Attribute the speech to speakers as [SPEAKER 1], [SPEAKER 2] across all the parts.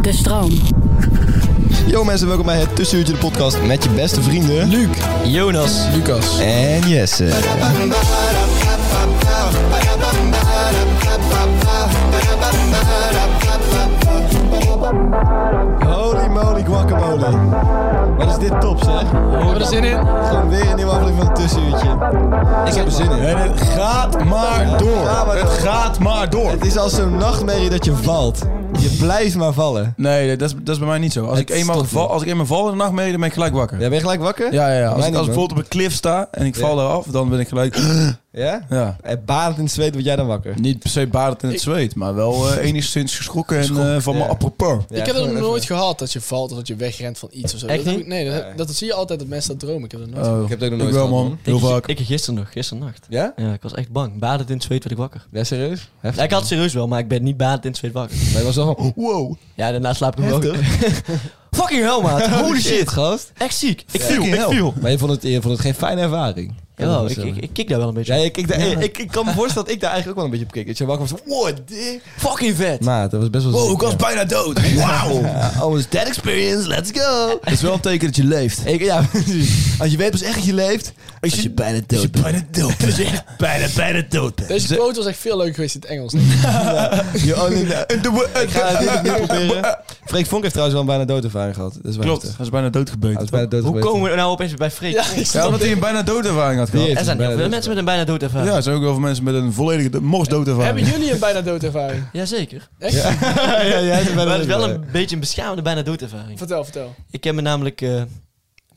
[SPEAKER 1] De stroom.
[SPEAKER 2] Yo mensen, welkom bij het Tussenuurtje de podcast met je beste vrienden... Luc, Jonas
[SPEAKER 3] Lucas.
[SPEAKER 2] en Jesse. Holy moly guacamole. Wat is dit top zeg.
[SPEAKER 3] Hebben we er zin in?
[SPEAKER 2] Gewoon weer een nieuwe aflevering van het Tussenuurtje. Ik heb er zin in.
[SPEAKER 4] En het gaat maar door.
[SPEAKER 2] Ja, maar
[SPEAKER 4] het
[SPEAKER 2] dat-
[SPEAKER 4] gaat maar door.
[SPEAKER 2] Het is als zo'n nachtmerrie dat je valt. Je blijft maar vallen.
[SPEAKER 4] Nee, dat is, dat is bij mij niet zo. Als
[SPEAKER 2] Het
[SPEAKER 4] ik, eenmaal
[SPEAKER 2] stopt
[SPEAKER 4] val,
[SPEAKER 2] niet.
[SPEAKER 4] als ik eenmaal val in de nachtmerrie, dan ben ik gelijk wakker.
[SPEAKER 2] Ja, ben je gelijk wakker?
[SPEAKER 4] Ja, ja, ja. Als,
[SPEAKER 2] Mij niet,
[SPEAKER 4] ik, als ik
[SPEAKER 2] man.
[SPEAKER 4] bijvoorbeeld op een cliff sta en ik val
[SPEAKER 2] Ja.
[SPEAKER 4] eraf, dan ben ik gelijk...
[SPEAKER 2] Ja?
[SPEAKER 4] Ja.
[SPEAKER 2] En barend in het zweet word jij dan wakker.
[SPEAKER 4] Niet per se badend in het zweet, maar wel eh, enigszins geschrokken en eh, van
[SPEAKER 2] ja.
[SPEAKER 4] mijn apropos.
[SPEAKER 2] Ja,
[SPEAKER 3] ik heb dat nog
[SPEAKER 2] gewoon
[SPEAKER 3] nooit
[SPEAKER 2] even-
[SPEAKER 3] gehad, dat je valt of dat je wegrent van iets of zo.
[SPEAKER 5] Echt
[SPEAKER 3] dat, heb
[SPEAKER 5] niet?
[SPEAKER 3] ik- nee, dat, dat, zie je altijd dat mensen dat dromen. Ik heb dat nooit.
[SPEAKER 4] Oh,
[SPEAKER 2] Ik heb het ook nog
[SPEAKER 4] ik
[SPEAKER 2] nooit
[SPEAKER 4] wel,
[SPEAKER 2] gehad,
[SPEAKER 4] man.
[SPEAKER 2] man.
[SPEAKER 4] Heel
[SPEAKER 5] ik,
[SPEAKER 4] vaak.
[SPEAKER 5] Ik gisteren nog, gisternacht.
[SPEAKER 2] Ja?
[SPEAKER 5] Ja, ik was echt bang. Badend in het zweet werd ik wakker.
[SPEAKER 2] Ja, serieus? Heftig.
[SPEAKER 5] Ja, ik had serieus wel, maar ik ben niet badend in het zweet wakker.
[SPEAKER 2] Maar je was wel van, wow.
[SPEAKER 5] Ja, daarna slaap ik hem ook. Fucking hell, maat. Holy shit.
[SPEAKER 2] gast.
[SPEAKER 5] Echt ziek. Ik
[SPEAKER 4] viel, ik viel.
[SPEAKER 2] Maar je vond, het, je vond het geen fijne ervaring.
[SPEAKER 5] Jawel, ik, ik, ik kik daar wel een beetje.
[SPEAKER 2] ja, ik, ik,
[SPEAKER 5] Ja.
[SPEAKER 2] ik, ik, kan me voorstellen dat ik daar eigenlijk ook wel een beetje op keek. Dat je wakker was van, wow, dit.
[SPEAKER 5] Fucking vet.
[SPEAKER 2] Maat, dat Nou, was best wel
[SPEAKER 4] Wow, Oh, ik was bijna dood. Wauw.
[SPEAKER 2] was that experience, let's go.
[SPEAKER 4] Dat is wel een teken dat je leeft.
[SPEAKER 2] Ik, ja, precies. Als je weet pas echt dat je leeft, als je, bijna dood bent.
[SPEAKER 4] Bijna dood. Dat je echt bijna, bijna dood bent.
[SPEAKER 3] Deze quote was echt veel leuker geweest in het Engels. denk ik.
[SPEAKER 2] Je only- Ik ga het niet opnieuw proberen. Freek Vonk heeft trouwens wel een bijna doodervaring gehad. Dat is wel
[SPEAKER 4] Klopt,
[SPEAKER 2] heftig.
[SPEAKER 4] hij is bijna
[SPEAKER 2] Hij
[SPEAKER 4] doodgebeten.
[SPEAKER 2] is bijna dood
[SPEAKER 5] Hoe
[SPEAKER 2] geweest.
[SPEAKER 5] komen we nou opeens bij Freek?
[SPEAKER 3] ja, ik
[SPEAKER 4] Ja,
[SPEAKER 3] snap
[SPEAKER 4] omdat hij een bijna doodervaring had gehad.
[SPEAKER 2] Die
[SPEAKER 5] er zijn heel veel
[SPEAKER 2] Bijna
[SPEAKER 5] mensen met een bijna dood ervaring.
[SPEAKER 4] Ja, er zijn ook wel veel mensen met een volledige morsdoodervaring.
[SPEAKER 3] Hebben jullie een bijna doodervaring?
[SPEAKER 5] Jazeker.
[SPEAKER 3] Echt?
[SPEAKER 2] ja, ja, jij hebt er bijna
[SPEAKER 5] Maar het is wel
[SPEAKER 2] dood.
[SPEAKER 5] een beetje een beschamende bijna dood ervaring.
[SPEAKER 3] Vertel, vertel.
[SPEAKER 5] Ik heb me namelijk... eh,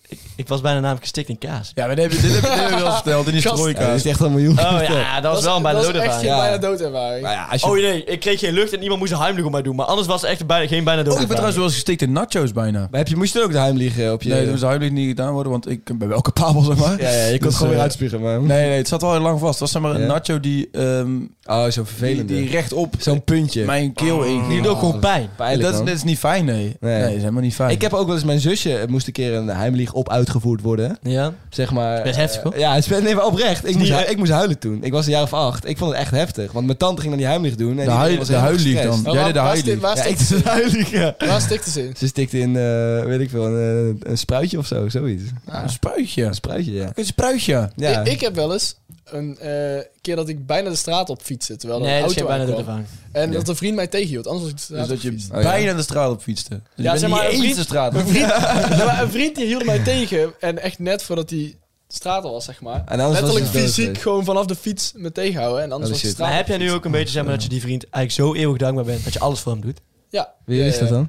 [SPEAKER 5] ik, ik was bijna namelijk gestikt in kaas.
[SPEAKER 4] Ja, maar dit heb je, dit heb je, dit heb je wel eens verteld in die
[SPEAKER 3] Gast.
[SPEAKER 2] Ja,
[SPEAKER 4] strooikaas.
[SPEAKER 2] dat is echt een miljoen.
[SPEAKER 5] Oh ja, dat was wel een bijna
[SPEAKER 3] dat
[SPEAKER 5] dood
[SPEAKER 3] was echt je
[SPEAKER 5] ervaring.
[SPEAKER 3] bijna doodervaring.
[SPEAKER 2] Maar ja, als je...
[SPEAKER 5] Oh nee, ik kreeg geen lucht en iemand moest een heimelijk om mij doen. Maar anders was het echt bijna, geen bijna dood
[SPEAKER 4] Oh, ik ben trouwens wel eens gestikt in nachos bijna.
[SPEAKER 2] Maar heb je, moest je er ook de heim liggen op je...
[SPEAKER 4] Nee, dat moest huidelijk niet gedaan worden, want ik ben wel capabel, zeg maar.
[SPEAKER 2] ja, ja, je kunt
[SPEAKER 4] Dus,
[SPEAKER 2] het gewoon
[SPEAKER 4] eh,
[SPEAKER 2] weer uitspiegen, maar...
[SPEAKER 4] Nee, nee, het zat wel heel lang vast. Het was zeg maar een
[SPEAKER 2] Ja?
[SPEAKER 4] nacho die, ehm
[SPEAKER 2] Oh, zo
[SPEAKER 4] die,
[SPEAKER 2] vervelend.
[SPEAKER 4] die rechtop
[SPEAKER 2] Zo'n puntje.
[SPEAKER 4] mijn keel in
[SPEAKER 5] Die
[SPEAKER 4] ging.
[SPEAKER 5] doet ook gewoon pijn.
[SPEAKER 2] Pijnlijk,
[SPEAKER 4] dat, is,
[SPEAKER 2] man.
[SPEAKER 4] dat is niet fijn, nee. Nee,
[SPEAKER 2] Nee.
[SPEAKER 4] dat is helemaal niet fijn.
[SPEAKER 2] Ik heb ook wel eens mijn zusje eh, moest een keer een heimlieg op uitgevoerd worden.
[SPEAKER 5] Ja.
[SPEAKER 2] Zeg maar.
[SPEAKER 5] Best
[SPEAKER 2] eh,
[SPEAKER 5] heftig, hoor.
[SPEAKER 2] Ja, het is nee, maar oprecht. Ik moest,
[SPEAKER 5] niet-
[SPEAKER 2] hui- ik moest huilen toen. Ik was een jaar of acht. Ik vond het echt heftig. Want mijn tante ging dan die heimlieg doen. En
[SPEAKER 4] de
[SPEAKER 2] die
[SPEAKER 4] hui,
[SPEAKER 2] was
[SPEAKER 4] de
[SPEAKER 2] helemaal
[SPEAKER 4] huidlieg dan.
[SPEAKER 2] gestrest.
[SPEAKER 3] Maar
[SPEAKER 4] Jij
[SPEAKER 3] waar-
[SPEAKER 4] deed de huidlieg.
[SPEAKER 3] waar stik- Waar
[SPEAKER 2] Ja, ik
[SPEAKER 3] stikt
[SPEAKER 2] dus
[SPEAKER 3] het in?
[SPEAKER 2] huilig, ja.
[SPEAKER 3] Waar stikt het in?
[SPEAKER 2] Ze stikte in, eh, weet ik veel, een, eh, een spruitje of zo, zoiets.
[SPEAKER 4] Een spuitje.
[SPEAKER 2] Een spruitje, ja.
[SPEAKER 4] Een spruitje.
[SPEAKER 2] ja.
[SPEAKER 3] Ik, ik heb wel eens een eh, keer dat ik bijna de straat op fietste, terwijl er
[SPEAKER 5] Nee,
[SPEAKER 3] een
[SPEAKER 5] dat is
[SPEAKER 3] auto
[SPEAKER 5] geen bijna dood
[SPEAKER 3] aankwam.
[SPEAKER 5] ervaring.
[SPEAKER 3] En dat een vriend mij tegenhield, anders was ik de straat
[SPEAKER 4] Dus dat
[SPEAKER 3] op
[SPEAKER 4] je
[SPEAKER 3] gefietst.
[SPEAKER 2] ja.
[SPEAKER 4] bijna de straat op fietste. Dus
[SPEAKER 3] Ja,
[SPEAKER 4] je bent
[SPEAKER 3] zeg maar,
[SPEAKER 4] niet
[SPEAKER 3] een
[SPEAKER 4] eens
[SPEAKER 3] vriend-
[SPEAKER 4] de straat op.
[SPEAKER 3] Een vriend, Ja, maar een vriend die hield mij tegen en echt net voordat hij de straat al was, zeg maar.
[SPEAKER 2] En anders was
[SPEAKER 3] Letterlijk
[SPEAKER 2] hij dood
[SPEAKER 3] fysiek
[SPEAKER 2] geweest.
[SPEAKER 3] gewoon vanaf de fiets me tegenhouden en anders
[SPEAKER 2] Oh,
[SPEAKER 3] was de
[SPEAKER 2] shit.
[SPEAKER 3] straat.
[SPEAKER 5] Maar heb jij nu ook een beetje zeg maar, dat je die vriend eigenlijk zo eeuwig dankbaar bent dat je alles voor hem doet?
[SPEAKER 3] Ja.
[SPEAKER 2] Wie is
[SPEAKER 3] Ja,
[SPEAKER 2] dat
[SPEAKER 3] ja.
[SPEAKER 2] dan?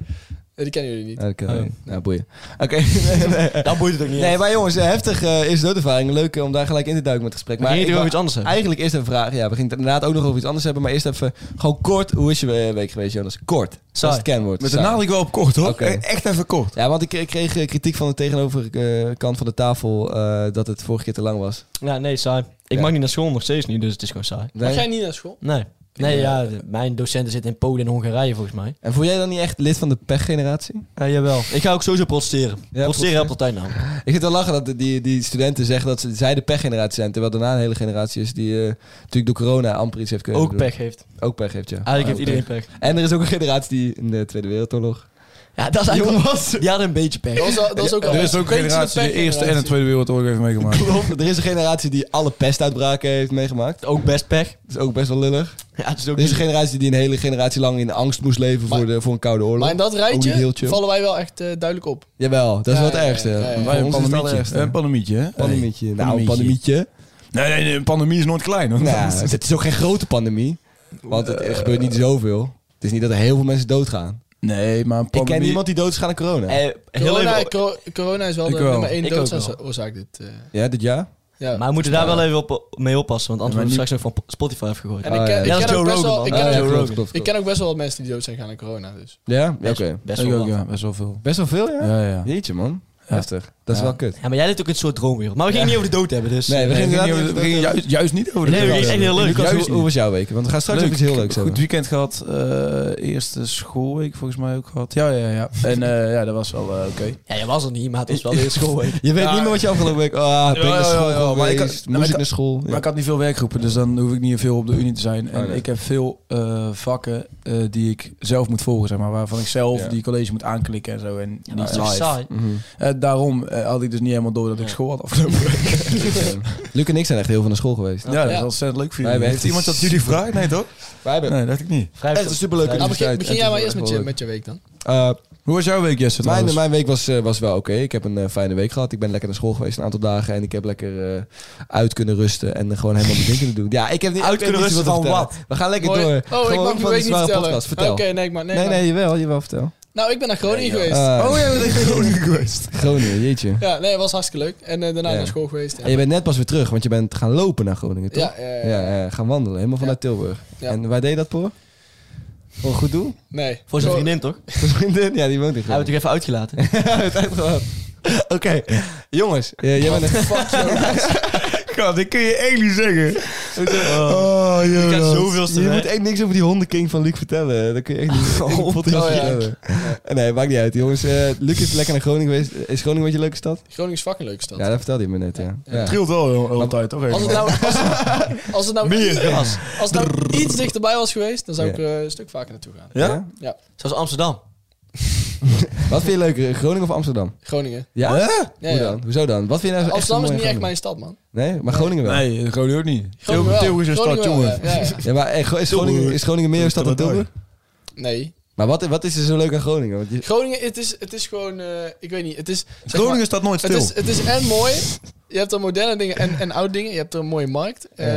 [SPEAKER 3] Nee, die kennen jullie niet.
[SPEAKER 2] Oké,
[SPEAKER 5] Oh.
[SPEAKER 2] nou boeien. Oké, nee, nee.
[SPEAKER 5] Dan boeit het ook niet.
[SPEAKER 2] Nee,
[SPEAKER 5] Nee,
[SPEAKER 2] maar jongens, eh, heftig eh eerste doodervaring. Leuk eh, om daar gelijk in te duiken met het gesprek.
[SPEAKER 5] maar ging
[SPEAKER 2] ik
[SPEAKER 5] je
[SPEAKER 2] wou-
[SPEAKER 5] over iets anders hebben?
[SPEAKER 2] Eigenlijk eerst een vraag. Ja, we gingen het inderdaad ook nog over iets anders hebben. Maar eerst even gewoon kort. Hoe is je eh, week geweest, Jonas? Kort.
[SPEAKER 5] Saai.
[SPEAKER 2] Zoals het kenwoord.
[SPEAKER 4] Met de
[SPEAKER 2] Saai.
[SPEAKER 4] nadruk wel op kort, hoor.
[SPEAKER 2] Oké.
[SPEAKER 4] Echt even kort.
[SPEAKER 2] Ja, want ik, ik kreeg eh, kritiek van de tegenoverkant van de tafel eh, dat het vorige keer te lang was.
[SPEAKER 5] Ja, nee, saai. Ik
[SPEAKER 2] Ja.
[SPEAKER 5] mag niet naar school nog steeds niet, dus het is gewoon saai.
[SPEAKER 2] Nee.
[SPEAKER 3] Mag jij niet naar school?
[SPEAKER 5] Nee. Nee, ja, de- mijn docenten zitten in Polen en Hongarije volgens mij.
[SPEAKER 2] En voel jij dan niet echt lid van de pechgeneratie?
[SPEAKER 5] Ja, jawel. Ik ga ook sowieso protesteren.
[SPEAKER 2] protesteren.
[SPEAKER 5] protesteren helpt altijd namelijk.
[SPEAKER 2] Ik zit te lachen dat die, die studenten zeggen dat ze, zij de pechgeneratie zijn. Terwijl daarna een hele generatie is die eh, natuurlijk door corona amper iets heeft kunnen
[SPEAKER 5] Ook
[SPEAKER 2] doen.
[SPEAKER 5] pech heeft.
[SPEAKER 2] Ook pech heeft, ja. Ah,
[SPEAKER 5] Eigenlijk
[SPEAKER 2] Ja,
[SPEAKER 5] heeft
[SPEAKER 2] ook
[SPEAKER 5] iedereen pech.
[SPEAKER 2] pech. En er is ook een generatie die in de Tweede Wereldoorlog
[SPEAKER 5] Ja, dat is eigenlijk wel- Die hadden een beetje pech.
[SPEAKER 3] Dat was, dat was ook wel
[SPEAKER 4] Er is
[SPEAKER 3] echt
[SPEAKER 4] ook een
[SPEAKER 3] beetje
[SPEAKER 4] generatie die de Eerste en de
[SPEAKER 3] pechgeneratie.
[SPEAKER 4] Tweede Wereldoorlog heeft meegemaakt.
[SPEAKER 2] Klopt, er is een generatie die alle pestuitbraken heeft meegemaakt.
[SPEAKER 5] Ook best pech.
[SPEAKER 2] Dat is ook best wel lullig.
[SPEAKER 5] Ja, het is ook
[SPEAKER 2] Er is een
[SPEAKER 5] niet-
[SPEAKER 2] generatie die een hele generatie lang in angst moest leven voor,
[SPEAKER 3] Maar-
[SPEAKER 2] de, voor een koude oorlog.
[SPEAKER 3] Maar in dat
[SPEAKER 2] Ook niet heel
[SPEAKER 3] rijtje
[SPEAKER 2] chill.
[SPEAKER 3] vallen wij wel echt eh, duidelijk op.
[SPEAKER 2] Jawel, dat is
[SPEAKER 3] Ja,
[SPEAKER 2] wel het
[SPEAKER 3] ja, ja,
[SPEAKER 2] ergste.
[SPEAKER 3] ja,
[SPEAKER 2] Voor
[SPEAKER 3] ja.
[SPEAKER 4] Wij een
[SPEAKER 2] ons is het
[SPEAKER 4] pandemietje.
[SPEAKER 2] allerergste.
[SPEAKER 4] Een pandemietje, hè?
[SPEAKER 2] pandemietje. Nou, een
[SPEAKER 4] pandemietje.
[SPEAKER 2] pandemietje.
[SPEAKER 4] Nee, nee, nee, een pandemie is nooit klein. hoor.
[SPEAKER 2] Nou, het is ook geen grote pandemie. Want het, er gebeurt niet zoveel. Het is niet dat er heel veel mensen doodgaan.
[SPEAKER 4] Nee, maar een
[SPEAKER 2] Ik
[SPEAKER 4] pandemie...
[SPEAKER 2] ken niemand die doodgaat aan corona.
[SPEAKER 5] Eh, heel
[SPEAKER 3] Corona,
[SPEAKER 5] even...
[SPEAKER 3] cor- corona is wel
[SPEAKER 4] Ik
[SPEAKER 3] de
[SPEAKER 4] wel.
[SPEAKER 3] nummer één
[SPEAKER 5] Ik ook
[SPEAKER 3] doodsoorzaak. Dit, eh,
[SPEAKER 2] Ja, dit jaar?
[SPEAKER 3] ja.
[SPEAKER 5] Maar we moeten daar wel even op, eh, mee oppassen, want anders
[SPEAKER 4] Ja,
[SPEAKER 5] wordt
[SPEAKER 4] maar
[SPEAKER 5] straks ook van Spotify afgegooid.
[SPEAKER 3] en
[SPEAKER 2] Oh,
[SPEAKER 3] ik
[SPEAKER 2] ja.
[SPEAKER 3] ken, ik
[SPEAKER 5] Ja, dat
[SPEAKER 3] ken
[SPEAKER 5] is
[SPEAKER 3] ook
[SPEAKER 5] Joe
[SPEAKER 3] best wel,
[SPEAKER 5] Rogan,
[SPEAKER 3] ik
[SPEAKER 5] man.
[SPEAKER 3] ken
[SPEAKER 2] Ah,
[SPEAKER 3] ook-
[SPEAKER 2] ja,
[SPEAKER 5] Joe
[SPEAKER 2] klopt,
[SPEAKER 5] Rogan.
[SPEAKER 2] klopt,
[SPEAKER 3] ik
[SPEAKER 2] klopt.
[SPEAKER 3] ken ook best wel wat mensen die dood zijn gaan aan corona. Dus.
[SPEAKER 2] Ja? Ja,
[SPEAKER 5] Best-
[SPEAKER 2] oké.
[SPEAKER 5] Best
[SPEAKER 4] Ik
[SPEAKER 5] wel
[SPEAKER 4] ook,
[SPEAKER 5] wat.
[SPEAKER 4] ja. Best wel veel.
[SPEAKER 2] Best wel veel, ja?
[SPEAKER 4] Ja, ja.
[SPEAKER 2] Jeetje, man.
[SPEAKER 4] Ja.
[SPEAKER 2] Heftig. Dat is
[SPEAKER 4] Ja.
[SPEAKER 2] wel kut.
[SPEAKER 5] Ja, maar jij leeft ook in een soort droomwereld. Maar we gingen niet over de dood hebben, dus...
[SPEAKER 2] Nee, we
[SPEAKER 4] Nee,
[SPEAKER 2] gingen
[SPEAKER 4] het ging niet
[SPEAKER 2] inderdaad
[SPEAKER 4] over- het ging juist, juist niet over de
[SPEAKER 5] Nee,
[SPEAKER 4] corona.
[SPEAKER 5] het is echt heel leuk.
[SPEAKER 4] Juist
[SPEAKER 2] Lucas, hoe,
[SPEAKER 4] niet.
[SPEAKER 2] hoe was jouw week? Want we gaan straks
[SPEAKER 4] Leuk.
[SPEAKER 2] ook iets heel leuks
[SPEAKER 4] Ik heb een Goed
[SPEAKER 2] hebben.
[SPEAKER 4] weekend gehad. eh, eerste schoolweek volgens mij ook gehad. Ja, ja, ja. En eh, ja, dat was wel eh, oké.
[SPEAKER 5] Ja, je was er niet, maar het was wel weer school. hè.
[SPEAKER 2] Je weet
[SPEAKER 3] Ja.
[SPEAKER 2] niet meer wat je afgelopen week... Ah, ben ik
[SPEAKER 4] Ja,
[SPEAKER 2] naar
[SPEAKER 4] ja,
[SPEAKER 2] school
[SPEAKER 4] ja, ja, maar ik had-
[SPEAKER 2] geweest?
[SPEAKER 4] maar ik
[SPEAKER 2] Moest ik
[SPEAKER 4] had-
[SPEAKER 2] naar school?
[SPEAKER 4] Maar ik had niet veel werkgroepen, dus dan hoef ik niet veel op de unie te zijn. En
[SPEAKER 2] Oh, nee.
[SPEAKER 4] ik heb veel eh, vakken eh, die ik zelf moet volgen, zeg maar. Waarvan ik zelf
[SPEAKER 2] Ja.
[SPEAKER 4] die college moet aanklikken en zo. En
[SPEAKER 5] Ja, maar
[SPEAKER 4] niet
[SPEAKER 5] dat is toch
[SPEAKER 4] live.
[SPEAKER 5] saai?
[SPEAKER 2] Mhm.
[SPEAKER 4] Eh, daarom eh, had ik dus niet helemaal door dat ik
[SPEAKER 5] Ja.
[SPEAKER 4] school had afgelopen week.
[SPEAKER 2] Luc en ik zijn echt heel veel naar school geweest.
[SPEAKER 4] ja, dat is
[SPEAKER 3] Ja.
[SPEAKER 4] ontzettend leuk voor
[SPEAKER 2] Wij
[SPEAKER 4] jullie.
[SPEAKER 2] hebben
[SPEAKER 4] Heeft
[SPEAKER 2] echt
[SPEAKER 4] iemand dat jullie vraagt? Nee, toch?
[SPEAKER 2] Wij hebben
[SPEAKER 4] Nee, dacht ik niet.
[SPEAKER 5] Vrij
[SPEAKER 2] echt een
[SPEAKER 5] veel-
[SPEAKER 2] superleuke
[SPEAKER 5] vrij-
[SPEAKER 3] Nou, begin,
[SPEAKER 2] universiteit.
[SPEAKER 3] begin
[SPEAKER 2] En
[SPEAKER 3] jij
[SPEAKER 2] het
[SPEAKER 3] maar
[SPEAKER 2] is
[SPEAKER 3] eerst met
[SPEAKER 2] wel
[SPEAKER 3] je,
[SPEAKER 2] leuk.
[SPEAKER 3] met je week dan.
[SPEAKER 2] Eh,
[SPEAKER 4] Hoe was jouw week, Jesse?
[SPEAKER 2] Mijn,
[SPEAKER 4] trouwens?
[SPEAKER 2] mijn week was, eh, was wel oké. Ik heb een eh, fijne week gehad. Ik ben lekker naar school geweest een aantal dagen. En ik heb lekker eh, uit kunnen rusten. En eh, gewoon helemaal mijn ding kunnen doen. Ja, ik heb niet
[SPEAKER 5] Uit
[SPEAKER 2] ik weet
[SPEAKER 5] kunnen
[SPEAKER 2] niet
[SPEAKER 5] rusten
[SPEAKER 2] zoveel te
[SPEAKER 5] van
[SPEAKER 2] vertellen. We gaan lekker
[SPEAKER 3] Mooi.
[SPEAKER 2] door.
[SPEAKER 3] Oh, ik
[SPEAKER 2] Gewoon
[SPEAKER 3] mag
[SPEAKER 2] van
[SPEAKER 3] je
[SPEAKER 2] de
[SPEAKER 3] week niet
[SPEAKER 2] zware
[SPEAKER 3] vertellen.
[SPEAKER 2] podcast. Vertel.
[SPEAKER 3] Oké, nee, ik mag... Nee,
[SPEAKER 2] nee,
[SPEAKER 3] maar-
[SPEAKER 2] nee, jawel. Jawel, vertel.
[SPEAKER 3] Nou, ik ben naar Groningen
[SPEAKER 4] Nee, joh.
[SPEAKER 2] Eh.
[SPEAKER 3] geweest.
[SPEAKER 4] Oh ja, dat is Groningen geweest.
[SPEAKER 2] Groningen, jeetje.
[SPEAKER 3] Ja, nee, was hartstikke leuk. En eh, daarna
[SPEAKER 2] Ja.
[SPEAKER 3] naar school geweest.
[SPEAKER 2] En je bent net pas weer terug, want je bent gaan lopen naar Groningen, toch?
[SPEAKER 3] Ja, eh,
[SPEAKER 2] Ja, eh, gaan wandelen. Helemaal vanuit Tilburg.
[SPEAKER 3] Ja.
[SPEAKER 2] En waar deed je dat voor? Voor een goed doel?
[SPEAKER 3] nee.
[SPEAKER 5] Voor zijn
[SPEAKER 3] Zo-
[SPEAKER 5] vriendin, toch? Hij
[SPEAKER 2] Voor een vriendin? Ja, die woont in
[SPEAKER 5] hebben we
[SPEAKER 2] Groningen.
[SPEAKER 5] toch even uitgelaten.
[SPEAKER 2] Oké, jongens. eh, jij bent een
[SPEAKER 4] God, dit kun je echt niet zeggen. Oh,
[SPEAKER 5] Ik heb
[SPEAKER 4] joh.
[SPEAKER 5] zoveel
[SPEAKER 2] Je moet echt niks over die hondenking van Luc vertellen. Dat kun je echt niet
[SPEAKER 5] Oh,
[SPEAKER 2] in de podcast
[SPEAKER 3] oh ja.
[SPEAKER 2] vertellen. Nee, maakt niet uit. Jongens, Eh, Luc is lekker naar Groningen geweest. Is Groningen een beetje een leuke stad?
[SPEAKER 3] Groningen is fucking leuke stad.
[SPEAKER 2] Ja, dat vertelde je me net, ja. ja.
[SPEAKER 4] Trilt wel heel- heel de tijd, toch?
[SPEAKER 3] Als het nou, als, als het nou,
[SPEAKER 5] Meer gras.
[SPEAKER 3] als het nou iets dichterbij was geweest, dan zou ik
[SPEAKER 2] Ja.
[SPEAKER 3] er eh, een stuk vaker naartoe gaan.
[SPEAKER 4] Ja?
[SPEAKER 2] Ja?
[SPEAKER 5] Zoals Amsterdam.
[SPEAKER 2] Wat vind je leuker, Groningen of Amsterdam?
[SPEAKER 3] Groningen.
[SPEAKER 2] Ja?
[SPEAKER 3] Ja,
[SPEAKER 2] Hoe
[SPEAKER 3] ja.
[SPEAKER 2] dan? Hoezo dan? Wat vind je nou zo echt
[SPEAKER 3] Amsterdam is
[SPEAKER 2] zo
[SPEAKER 3] niet
[SPEAKER 2] mooi
[SPEAKER 3] echt
[SPEAKER 2] aan
[SPEAKER 3] mijn stad, man.
[SPEAKER 2] Groningen? Nee, maar Groningen wel.
[SPEAKER 4] Nee, Groningen ook niet.
[SPEAKER 3] nou-
[SPEAKER 4] Tilburg
[SPEAKER 3] Groningen wel.
[SPEAKER 4] Tilburg is een stad,
[SPEAKER 3] Groningen wel,
[SPEAKER 4] jongen.
[SPEAKER 3] ja, ja, ja.
[SPEAKER 2] Ja, maar eh, Gro- is Groningen, is Groningen meer een stad dan Tilburg?
[SPEAKER 3] Nee.
[SPEAKER 2] Maar wat, wat is er zo leuk aan Groningen? Want je-
[SPEAKER 3] Groningen, het is, het is gewoon... eh, ik weet niet, het is... zeg maar-
[SPEAKER 4] Groningen staat nooit
[SPEAKER 3] Het
[SPEAKER 4] stil.
[SPEAKER 3] is, het is en mooi. Je hebt er moderne dingen en, en oude dingen. Je hebt er een mooie markt. eh,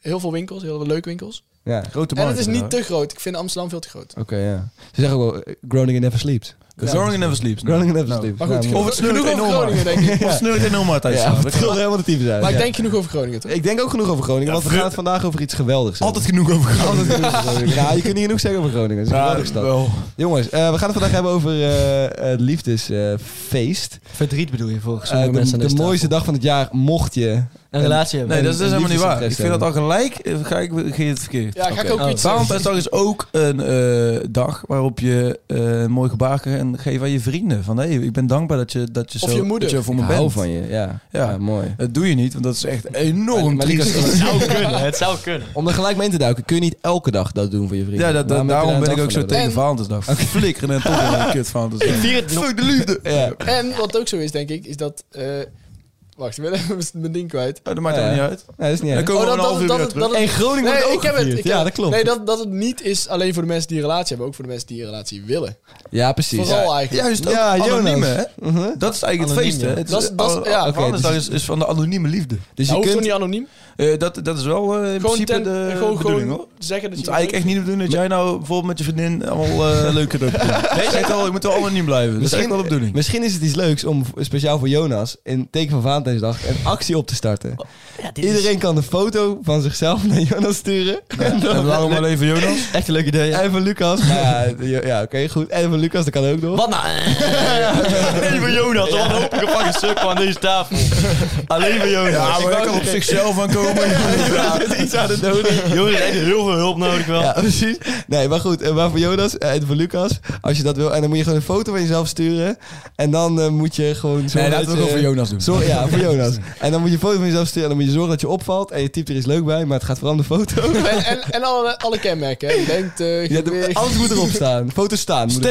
[SPEAKER 3] heel veel winkels, heel veel leuke winkels.
[SPEAKER 2] ja,
[SPEAKER 4] Grote
[SPEAKER 3] En het is
[SPEAKER 4] markt,
[SPEAKER 3] niet te groot. Ik vind Amsterdam veel te groot.
[SPEAKER 2] oké, ja. Ze zeggen ook wel, eh, Groningen never sleeps.
[SPEAKER 4] ja. Groningen never sleeps.
[SPEAKER 2] Groningen never
[SPEAKER 4] Nou,
[SPEAKER 2] sleeps.
[SPEAKER 3] Maar goed,
[SPEAKER 2] Ja,
[SPEAKER 3] genoeg-
[SPEAKER 4] Of het sneeuwt
[SPEAKER 3] genoeg over
[SPEAKER 4] enorm
[SPEAKER 3] Groningen, denk ik.
[SPEAKER 4] Of het sneeuwt in Oma thuis.
[SPEAKER 2] Ja, het wil helemaal de type zijn.
[SPEAKER 3] Maar ik
[SPEAKER 2] ja.
[SPEAKER 3] denk genoeg over Groningen, toch?
[SPEAKER 2] Ik denk ook genoeg over Groningen,
[SPEAKER 4] Ja,
[SPEAKER 2] want we
[SPEAKER 4] vru-
[SPEAKER 2] gaan het vandaag over iets geweldigs hebben.
[SPEAKER 4] Altijd genoeg over Groningen.
[SPEAKER 2] Altijd genoeg over Groningen. Ja, je kunt niet genoeg zeggen over Groningen. Het is een geweldige stad.
[SPEAKER 4] wel.
[SPEAKER 2] Jongens, eh, we gaan het vandaag hebben over eh, het liefdesfeest.
[SPEAKER 5] Verdriet bedoel je voor
[SPEAKER 2] Eh,
[SPEAKER 5] sommige
[SPEAKER 2] de
[SPEAKER 5] mensen. aan
[SPEAKER 2] de
[SPEAKER 5] deze
[SPEAKER 2] mooiste
[SPEAKER 5] tafel.
[SPEAKER 2] dag van het jaar, mocht je...
[SPEAKER 5] Een relatie hebben.
[SPEAKER 4] Nee, dat is dus
[SPEAKER 2] een
[SPEAKER 4] helemaal niet waar. Ik
[SPEAKER 2] liefdesinteresse
[SPEAKER 4] vind dat al gelijk, eh, ga ik geef je het verkeerd.
[SPEAKER 3] Ja, ga ik ook
[SPEAKER 4] Nou,
[SPEAKER 5] Oh,
[SPEAKER 3] iets zeggen.
[SPEAKER 4] Valentijnsdag is ook een eh, dag waarop je eh, een mooi gebaar kan geven aan je vrienden. Van hé, ik ben dankbaar dat je, dat je,
[SPEAKER 3] Of
[SPEAKER 4] zo,
[SPEAKER 3] je moeder.
[SPEAKER 4] Dat je voor
[SPEAKER 2] Ik
[SPEAKER 4] me
[SPEAKER 2] hou
[SPEAKER 4] bent.
[SPEAKER 2] van je, ja.
[SPEAKER 4] Ja.
[SPEAKER 2] Ja, mooi.
[SPEAKER 4] Dat doe je niet, want dat is echt
[SPEAKER 2] Maar-
[SPEAKER 4] enorm
[SPEAKER 2] maar
[SPEAKER 4] triest.
[SPEAKER 2] Lucas,
[SPEAKER 5] Het zou kunnen, het zou kunnen.
[SPEAKER 2] Om er gelijk mee in te duiken, kun je niet elke dag dat doen voor je vrienden.
[SPEAKER 4] Ja, dat, dat-
[SPEAKER 2] Waarom heb je
[SPEAKER 4] daarom
[SPEAKER 2] daar
[SPEAKER 4] ben
[SPEAKER 2] een
[SPEAKER 4] ik ook
[SPEAKER 2] dag
[SPEAKER 4] zo
[SPEAKER 2] voor nodig?
[SPEAKER 4] tegen Valentijnsdag. Flikkeren en tot in een kut Valentijnsdag.
[SPEAKER 5] Vier het nog.
[SPEAKER 4] Fuck de liefde.
[SPEAKER 2] Ja.
[SPEAKER 4] Oh,
[SPEAKER 3] En wat ook zo is, denk ik, is dat... eh, wacht, ik ben even mijn ding kwijt. Oh,
[SPEAKER 4] dat maakt
[SPEAKER 2] Ja.
[SPEAKER 4] helemaal niet uit.
[SPEAKER 2] Nee, dat is niet
[SPEAKER 4] Dan
[SPEAKER 2] erg.
[SPEAKER 4] komen we
[SPEAKER 3] dat-
[SPEAKER 4] een half
[SPEAKER 3] dat-
[SPEAKER 4] uur
[SPEAKER 3] dat-
[SPEAKER 4] weer terug.
[SPEAKER 3] dat-
[SPEAKER 2] En Groningen wordt ook gevierd.
[SPEAKER 3] heb
[SPEAKER 2] Ja,
[SPEAKER 3] het.
[SPEAKER 2] dat klopt.
[SPEAKER 3] Nee, dat, dat het niet is alleen voor de mensen die een relatie hebben. Ook voor de mensen die een relatie
[SPEAKER 4] Dus
[SPEAKER 3] willen.
[SPEAKER 2] Ja, precies.
[SPEAKER 3] Vooral
[SPEAKER 2] Ja.
[SPEAKER 3] eigenlijk.
[SPEAKER 4] Juist ook
[SPEAKER 2] Ja, Jonas.
[SPEAKER 4] anoniem, hè?
[SPEAKER 2] Mhm.
[SPEAKER 4] Dat is eigenlijk het
[SPEAKER 5] Anoniem,
[SPEAKER 4] feest, hè?
[SPEAKER 5] ja.
[SPEAKER 4] Het
[SPEAKER 3] Dat is- dat is-
[SPEAKER 4] al-
[SPEAKER 3] ja.
[SPEAKER 4] al-
[SPEAKER 2] Oké,
[SPEAKER 4] Valentijnsdag
[SPEAKER 2] dus-
[SPEAKER 4] is, is van de anonieme liefde.
[SPEAKER 2] Dus je
[SPEAKER 3] Nou, hoeft toch
[SPEAKER 2] kunt...
[SPEAKER 3] niet anoniem?
[SPEAKER 4] Eh, dat, dat is wel eh, in
[SPEAKER 3] Gewoon,
[SPEAKER 4] principe
[SPEAKER 3] ten,
[SPEAKER 4] de
[SPEAKER 3] gewoon,
[SPEAKER 4] bedoeling,
[SPEAKER 3] gewoon
[SPEAKER 4] hoor.
[SPEAKER 3] zeggen dat
[SPEAKER 4] Het
[SPEAKER 3] je...
[SPEAKER 4] is eigenlijk echt niet de bedoeling dat jij nou bijvoorbeeld met je vriendin allemaal eh leuke dingen doet. Nee, je, zegt wel, je moet wel anoniem blijven. Dat is echt wel de bedoeling.
[SPEAKER 2] Misschien is het iets leuks om v- speciaal voor Jonas in teken van Valentijnsdag een actie op te starten.
[SPEAKER 4] Oh,
[SPEAKER 5] Ja, dit
[SPEAKER 2] Iedereen kan een foto van zichzelf naar Jonas sturen. En dan-
[SPEAKER 4] En waarom alleen voor Jonas?
[SPEAKER 5] is echt een leuk idee. ja.
[SPEAKER 2] En van Lucas. Nou ja, ja, ja oké, goed. En van Lucas, dat kan ook nog.
[SPEAKER 5] Wat nou? Alleen voor Jonas. Wat een hoop gevangen sukkel aan deze tafel. Alleen voor Jonas.
[SPEAKER 4] Ja, maar hij kan op zichzelf aankomen. Ja.
[SPEAKER 2] Er is iets aan het nodig.
[SPEAKER 5] Jonas heeft heel veel hulp nodig wel.
[SPEAKER 2] Ja, precies. Nee, maar goed. eh, Maar voor Jonas eh, en voor Lucas, als je dat wil. En dan moet je gewoon een foto van jezelf sturen. En dan eh, moet je gewoon...
[SPEAKER 4] Nee,
[SPEAKER 2] zorgen
[SPEAKER 4] laten we
[SPEAKER 2] je-
[SPEAKER 4] het ook voor Jonas doen.
[SPEAKER 2] Sorry, ja, voor Jonas. En dan moet je een foto van jezelf sturen. En dan moet je zorgen dat je opvalt. En je typt er iets leuk bij. Maar het gaat vooral om de foto.
[SPEAKER 3] En, en, en alle, alle kenmerken. Hè. eh, Lengte,
[SPEAKER 2] Ja, de-
[SPEAKER 3] gewicht.
[SPEAKER 2] alles moet erop staan. Foto's staan. moet erop.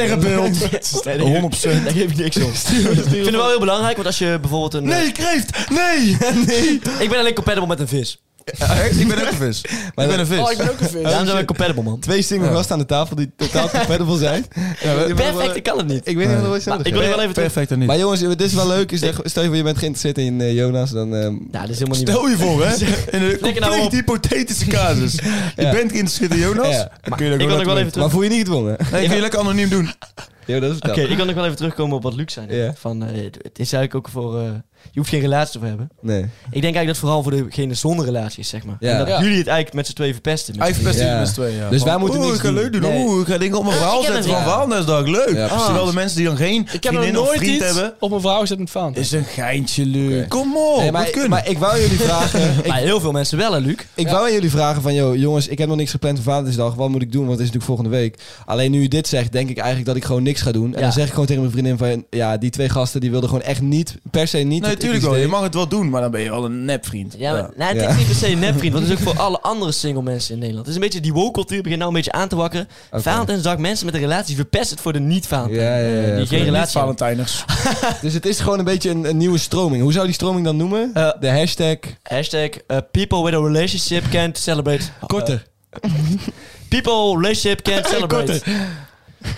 [SPEAKER 4] Sterrenbeeld. 100%.
[SPEAKER 5] Daar geef ik niks om. Ik vind het wel heel belangrijk, want als je bijvoorbeeld een... eh,
[SPEAKER 4] Nee, kreeft! Nee! nee!
[SPEAKER 5] Ik ben alleen compatible met een vis.
[SPEAKER 4] echt? Ik ben ook een vis. ik ben een vis.
[SPEAKER 3] Oh, ik ben ook een vis.
[SPEAKER 5] Daarom zijn we compatible, man.
[SPEAKER 2] Twee single
[SPEAKER 4] Ja.
[SPEAKER 2] gasten aan de tafel die totaal compatible zijn. Ja, we-
[SPEAKER 5] Perfect, ik kan het niet.
[SPEAKER 2] Ik weet niet wat er wordt
[SPEAKER 5] Maar ik wil je wel even terug...
[SPEAKER 4] Perfect en niet.
[SPEAKER 2] Maar jongens, dit is wel leuk. Is dat- Stel je voor, je bent geïnteresseerd in eh, Jonas. Dan, ehm,
[SPEAKER 5] Nou, dat is helemaal niet
[SPEAKER 4] Stel je voor, hè? In een
[SPEAKER 5] nou
[SPEAKER 4] compleet
[SPEAKER 5] op.
[SPEAKER 4] hypothetische casus. Je
[SPEAKER 2] Ja.
[SPEAKER 4] bent geïnteresseerd in Jonas.
[SPEAKER 2] Ja.
[SPEAKER 4] Dan kun je dat
[SPEAKER 5] ik
[SPEAKER 4] laten
[SPEAKER 5] wil nog wel
[SPEAKER 4] weten.
[SPEAKER 5] even terug...
[SPEAKER 2] maar voel je niet gedwongen?
[SPEAKER 4] Nee, kun je lekker anoniem doen.
[SPEAKER 2] Jo, dat is
[SPEAKER 5] Oké, ik wil nog wel even terugkomen op wat Luc zei. net.
[SPEAKER 2] Ja.
[SPEAKER 5] Van, eh, het het is eigenlijk ook voor... eh, je hoeft geen relatie te hebben.
[SPEAKER 2] Nee.
[SPEAKER 5] Ik denk eigenlijk dat vooral voor degene zonder relatie is, zeg maar.
[SPEAKER 2] Ja.
[SPEAKER 5] En dat
[SPEAKER 3] Ja.
[SPEAKER 5] jullie het eigenlijk met z'n twee verpesten.
[SPEAKER 4] Hij verpest
[SPEAKER 2] Ja.
[SPEAKER 4] jullie met z'n tweeën. ja.
[SPEAKER 2] Dus
[SPEAKER 4] Van,
[SPEAKER 2] wij moeten
[SPEAKER 4] oeh,
[SPEAKER 2] niks
[SPEAKER 4] ik ga
[SPEAKER 2] doen.
[SPEAKER 4] leuk doen.
[SPEAKER 2] Nee.
[SPEAKER 4] Oeh, ik ga dingen op mijn verhaal
[SPEAKER 5] ik heb
[SPEAKER 4] zetten van
[SPEAKER 5] het, ja.
[SPEAKER 4] Valentijnsdag. Leuk.
[SPEAKER 2] Ja, precies.
[SPEAKER 4] Terwijl de mensen die dan geen
[SPEAKER 3] Ik heb nog
[SPEAKER 4] vriendin of
[SPEAKER 3] nooit
[SPEAKER 4] vriend
[SPEAKER 3] iets
[SPEAKER 4] hebben...
[SPEAKER 3] op mijn vrouw zettend faant.
[SPEAKER 4] Is een geintje, Luc.
[SPEAKER 2] Oké.
[SPEAKER 4] Kom
[SPEAKER 5] Oh,
[SPEAKER 4] op,
[SPEAKER 2] Nee,
[SPEAKER 4] dat
[SPEAKER 2] maar,
[SPEAKER 4] kunnen.
[SPEAKER 2] maar ik wou jullie vragen.
[SPEAKER 5] Maar heel veel mensen wel, hè, Luc?
[SPEAKER 2] Ik wou aan jullie vragen van, joh, jongens, ik heb nog niks gepland voor Valentijnsdag. Wat moet ik doen? Want het is natuurlijk volgende week. Alleen nu je dit zegt, denk ik eigenlijk dat ik gewoon niks ga doen. En
[SPEAKER 5] Ja.
[SPEAKER 2] dan zeg ik gewoon tegen mijn vriendin van, ja, die twee gasten die wilden gewoon echt niet, per se niet.
[SPEAKER 4] nee,
[SPEAKER 2] dat ik
[SPEAKER 4] natuurlijk
[SPEAKER 2] iets
[SPEAKER 4] wel. Je
[SPEAKER 2] deed.
[SPEAKER 4] mag het wel doen, maar dan ben je wel een nepvriend.
[SPEAKER 5] Ja, maar, nou, het
[SPEAKER 2] Ja.
[SPEAKER 5] is niet per se een nepvriend, want het is ook voor alle andere single mensen in Nederland. Het is een beetje die woke-cultuur begint nou een beetje aan te wakkeren.
[SPEAKER 2] Oké.
[SPEAKER 5] Valentijnsdag, mensen met een relatie verpest het voor de niet-Valentijn.
[SPEAKER 2] Ja, ja, ja, ja.
[SPEAKER 5] die geen relatie hebben.
[SPEAKER 4] Valentijners.
[SPEAKER 2] Dus het is gewoon een beetje een, een nieuwe stroming. Hoe zou die stroming dan noemen?
[SPEAKER 5] Eh,
[SPEAKER 2] De hashtag...
[SPEAKER 5] Hashtag eh, people with a relationship can't celebrate. Eh,
[SPEAKER 2] Korter.
[SPEAKER 5] People relationship can't celebrate.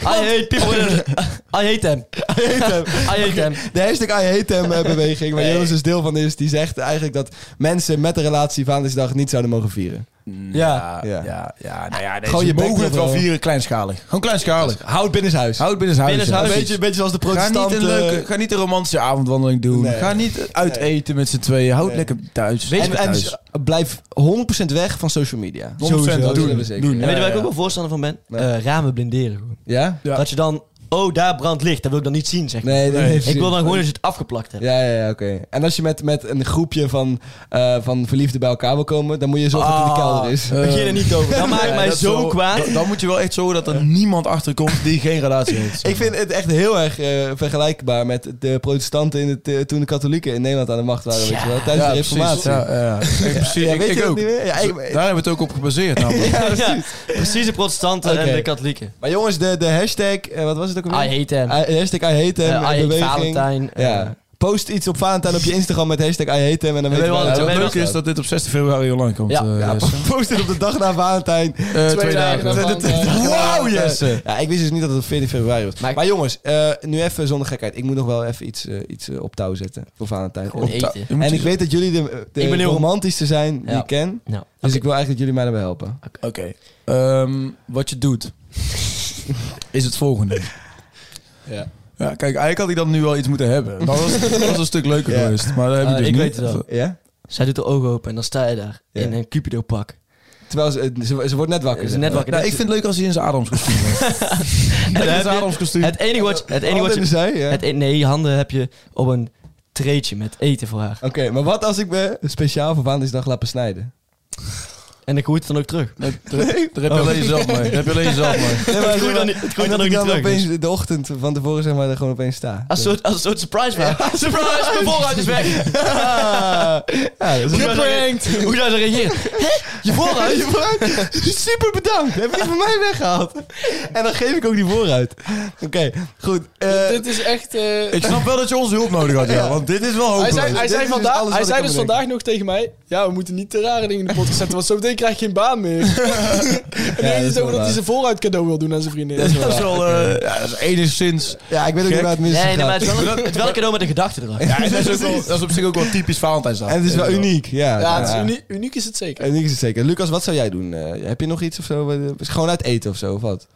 [SPEAKER 5] I hate people with a... I hate them. I hate them. I hate them.
[SPEAKER 2] De hashtag I hate hem eh, beweging, waar Jonas dus deel van is, die zegt eigenlijk dat mensen met een relatie Valentijnsdag niet zouden mogen vieren.
[SPEAKER 4] Ja,
[SPEAKER 2] Ja.
[SPEAKER 4] ja, ja. Nou ja nee,
[SPEAKER 2] Gooi
[SPEAKER 4] ze
[SPEAKER 2] je bek
[SPEAKER 4] mogen het wel
[SPEAKER 2] erop.
[SPEAKER 4] vieren kleinschalig. Gewoon kleinschalig.
[SPEAKER 2] Houd binnenshuis.
[SPEAKER 4] Houd binnen zijn huis.
[SPEAKER 5] Binnen
[SPEAKER 2] Een
[SPEAKER 4] ja.
[SPEAKER 5] huis.
[SPEAKER 2] beetje, een beetje zoals de
[SPEAKER 4] Ga niet,
[SPEAKER 2] protestanten.
[SPEAKER 4] een leuke, ga niet een romantische avondwandeling doen.
[SPEAKER 2] Nee.
[SPEAKER 4] Ga niet uit eten met z'n tweeën. Houd
[SPEAKER 2] Nee.
[SPEAKER 4] lekker thuis.
[SPEAKER 5] Weet je-
[SPEAKER 4] en,
[SPEAKER 2] En, en s- blijf 100% weg van social media.
[SPEAKER 4] 100%
[SPEAKER 2] dat
[SPEAKER 4] doen,
[SPEAKER 2] willen we zeker.
[SPEAKER 4] doen.
[SPEAKER 5] En
[SPEAKER 2] Ja?
[SPEAKER 5] weet je waar ik
[SPEAKER 4] ja.
[SPEAKER 5] ook wel voorstander van ben?
[SPEAKER 2] Nee.
[SPEAKER 5] Eh, ramen blinderen. gewoon.
[SPEAKER 2] Ja?
[SPEAKER 4] Ja.
[SPEAKER 5] Dat je dan... Oh, daar brandt licht. Dat wil ik dan niet zien, zeg maar.
[SPEAKER 2] Nee, dat
[SPEAKER 4] Nee.
[SPEAKER 2] heeft
[SPEAKER 5] Ik wil
[SPEAKER 2] zin.
[SPEAKER 5] dan gewoon dat je het afgeplakt hebt.
[SPEAKER 2] Ja, ja, ja oké. En als je met, met een groepje van, eh, van verliefden bij elkaar wil komen, dan moet je zorgen dat het in de
[SPEAKER 5] Ah.
[SPEAKER 2] kelder is.
[SPEAKER 5] Begin er niet over. Dat maakt
[SPEAKER 4] Ja,
[SPEAKER 5] mij
[SPEAKER 4] dat is
[SPEAKER 5] zo
[SPEAKER 4] wel-
[SPEAKER 5] kwaad.
[SPEAKER 4] Dan, dan moet je wel echt zorgen dat er niemand achter komt die geen relatie heeft.
[SPEAKER 2] Ik vind het echt heel erg eh, vergelijkbaar met de protestanten in het, eh, toen de katholieken in Nederland aan de macht waren. Weet je wel, tijdens
[SPEAKER 4] ja,
[SPEAKER 2] de reformatie.
[SPEAKER 4] Precies. Ja, ja. Ik, precies.
[SPEAKER 2] Ja,
[SPEAKER 4] ik,
[SPEAKER 2] weet
[SPEAKER 4] ik
[SPEAKER 2] je dat
[SPEAKER 4] ook.
[SPEAKER 2] niet meer? Ja, ik-
[SPEAKER 4] Daar hebben we het ook op gebaseerd. Namelijk.
[SPEAKER 2] Ja, precies.
[SPEAKER 5] Ja, precies de protestanten
[SPEAKER 2] Oké.
[SPEAKER 5] en de katholieken.
[SPEAKER 2] Maar jongens, de, de hashtag, eh, wat was het ook
[SPEAKER 5] I
[SPEAKER 2] alweer?
[SPEAKER 5] hate them.
[SPEAKER 2] I- hashtag I hate
[SPEAKER 5] Eh,
[SPEAKER 2] hem,
[SPEAKER 5] I hate
[SPEAKER 2] beweging.
[SPEAKER 5] Valentijn. eh,
[SPEAKER 2] Ja. Post iets op Valentijn op je Instagram met hashtag I hate hem en dan
[SPEAKER 5] Ja,
[SPEAKER 2] weet je
[SPEAKER 5] weet je
[SPEAKER 2] wel.
[SPEAKER 4] Ja,
[SPEAKER 5] wel,
[SPEAKER 4] wat
[SPEAKER 5] weet je
[SPEAKER 4] leuk is dat dit op 16 februari online komt.
[SPEAKER 5] Ja.
[SPEAKER 4] eh,
[SPEAKER 2] Ja,
[SPEAKER 4] Jesse.
[SPEAKER 2] post het op de dag na Valentijn.
[SPEAKER 4] Eh,
[SPEAKER 3] Twee dagen daarvan, eh,
[SPEAKER 4] Wauw, Jesse!
[SPEAKER 2] Ja, ik wist dus niet dat het 14 februari was. Maar,
[SPEAKER 5] Maar-
[SPEAKER 2] jongens, eh, nu even zonder gekheid. Ik moet nog wel even iets, eh, iets eh, op touw zetten voor Valentijn.
[SPEAKER 5] Gewoon
[SPEAKER 2] Op-
[SPEAKER 5] eten.
[SPEAKER 4] Ta- je moet
[SPEAKER 2] En ik
[SPEAKER 4] je-
[SPEAKER 2] weet dat jullie de, eh, de
[SPEAKER 5] Ik ben heel-
[SPEAKER 2] romantischste zijn die
[SPEAKER 5] Ja.
[SPEAKER 2] ik ken. Dus
[SPEAKER 5] nou,
[SPEAKER 2] ik wil eigenlijk dat jullie mij daarbij helpen.
[SPEAKER 4] Oké. Ehm, wat je doet, is het volgende.
[SPEAKER 2] Ja.
[SPEAKER 4] Ja, kijk, eigenlijk had hij dan nu wel iets moeten hebben. Dat was, dat was een stuk leuker
[SPEAKER 2] Ja.
[SPEAKER 4] geweest. Maar dat heb ik
[SPEAKER 5] Eh,
[SPEAKER 4] dus
[SPEAKER 5] ik
[SPEAKER 4] niet.
[SPEAKER 5] weet het wel.
[SPEAKER 2] Ja?
[SPEAKER 5] zij doet de ogen open en dan sta je daar
[SPEAKER 2] Ja.
[SPEAKER 5] in een Cupido-pak.
[SPEAKER 2] Terwijl ze, eh, ze, ze wordt net wakker.
[SPEAKER 5] Ze
[SPEAKER 2] zeg
[SPEAKER 5] net
[SPEAKER 2] maar.
[SPEAKER 5] wakker.
[SPEAKER 4] Nou, ik vind het leuk als hij in zijn Adams kostuum is.
[SPEAKER 5] En dan
[SPEAKER 4] in
[SPEAKER 5] heb
[SPEAKER 4] zijn
[SPEAKER 5] je-
[SPEAKER 4] Adams kostuum.
[SPEAKER 5] het enige wat, het enige wat
[SPEAKER 2] Handen
[SPEAKER 5] je...
[SPEAKER 2] in de zij, ja.
[SPEAKER 5] Het, en- nee, je handen heb je op een treetje met eten voor haar.
[SPEAKER 2] Oké, maar wat als ik me speciaal voor Valentijnsdag laat besnijden?
[SPEAKER 5] En ik groeit het dan ook terug.
[SPEAKER 4] Nee, daar, daar heb je alleen jezelf mee. Daar heb je alleen jezelf mee.
[SPEAKER 2] Nee,
[SPEAKER 5] Het groeit dan niet- het groeit
[SPEAKER 2] dat
[SPEAKER 5] dan ook
[SPEAKER 2] ik
[SPEAKER 5] niet
[SPEAKER 2] dan
[SPEAKER 5] terug, dus-
[SPEAKER 2] opeens de ochtend van tevoren zeg maar er gewoon opeens sta.
[SPEAKER 5] Als een soort, als een soort surprise vraag. Surprise! Mijn voorruit is weg!
[SPEAKER 2] ja, dat
[SPEAKER 5] Hoe zou ze- Hoe zou ze reageren? Hé? Je voorruit?
[SPEAKER 2] Je vooruit? Super bedankt. Heb je die van mij weggehaald? En dan geef ik ook die vooruit. Oké, goed. Eh,
[SPEAKER 3] Dit is echt... eh,
[SPEAKER 4] Ik snap wel dat je onze hulp nodig had, ja. Want dit is wel
[SPEAKER 3] hij
[SPEAKER 4] hopeloos.
[SPEAKER 3] zei, hij
[SPEAKER 2] Dit
[SPEAKER 3] zei,
[SPEAKER 2] is
[SPEAKER 3] vandaag,
[SPEAKER 2] alles
[SPEAKER 3] hij
[SPEAKER 2] wat
[SPEAKER 3] zei
[SPEAKER 2] ik
[SPEAKER 3] dus
[SPEAKER 2] kan bedenken.
[SPEAKER 3] vandaag nog tegen mij... Ja, we moeten niet te rare dingen in de podcast zetten... want zometeen krijg je geen baan meer. en nu
[SPEAKER 2] dat is
[SPEAKER 3] heeft hij het
[SPEAKER 2] wel
[SPEAKER 3] over dat hij
[SPEAKER 2] waar.
[SPEAKER 3] zijn vooruit cadeau wil doen aan zijn vriendin.
[SPEAKER 4] dat is wel... eh, ja, dat is enigszins...
[SPEAKER 2] ja, ik weet ook
[SPEAKER 4] Gek.
[SPEAKER 2] niet waar het mis is
[SPEAKER 5] Nee, nee,
[SPEAKER 2] gegaan.
[SPEAKER 5] maar het is wel een- het is wel een cadeau met een gedachte erachter.
[SPEAKER 4] Ja, dat, is ook wel, dat is op zich ook wel typisch Valentijnsdag.
[SPEAKER 2] En het is wel uniek. Ja, Eh,
[SPEAKER 3] Ja, het is uniek, uniek is het zeker.
[SPEAKER 2] Uniek is het zeker. Lucas, wat zou jij doen? Eh, heb je nog iets of zo? Eh, Gewoon uit eten of zo, of wat?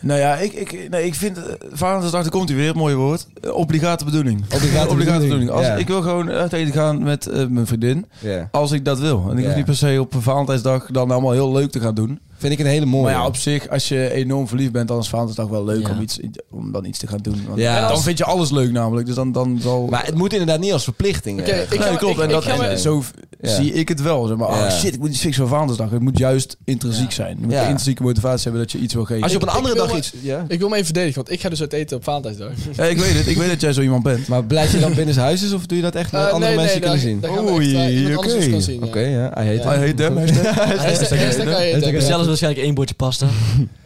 [SPEAKER 4] Nou ja, ik, ik, nee, ik vind... eh, Valentijnsdag, daar komt hij weer. het Mooi woord. Eh, Obligate bedoeling.
[SPEAKER 2] Obligate
[SPEAKER 4] Obligate bedoeling. Als,
[SPEAKER 2] Ja.
[SPEAKER 4] Ik wil gewoon uit eten gaan met eh, mijn vriendin.
[SPEAKER 2] Ja.
[SPEAKER 4] Als ik dat wil. En ik
[SPEAKER 2] Ja.
[SPEAKER 4] hoef niet per se op Valentijnsdag dan allemaal heel leuk te gaan doen.
[SPEAKER 2] Vind ik een hele mooie.
[SPEAKER 4] Maar ja, op zich, als je enorm verliefd bent, dan is Valentijnsdag wel leuk
[SPEAKER 5] Ja.
[SPEAKER 4] om, iets, om dan iets te gaan doen. Want
[SPEAKER 2] Ja. En
[SPEAKER 4] Dan
[SPEAKER 2] als-
[SPEAKER 4] vind je alles leuk namelijk. Dus dan, dan zal...
[SPEAKER 2] Maar het moet inderdaad niet als verplichting.
[SPEAKER 3] Oké,
[SPEAKER 2] eh,
[SPEAKER 3] ik
[SPEAKER 4] Nee,
[SPEAKER 3] ga-
[SPEAKER 4] klopt. en
[SPEAKER 3] ik
[SPEAKER 4] dat,
[SPEAKER 3] ga
[SPEAKER 4] en
[SPEAKER 3] maar-
[SPEAKER 4] zo v-
[SPEAKER 2] Ja.
[SPEAKER 4] zie ik het wel. Zeg maar,
[SPEAKER 2] Ja.
[SPEAKER 4] oh shit, ik moet iets fixen voor Valentijnsdag. Het moet juist intrinsiek zijn. Je moet
[SPEAKER 2] Ja.
[SPEAKER 4] de intrinsieke motivatie hebben dat je iets wil geven.
[SPEAKER 2] als je op een
[SPEAKER 3] ik-
[SPEAKER 2] andere
[SPEAKER 3] ik wil
[SPEAKER 2] dag
[SPEAKER 3] maar-
[SPEAKER 2] iets... Ja?
[SPEAKER 3] Ik wil me even verdedigen, want ik ga dus uit eten op Valentijnsdag.
[SPEAKER 4] Ja, ik weet het. Ik weet dat jij zo iemand bent.
[SPEAKER 2] Maar blijf je dan binnen huis is of doe je dat echt met
[SPEAKER 3] Eh,
[SPEAKER 2] andere mensen
[SPEAKER 3] daar-
[SPEAKER 2] kunnen zien?
[SPEAKER 3] daar gaan we echt, eh,
[SPEAKER 4] Oei,
[SPEAKER 3] iemand anders
[SPEAKER 4] oké.
[SPEAKER 3] ons kan zien. ja.
[SPEAKER 2] Oké, ja. Hij heet
[SPEAKER 4] I hate them, hashtag.
[SPEAKER 3] Hashtag- hashtag I hate them.
[SPEAKER 2] Hashtag-
[SPEAKER 5] Zelfs waarschijnlijk één bordje pasta.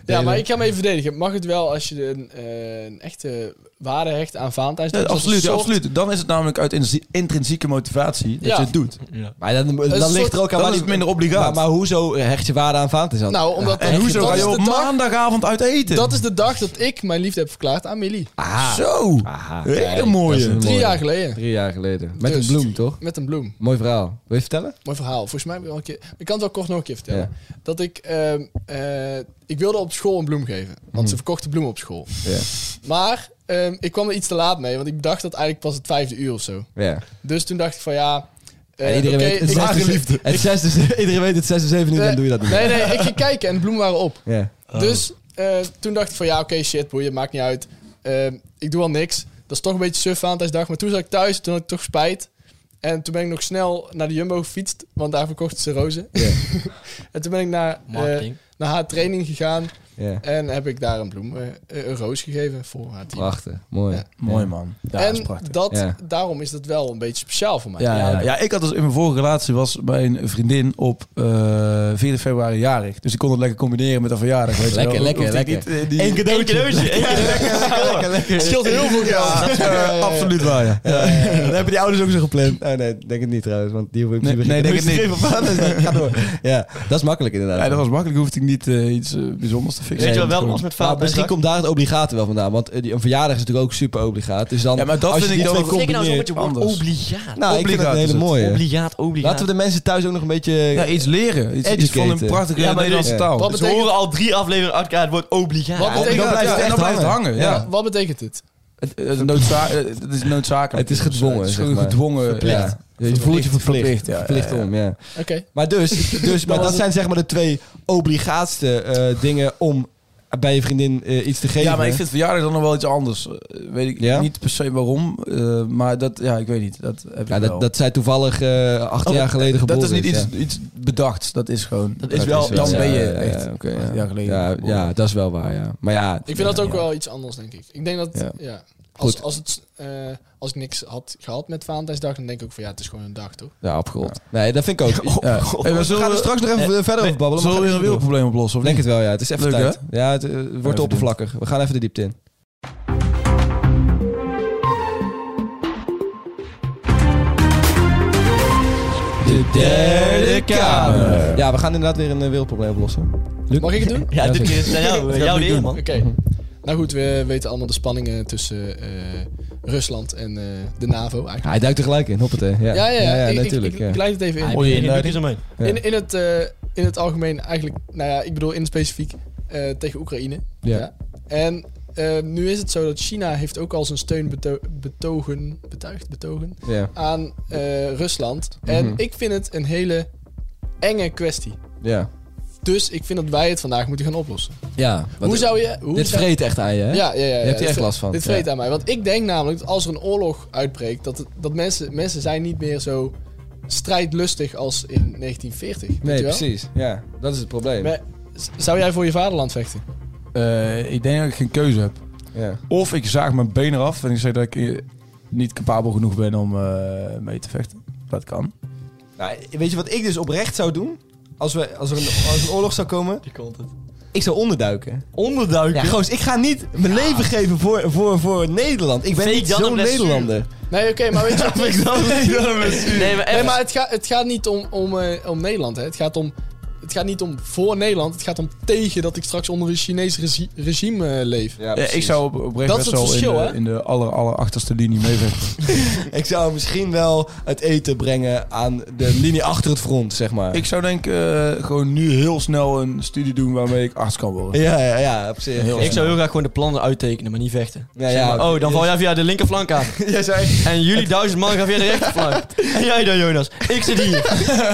[SPEAKER 3] Ja, maar ik ga me even verdedigen. Mag het wel als je een, eh, een echte waarde hecht aan Valentijnsdag?
[SPEAKER 4] Ja,
[SPEAKER 3] Dus als
[SPEAKER 4] absoluut,
[SPEAKER 3] een
[SPEAKER 4] ja,
[SPEAKER 3] soort-
[SPEAKER 4] absoluut. Dan is het namelijk uit intrinsie- intrinsieke motivatie dat
[SPEAKER 3] Ja.
[SPEAKER 4] je het doet.
[SPEAKER 5] Ja.
[SPEAKER 2] Maar dan, dan
[SPEAKER 3] soort-
[SPEAKER 2] ligt er ook aan...
[SPEAKER 4] Dan
[SPEAKER 2] waar
[SPEAKER 4] is
[SPEAKER 2] die-
[SPEAKER 4] het minder obligaat.
[SPEAKER 2] Maar, maar hoezo hecht je waarde aan Valentijnsdag?
[SPEAKER 3] Nou, omdat
[SPEAKER 4] en
[SPEAKER 3] dat-
[SPEAKER 4] hoezo
[SPEAKER 3] dat
[SPEAKER 4] ga
[SPEAKER 3] is
[SPEAKER 4] je op
[SPEAKER 3] de dag-
[SPEAKER 4] maandagavond uit eten?
[SPEAKER 3] Dat is de dag dat ik mijn liefde heb verklaard aan Millie.
[SPEAKER 2] Ah,
[SPEAKER 4] Zo!
[SPEAKER 2] Aha,
[SPEAKER 4] Hele
[SPEAKER 2] kijk,
[SPEAKER 4] mooie.
[SPEAKER 2] dat is een
[SPEAKER 3] Drie
[SPEAKER 2] mooie.
[SPEAKER 3] jaar geleden.
[SPEAKER 2] Drie jaar geleden. Met
[SPEAKER 3] Dus-
[SPEAKER 2] een bloem, toch?
[SPEAKER 3] Met een bloem.
[SPEAKER 2] Mooi verhaal. Wil je vertellen?
[SPEAKER 3] Mooi verhaal. Volgens mij heb ik al een keer. Ik kan het wel kort nog een keer vertellen. Dat ik. ehm, eh, ik wilde op school een bloem geven. Want
[SPEAKER 2] Hmm.
[SPEAKER 3] ze verkochten bloemen op school.
[SPEAKER 2] Ja.
[SPEAKER 3] Maar ehm, ik kwam er iets te laat mee. Want ik dacht dat eigenlijk pas het vijfde uur of zo.
[SPEAKER 2] Ja.
[SPEAKER 3] Dus toen dacht ik van ja. eh,
[SPEAKER 2] En iedereen
[SPEAKER 3] oké,
[SPEAKER 2] weet het
[SPEAKER 3] ik-
[SPEAKER 2] zesde- Het zesde, iedereen weet het 6 en 7 uur, dan doe je dat niet.
[SPEAKER 3] Nee, nee, ik ging kijken en de bloemen waren op.
[SPEAKER 2] Ja.
[SPEAKER 3] Dus eh, toen dacht ik van ja, oké, shit, boeien, maakt niet uit. Ehm, ik doe al niks. Dat is toch een beetje suf Valentijnsdag. Maar toen zat ik thuis, toen had ik toch spijt. En toen ben ik nog snel naar de Jumbo gefietst, want daar verkochten ze rozen.
[SPEAKER 2] Ja.
[SPEAKER 3] en toen ben ik naar, eh,
[SPEAKER 5] Marketing.
[SPEAKER 3] naar haar training gegaan
[SPEAKER 2] ja.
[SPEAKER 3] en heb ik daar een bloem, eh, eh, een roos gegeven voor haar team.
[SPEAKER 2] Prachtig. Mooi.
[SPEAKER 3] Ja.
[SPEAKER 4] Mooi man. Ja, dat is
[SPEAKER 3] en
[SPEAKER 4] prachtig.
[SPEAKER 3] dat,
[SPEAKER 2] Ja.
[SPEAKER 3] daarom is dat wel een beetje speciaal voor mij.
[SPEAKER 4] Ja, ja, ja. Ja, ik had dus in mijn vorige relatie was mijn vriendin op eh 4 februari jarig. Dus ik kon het lekker combineren met een verjaardag. Weet
[SPEAKER 2] Lekker,
[SPEAKER 4] je wel.
[SPEAKER 2] lekker,
[SPEAKER 4] Hoefde ik
[SPEAKER 2] lekker.
[SPEAKER 4] Niet, eh, die-
[SPEAKER 5] Eén cadeautje. Eén cadeautje.
[SPEAKER 2] lekker.
[SPEAKER 3] scheelt heel veel
[SPEAKER 4] Ja,
[SPEAKER 3] geld.
[SPEAKER 4] eh, absoluut waar, ja.
[SPEAKER 2] Dan hebben die ouders ook zo gepland. Oh, nee, denk het niet trouwens, want die hoeven in
[SPEAKER 4] Nee,
[SPEAKER 2] principe
[SPEAKER 4] nee,
[SPEAKER 2] geen
[SPEAKER 4] denk het
[SPEAKER 2] cadeautjes te geven aan vaders. Ga door. Ja, dat is makkelijk inderdaad.
[SPEAKER 4] Ja, dat was makkelijk. Hoefde ik niet eh, iets eh, bijzonders te fixen.
[SPEAKER 5] Weet je wel,
[SPEAKER 4] Nee,
[SPEAKER 5] wel
[SPEAKER 4] gewoon-
[SPEAKER 5] als met
[SPEAKER 2] Maar
[SPEAKER 5] vader.
[SPEAKER 2] misschien komt daar het obligaat wel vandaan, want eh, die- een verjaardag is natuurlijk ook super obligaat. Dus dan,
[SPEAKER 4] Ja, maar dat
[SPEAKER 2] als je
[SPEAKER 4] vind ik
[SPEAKER 2] die
[SPEAKER 4] dan
[SPEAKER 2] twee
[SPEAKER 4] wel-
[SPEAKER 5] Ik nou zo
[SPEAKER 2] combineert-
[SPEAKER 5] met je woord
[SPEAKER 4] anders.
[SPEAKER 5] obligaat.
[SPEAKER 2] Nou, ik vind dat
[SPEAKER 4] Obligaat
[SPEAKER 2] een
[SPEAKER 4] is
[SPEAKER 2] hele
[SPEAKER 5] oh
[SPEAKER 4] het.
[SPEAKER 2] mooie.
[SPEAKER 5] Obligaat, obligaat.
[SPEAKER 2] Laten we de mensen thuis ook nog een beetje...
[SPEAKER 4] Ja, iets leren. Iets, iets van een
[SPEAKER 2] Educaten.
[SPEAKER 4] prachtige
[SPEAKER 5] Ja, maar
[SPEAKER 4] Nederlandse
[SPEAKER 2] dus-
[SPEAKER 4] taal.
[SPEAKER 3] Wat
[SPEAKER 4] Dus
[SPEAKER 5] Ze
[SPEAKER 3] betekent-
[SPEAKER 5] horen al drie afleveringen uit elkaar het woord obligaat.
[SPEAKER 3] Wat
[SPEAKER 4] En
[SPEAKER 3] betekent
[SPEAKER 4] dan blijft,
[SPEAKER 2] Ja,
[SPEAKER 4] en dan blijft hangen. Ja.
[SPEAKER 3] Ja, wat betekent dit?
[SPEAKER 4] Het, het, noodza- het is noodzakelijk.
[SPEAKER 2] Het is gedwongen,
[SPEAKER 4] Het is
[SPEAKER 2] zeg
[SPEAKER 4] gewoon
[SPEAKER 2] maar.
[SPEAKER 4] gedwongen.
[SPEAKER 2] Ja. Je voelt je verplicht.
[SPEAKER 4] Verplicht,
[SPEAKER 2] Verplicht,
[SPEAKER 4] ja, ja, ja.
[SPEAKER 2] om, ja.
[SPEAKER 3] Oké.
[SPEAKER 2] Maar dus, dus maar dat zijn zeg maar de twee obligaatste eh, dingen om bij je vriendin eh, iets te geven.
[SPEAKER 4] Ja, maar ik vind verjaardag dan nog wel iets anders. Eh, Weet ik
[SPEAKER 2] Ja?
[SPEAKER 4] niet per se waarom, eh, maar dat, ja, ik weet niet. Dat heb
[SPEAKER 2] Ja,
[SPEAKER 4] ik
[SPEAKER 2] dat,
[SPEAKER 4] wel.
[SPEAKER 2] dat zij toevallig eh acht
[SPEAKER 4] Oh,
[SPEAKER 2] jaar geleden geboren
[SPEAKER 4] dat is niet
[SPEAKER 2] ja.
[SPEAKER 4] iets, iets bedacht. Dat is gewoon.
[SPEAKER 5] Dat is wel-
[SPEAKER 4] Dan
[SPEAKER 5] ja,
[SPEAKER 4] ben je
[SPEAKER 2] ja, ja,
[SPEAKER 4] echt.
[SPEAKER 2] oké, ja.
[SPEAKER 4] acht jaar geleden
[SPEAKER 2] Ja,
[SPEAKER 4] geboren.
[SPEAKER 2] ja, dat is wel waar, ja. Maar ja...
[SPEAKER 3] Ik vind dat ook wel iets anders, denk ik. Ik denk dat,
[SPEAKER 4] Ja.
[SPEAKER 3] ja. Als,
[SPEAKER 2] Goed.
[SPEAKER 3] als, het, eh, als ik niks had gehad met Valentijnsdag, dan denk ik ook van ja, het is gewoon een dag, toch?
[SPEAKER 2] Ja, opgerold. Nee, dat vind ik ook.
[SPEAKER 4] Ja. Hey, maar
[SPEAKER 2] we
[SPEAKER 4] zullen
[SPEAKER 2] gaan er
[SPEAKER 4] we eh,
[SPEAKER 2] straks nog even verder over babbelen.
[SPEAKER 4] zullen
[SPEAKER 2] gaan
[SPEAKER 4] we weer een
[SPEAKER 2] even door.
[SPEAKER 4] wielprobleem oplossen? Of
[SPEAKER 2] Denk
[SPEAKER 4] niet?
[SPEAKER 2] het wel, ja. Het is even
[SPEAKER 4] Leuk,
[SPEAKER 2] tijd. Ja, het eh, wordt
[SPEAKER 4] doen.
[SPEAKER 2] oppervlakkig. We gaan even de diepte in. De
[SPEAKER 4] derde kamer.
[SPEAKER 2] Ja, we gaan inderdaad weer een eh, wereldprobleem oplossen. Luc?
[SPEAKER 3] Mag ik het doen?
[SPEAKER 5] Ja,
[SPEAKER 2] Ja,
[SPEAKER 5] dit
[SPEAKER 2] zeker.
[SPEAKER 5] is aan jou.
[SPEAKER 4] Dat
[SPEAKER 5] Jouw
[SPEAKER 4] moet ik
[SPEAKER 5] ding,
[SPEAKER 4] doen.
[SPEAKER 5] man.
[SPEAKER 3] Oké.
[SPEAKER 2] Mhm.
[SPEAKER 3] Nou goed, we weten allemaal de spanningen tussen eh, Rusland en eh, de NAVO eigenlijk.
[SPEAKER 2] Hij duikt er gelijk in, hoppatee. Ja,
[SPEAKER 3] Ja, ja, ja.
[SPEAKER 2] ja,
[SPEAKER 3] ik, ik-
[SPEAKER 2] natuurlijk.
[SPEAKER 3] ik,
[SPEAKER 2] ja.
[SPEAKER 3] ik leid het even in.
[SPEAKER 4] Mooie inleiding.
[SPEAKER 5] omheen.
[SPEAKER 2] Ja.
[SPEAKER 3] In, in, het, eh, in het algemeen eigenlijk, nou ja, ik bedoel in het specifiek eh, tegen Oekraïne.
[SPEAKER 2] Ja.
[SPEAKER 3] En eh, nu is het zo dat China heeft ook al zijn steun beto- betogen, betuigd, betogen
[SPEAKER 2] Ja.
[SPEAKER 3] aan eh, Rusland. En
[SPEAKER 2] Mhm.
[SPEAKER 3] ik vind het een hele enge kwestie.
[SPEAKER 2] Ja.
[SPEAKER 3] Dus ik vind dat wij het vandaag moeten gaan oplossen.
[SPEAKER 2] Ja. want
[SPEAKER 3] hoe zou je... Hoe
[SPEAKER 2] Dit
[SPEAKER 3] zou-
[SPEAKER 2] vreet echt aan je, hè?
[SPEAKER 3] Ja, ja, ja, ja.
[SPEAKER 2] Je hebt hier
[SPEAKER 3] Dit
[SPEAKER 2] echt
[SPEAKER 3] vre-
[SPEAKER 2] last van.
[SPEAKER 3] Dit vreet aan mij. Want ik denk namelijk dat als er een oorlog uitbreekt, dat, het- dat mensen, mensen zijn niet meer zo strijdlustig als in 1940. weet
[SPEAKER 2] Nee,
[SPEAKER 3] je wel?
[SPEAKER 2] precies. Ja, dat is het probleem.
[SPEAKER 3] Maar z- zou jij voor je vaderland vechten?
[SPEAKER 4] Eh, ik denk dat ik geen keuze heb.
[SPEAKER 2] Ja.
[SPEAKER 4] Of ik zaag mijn been eraf en ik zeg dat ik eh, niet capabel genoeg ben om eh, mee te vechten. Dat kan.
[SPEAKER 2] Nou, weet je wat ik dus oprecht zou doen? Als, we, als, er een, als een oorlog zou komen,
[SPEAKER 5] Die content.
[SPEAKER 2] ik zou onderduiken. Ja,
[SPEAKER 5] Onderduiken.
[SPEAKER 2] goos, ik ga niet mijn leven geven voor, voor, voor Nederland. Ik ben
[SPEAKER 5] Fake
[SPEAKER 2] niet
[SPEAKER 5] dan
[SPEAKER 2] zo'n
[SPEAKER 5] een blessure.
[SPEAKER 2] Nederlander.
[SPEAKER 3] Nee, oké, maar weet je... wat ik-
[SPEAKER 5] Nee, maar
[SPEAKER 3] nee,
[SPEAKER 5] echt.
[SPEAKER 3] maar het, gaat het gaat niet om, om, eh, om Nederland, hè. Het gaat om... Het gaat niet om voor Nederland, het gaat om tegen dat ik straks onder een Chinees regi- regime eh, leef.
[SPEAKER 2] Ja,
[SPEAKER 4] Ja, ik zou op, oprecht
[SPEAKER 3] Dat
[SPEAKER 4] best
[SPEAKER 3] is het
[SPEAKER 4] wel
[SPEAKER 3] verschil,
[SPEAKER 4] in,
[SPEAKER 3] hè?
[SPEAKER 4] de, in de aller, aller achterste linie meevechten.
[SPEAKER 2] ik zou misschien wel het eten brengen aan de linie achter het front, zeg maar.
[SPEAKER 4] ik zou denk eh, gewoon nu heel snel een studie doen waarmee ik arts kan worden.
[SPEAKER 2] Ja, ja, ja, op zich.
[SPEAKER 4] Heel-
[SPEAKER 2] Ik-
[SPEAKER 5] Ik zou heel graag gewoon de plannen uittekenen, maar niet vechten.
[SPEAKER 2] Ja,
[SPEAKER 5] Zeg
[SPEAKER 2] ja,
[SPEAKER 5] maar, oh, dan val jij via de linkerflank aan.
[SPEAKER 2] Jij zei,
[SPEAKER 5] En jullie duizend man gaan via de rechterflank. En jij dan, Jonas. Ik zit hier.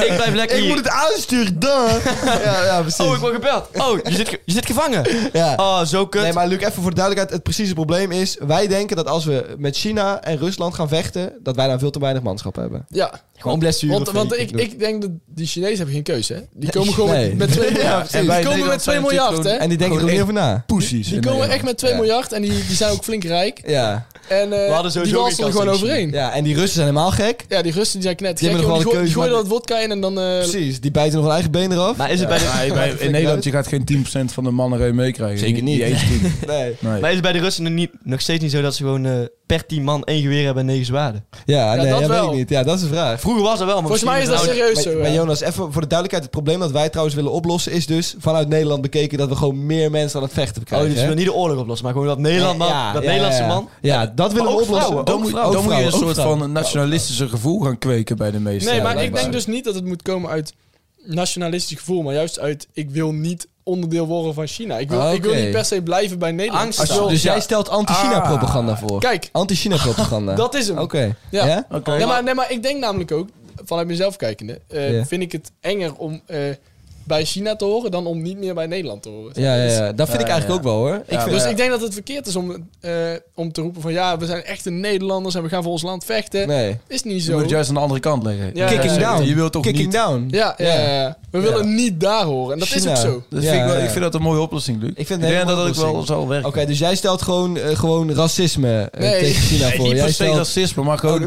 [SPEAKER 5] Ik blijf lekker
[SPEAKER 2] ik
[SPEAKER 5] hier.
[SPEAKER 2] moet het aansturen, dan. ja, ja, precies.
[SPEAKER 5] Oh, ik word gebeld. Oh, je zit, ge- je zit gevangen.
[SPEAKER 2] ja.
[SPEAKER 5] Oh, zo kut.
[SPEAKER 2] Nee, maar Luc, even voor de duidelijkheid. Het precieze probleem is... wij denken dat als we met China en Rusland gaan vechten... dat wij dan veel te weinig manschap hebben.
[SPEAKER 3] Ja,
[SPEAKER 5] Gewoon blessure.
[SPEAKER 3] want, want
[SPEAKER 5] fake.
[SPEAKER 3] ik,
[SPEAKER 5] bedoel-
[SPEAKER 3] ik denk dat die Chinezen hebben geen keuze. Hè? Die komen gewoon
[SPEAKER 2] nee.
[SPEAKER 3] met 2
[SPEAKER 4] Ja,
[SPEAKER 3] miljard.
[SPEAKER 4] precies.
[SPEAKER 3] die
[SPEAKER 4] Wij
[SPEAKER 3] komen met
[SPEAKER 4] Nederland
[SPEAKER 3] 2
[SPEAKER 4] zijn
[SPEAKER 3] miljard, hè?
[SPEAKER 4] natuurlijk
[SPEAKER 2] En die denken er ook
[SPEAKER 4] Gewoon
[SPEAKER 2] niet over na.
[SPEAKER 4] Poesies.
[SPEAKER 3] Die komen echt met 2 miljard en die, die zijn ook flink rijk.
[SPEAKER 2] Ja.
[SPEAKER 3] En eh,
[SPEAKER 5] We hadden sowieso
[SPEAKER 3] die
[SPEAKER 5] geen
[SPEAKER 3] walsen er
[SPEAKER 5] kans
[SPEAKER 3] gewoon
[SPEAKER 5] tegen
[SPEAKER 3] overheen. Ja.
[SPEAKER 2] ja, en die Russen zijn helemaal gek.
[SPEAKER 3] die Russen die zijn knet.
[SPEAKER 2] Die
[SPEAKER 3] Die,
[SPEAKER 2] hebben nog wel een
[SPEAKER 3] die, gooi-
[SPEAKER 2] keuze,
[SPEAKER 3] die gooien
[SPEAKER 2] maar-
[SPEAKER 3] dat wodka in en dan... eh,
[SPEAKER 2] Precies. Die bijten nog hun eigen been eraf.
[SPEAKER 5] Maar is het bij de...
[SPEAKER 4] bij, in Nederland, je gaat geen 10% van de mannen meekrijgen.
[SPEAKER 2] Zeker niet.
[SPEAKER 4] Die eens tien.
[SPEAKER 2] nee.
[SPEAKER 4] Nee.
[SPEAKER 5] Maar is het bij de Russen nog, niet, nog steeds niet zo dat ze gewoon eh, per tien man één geweer hebben en negen zwaarden?
[SPEAKER 2] Ja,
[SPEAKER 3] Ja,
[SPEAKER 2] nee,
[SPEAKER 3] dat
[SPEAKER 2] dat weet
[SPEAKER 3] wel.
[SPEAKER 2] ik niet. Ja, dat is de vraag.
[SPEAKER 5] Vroeger was dat wel, maar
[SPEAKER 3] Volgens mij is
[SPEAKER 5] misschien
[SPEAKER 3] dat
[SPEAKER 5] nou-
[SPEAKER 3] serieus
[SPEAKER 2] Maar,
[SPEAKER 3] zo.
[SPEAKER 2] maar
[SPEAKER 3] ja.
[SPEAKER 2] Jonas, even voor de duidelijkheid. Het probleem dat wij trouwens willen oplossen is dus... vanuit Nederland bekeken dat we gewoon meer mensen aan het vechten
[SPEAKER 5] Oh,
[SPEAKER 2] krijgen.
[SPEAKER 5] dus je
[SPEAKER 2] hè?
[SPEAKER 5] wil niet de oorlog oplossen, maar gewoon dat Nederland man,
[SPEAKER 2] Ja,
[SPEAKER 5] dat
[SPEAKER 2] ja,
[SPEAKER 5] Nederlandse
[SPEAKER 2] ja, ja.
[SPEAKER 5] man.
[SPEAKER 2] Ja, dat willen we
[SPEAKER 5] ook
[SPEAKER 2] oplossen.
[SPEAKER 5] vrouwen,
[SPEAKER 2] Dan
[SPEAKER 5] ook
[SPEAKER 2] moet-
[SPEAKER 5] vrouwen.
[SPEAKER 4] Dan moet je een
[SPEAKER 2] vrouwen, ook
[SPEAKER 4] soort
[SPEAKER 2] vrouwen.
[SPEAKER 4] van nationalistische gevoel gaan kweken bij de meesten.
[SPEAKER 3] Nee,
[SPEAKER 2] Ja,
[SPEAKER 3] maar ik
[SPEAKER 2] blijkbaar.
[SPEAKER 3] denk dus niet dat het moet komen uit nationalistisch gevoel, maar juist uit ik wil niet onderdeel worden van China. Ik wil,
[SPEAKER 2] Ah,
[SPEAKER 3] ik wil
[SPEAKER 2] oké.
[SPEAKER 3] niet per se blijven bij Nederland.
[SPEAKER 5] Angst.
[SPEAKER 3] Ik
[SPEAKER 5] Als je-
[SPEAKER 3] wil-
[SPEAKER 2] Dus jij stelt anti-China-propaganda voor?
[SPEAKER 3] Kijk,
[SPEAKER 2] Anti-China-propaganda.
[SPEAKER 3] dat is hem.
[SPEAKER 2] Oké.
[SPEAKER 3] Ja.
[SPEAKER 2] Ja?
[SPEAKER 3] Nee, maar, nee, maar ik denk namelijk ook, vanuit mezelf kijkende, eh,
[SPEAKER 2] Ja.
[SPEAKER 3] vind ik het enger om eh, bij China te horen dan om niet meer bij Nederland te horen.
[SPEAKER 2] Ja, ja, ja. dat vind ik
[SPEAKER 4] Ja,
[SPEAKER 2] eigenlijk ook wel hoor. Ik
[SPEAKER 4] Ja,
[SPEAKER 2] vind,
[SPEAKER 3] Dus
[SPEAKER 4] maar-
[SPEAKER 3] ik denk dat het verkeerd is om, eh, om te roepen van ja, we zijn echte Nederlanders en we gaan voor ons land vechten.
[SPEAKER 2] nee.
[SPEAKER 3] Is niet
[SPEAKER 4] Je
[SPEAKER 3] zo.
[SPEAKER 4] moet het juist aan de andere kant leggen.
[SPEAKER 3] eh, Ja.
[SPEAKER 2] Kicking
[SPEAKER 3] Eh,
[SPEAKER 2] down.
[SPEAKER 4] Je wilt toch
[SPEAKER 2] Kicking
[SPEAKER 4] niet...
[SPEAKER 2] down.
[SPEAKER 3] Ja, ja, ja, ja. we willen niet daar horen. En dat
[SPEAKER 2] China.
[SPEAKER 3] is ook zo.
[SPEAKER 4] Dat
[SPEAKER 2] Ja,
[SPEAKER 4] vind ik, wel,
[SPEAKER 2] ja.
[SPEAKER 4] ik vind dat een mooie oplossing, Luc.
[SPEAKER 2] Ik vind het een hele
[SPEAKER 4] denk dat
[SPEAKER 2] mooie
[SPEAKER 4] dat ook wel
[SPEAKER 2] oplossing.
[SPEAKER 4] zal werken.
[SPEAKER 2] Oké, dus jij stelt gewoon, eh, gewoon racisme eh,
[SPEAKER 3] Nee.
[SPEAKER 2] tegen China voor.
[SPEAKER 4] Niet
[SPEAKER 2] jij
[SPEAKER 4] per se
[SPEAKER 2] stelt
[SPEAKER 4] racisme, Oh, maar gewoon,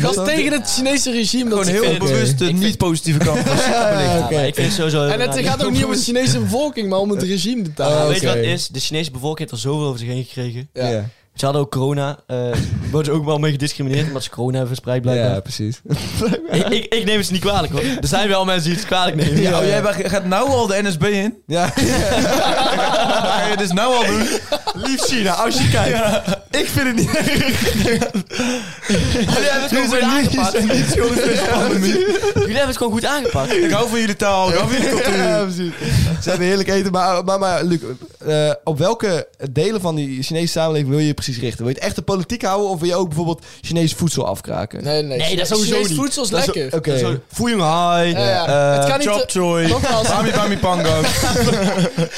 [SPEAKER 3] Dat is tegen het Chinese regime. Dat
[SPEAKER 4] gewoon
[SPEAKER 3] ze-
[SPEAKER 4] heel
[SPEAKER 5] vind-
[SPEAKER 4] bewust de
[SPEAKER 5] ik vind-
[SPEAKER 4] niet-positieve kant. van China.
[SPEAKER 2] Ja,
[SPEAKER 5] Ja, maar
[SPEAKER 2] oké.
[SPEAKER 5] ik vind het sowieso... heel
[SPEAKER 3] En het
[SPEAKER 5] raar.
[SPEAKER 3] gaat ook niet om de Chinese bevolking, maar om het regime te talen.
[SPEAKER 2] Oh,
[SPEAKER 5] Weet je wat
[SPEAKER 2] oké.
[SPEAKER 5] het is? De Chinese bevolking heeft er zoveel over zich heen gekregen.
[SPEAKER 2] Ja,
[SPEAKER 3] Ja.
[SPEAKER 2] ja.
[SPEAKER 5] Ze hadden ook corona. eh worden ze ook wel mee gediscrimineerd omdat ze corona hebben verspreid blijkbaar.
[SPEAKER 2] precies.
[SPEAKER 5] Ik, ik, ik neem het ze niet kwalijk hoor. Er zijn wel mensen die het kwalijk nemen.
[SPEAKER 4] Ja, oh, jij mag- gaat nou al de NSB in?
[SPEAKER 2] Ja.
[SPEAKER 4] Dat ga je dus nou al doen?
[SPEAKER 5] Lief China, als je kijkt. Ik vind het niet Jullie hebben het gewoon goed aangepakt. Jullie hebben het gewoon goed aangepakt.
[SPEAKER 4] Ik hou van jullie taal, ik hou van jullie
[SPEAKER 2] Ja,
[SPEAKER 4] cultuur.
[SPEAKER 2] precies. Ze hebben heerlijk eten. Maar, maar, maar Luc, eh, op welke delen van die Chinese samenleving wil je je precies richten? Wil je het echt de politiek houden of wil je ook bijvoorbeeld Chinees voedsel afkraken?
[SPEAKER 3] Nee, nee.
[SPEAKER 5] Nee, dat is sowieso
[SPEAKER 3] Chinees
[SPEAKER 5] niet.
[SPEAKER 3] voedsel is
[SPEAKER 5] Dat is zo-
[SPEAKER 3] lekker.
[SPEAKER 2] Oké.
[SPEAKER 5] Zo, Fuyung Hai.
[SPEAKER 3] Ja, ja. Het kan niet
[SPEAKER 4] Eh, Chop
[SPEAKER 3] te-
[SPEAKER 4] choy,
[SPEAKER 3] Nogmaals,
[SPEAKER 4] bami bami pango.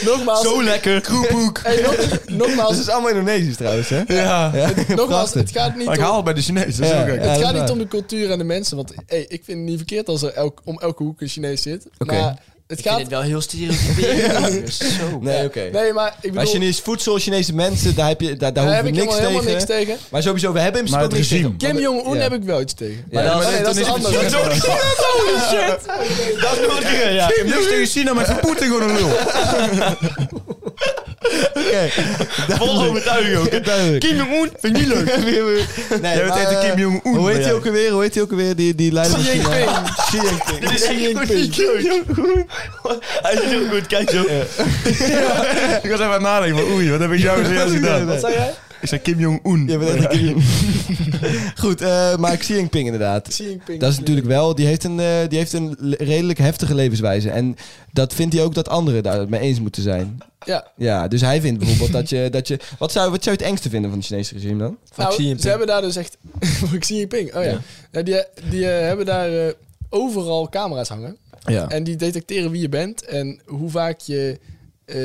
[SPEAKER 3] nogmaals,
[SPEAKER 5] Zo lekker. Kroephoek.
[SPEAKER 3] hey, nog- nogmaals,
[SPEAKER 2] Dat is dus allemaal Indonesisch trouwens, hè?
[SPEAKER 4] Ja,
[SPEAKER 3] nogmaals,
[SPEAKER 2] prachtig.
[SPEAKER 3] het gaat niet
[SPEAKER 4] maar ik
[SPEAKER 3] om...
[SPEAKER 4] haal het bij de Chinezen. dat is
[SPEAKER 2] Ja,
[SPEAKER 4] ook gek.
[SPEAKER 2] ja.
[SPEAKER 3] Het
[SPEAKER 2] dat
[SPEAKER 3] gaat
[SPEAKER 2] is
[SPEAKER 3] niet
[SPEAKER 2] waar.
[SPEAKER 3] om de cultuur en de mensen, want hey, ik vind het niet verkeerd als er elk, om elke hoek een Chinees zit.
[SPEAKER 2] Oké.
[SPEAKER 3] Maar het
[SPEAKER 5] Ik vind
[SPEAKER 3] gaat...
[SPEAKER 5] het wel heel stereotyperend. Zo.
[SPEAKER 2] Nee, oké.
[SPEAKER 3] Nee, maar ik
[SPEAKER 2] Maar
[SPEAKER 3] bedoel,
[SPEAKER 2] Chinees voedsel, Chinese mensen, daar, heb je, daar, daar
[SPEAKER 3] daar heb
[SPEAKER 2] hoeven
[SPEAKER 3] ik
[SPEAKER 2] we niks
[SPEAKER 3] helemaal,
[SPEAKER 2] tegen.
[SPEAKER 3] helemaal niks tegen.
[SPEAKER 2] Maar sowieso, we hebben hem
[SPEAKER 4] Maar het regime.
[SPEAKER 3] Kim Jong-un
[SPEAKER 2] Ja.
[SPEAKER 3] heb ik wel iets tegen.
[SPEAKER 2] Ja,
[SPEAKER 4] Maar
[SPEAKER 3] nee, dat
[SPEAKER 4] dan
[SPEAKER 3] is
[SPEAKER 4] het
[SPEAKER 3] anders.
[SPEAKER 4] China.
[SPEAKER 5] Dat is nog een keer, ja.
[SPEAKER 4] Ik heb niks tegen China, maar ik vind Poetin gewoon een lul.
[SPEAKER 5] Vol overtuiging ook.
[SPEAKER 2] duidelijk.
[SPEAKER 5] Kim Jong-un vind ik niet leuk.
[SPEAKER 2] Nee,
[SPEAKER 4] Jij bent
[SPEAKER 2] maar,
[SPEAKER 4] echt een
[SPEAKER 2] eh,
[SPEAKER 4] Kim Jong-un.
[SPEAKER 2] Hoe heet hij
[SPEAKER 4] Ja.
[SPEAKER 2] ook alweer? Hoe heet hij ook alweer? Die, die leider van
[SPEAKER 3] Xi
[SPEAKER 2] China.
[SPEAKER 3] Jinping.
[SPEAKER 2] Xi Jinping.
[SPEAKER 5] Dit is echt gewoon niet leuk. Hij is heel goed, kijk zo.
[SPEAKER 4] Ik was even aan het nadenken van oei, wat heb ik jou zojuist gedaan?
[SPEAKER 2] Wat
[SPEAKER 3] zei jij?
[SPEAKER 4] Ik zei Kim Jong-un.
[SPEAKER 2] Je bent echt een Kim Jong- Goed, eh, maar Xi Jinping inderdaad.
[SPEAKER 3] Xi Jinping.
[SPEAKER 2] Dat is natuurlijk wel, die heeft een, eh, die heeft een le- redelijk heftige levenswijze. En dat vindt hij ook dat anderen daar het mee eens moeten zijn.
[SPEAKER 3] Ja.
[SPEAKER 2] Ja, dus hij vindt bijvoorbeeld dat je... Dat je wat, zou, wat zou je het engste vinden van het Chinese regime dan?
[SPEAKER 5] Xi
[SPEAKER 3] Nou,
[SPEAKER 5] Jinping.
[SPEAKER 3] ze hebben daar dus echt... Van Xi Jinping, oh ja.
[SPEAKER 2] Ja.
[SPEAKER 3] Nou, die die eh, hebben daar eh, overal camera's hangen.
[SPEAKER 2] Ja.
[SPEAKER 3] En die detecteren wie je bent en hoe vaak je, eh,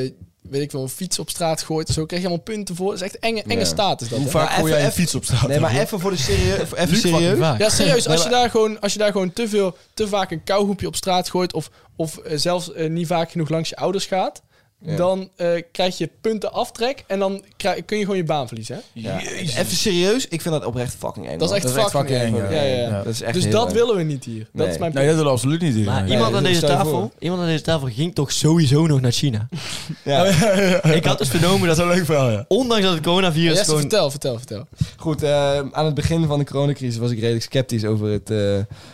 [SPEAKER 3] weet ik wel, een fiets op straat gooit. en Zo krijg je allemaal punten voor. Dat is echt enge, enge
[SPEAKER 2] Ja.
[SPEAKER 3] staat is dat.
[SPEAKER 4] Hoe
[SPEAKER 3] hè?
[SPEAKER 4] vaak
[SPEAKER 2] Maar
[SPEAKER 4] gooi
[SPEAKER 2] even-
[SPEAKER 4] jij je
[SPEAKER 2] even-
[SPEAKER 4] fiets op straat?
[SPEAKER 2] Nee, maar even voor de serieus. Even
[SPEAKER 4] Luc, fucking
[SPEAKER 2] serieus.
[SPEAKER 4] vaak.
[SPEAKER 3] Ja, serieus. Als je,
[SPEAKER 2] maar-
[SPEAKER 3] daar gewoon, als je daar gewoon te, veel, te vaak een kauwhoepje op straat gooit... of, of eh, zelfs eh, niet vaak genoeg langs je ouders gaat...
[SPEAKER 2] Ja.
[SPEAKER 3] dan eh, krijg je punten aftrek... en dan krij- kun je gewoon je baan verliezen. Hè?
[SPEAKER 2] Ja. Even serieus, ik vind dat oprecht fucking eng.
[SPEAKER 3] Dat is
[SPEAKER 2] man.
[SPEAKER 3] echt fucking
[SPEAKER 4] eng,
[SPEAKER 3] eng. Ja, ja, ja.
[SPEAKER 4] Ja.
[SPEAKER 2] Dat is echt
[SPEAKER 3] Dus
[SPEAKER 2] heel
[SPEAKER 3] dat
[SPEAKER 2] eng.
[SPEAKER 3] willen we niet hier. Dat
[SPEAKER 2] Nee.
[SPEAKER 3] is mijn
[SPEAKER 4] Nee, dat
[SPEAKER 3] punt.
[SPEAKER 4] willen we absoluut niet doen.
[SPEAKER 5] Maar
[SPEAKER 4] Nee.
[SPEAKER 5] iemand,
[SPEAKER 2] dat
[SPEAKER 5] aan
[SPEAKER 2] is-
[SPEAKER 5] deze
[SPEAKER 2] stel je
[SPEAKER 5] tafel,
[SPEAKER 2] voor.
[SPEAKER 5] iemand aan deze tafel ging toch sowieso nog naar China?
[SPEAKER 2] Ja.
[SPEAKER 5] Ik had dus vernomen dat,
[SPEAKER 4] is een leuk verhaal, ja.
[SPEAKER 5] ondanks dat het coronavirus
[SPEAKER 3] Jesse,
[SPEAKER 5] gewoon...
[SPEAKER 3] vertel, vertel, vertel.
[SPEAKER 2] Goed, eh, aan het begin van de coronacrisis was ik redelijk sceptisch over het, eh,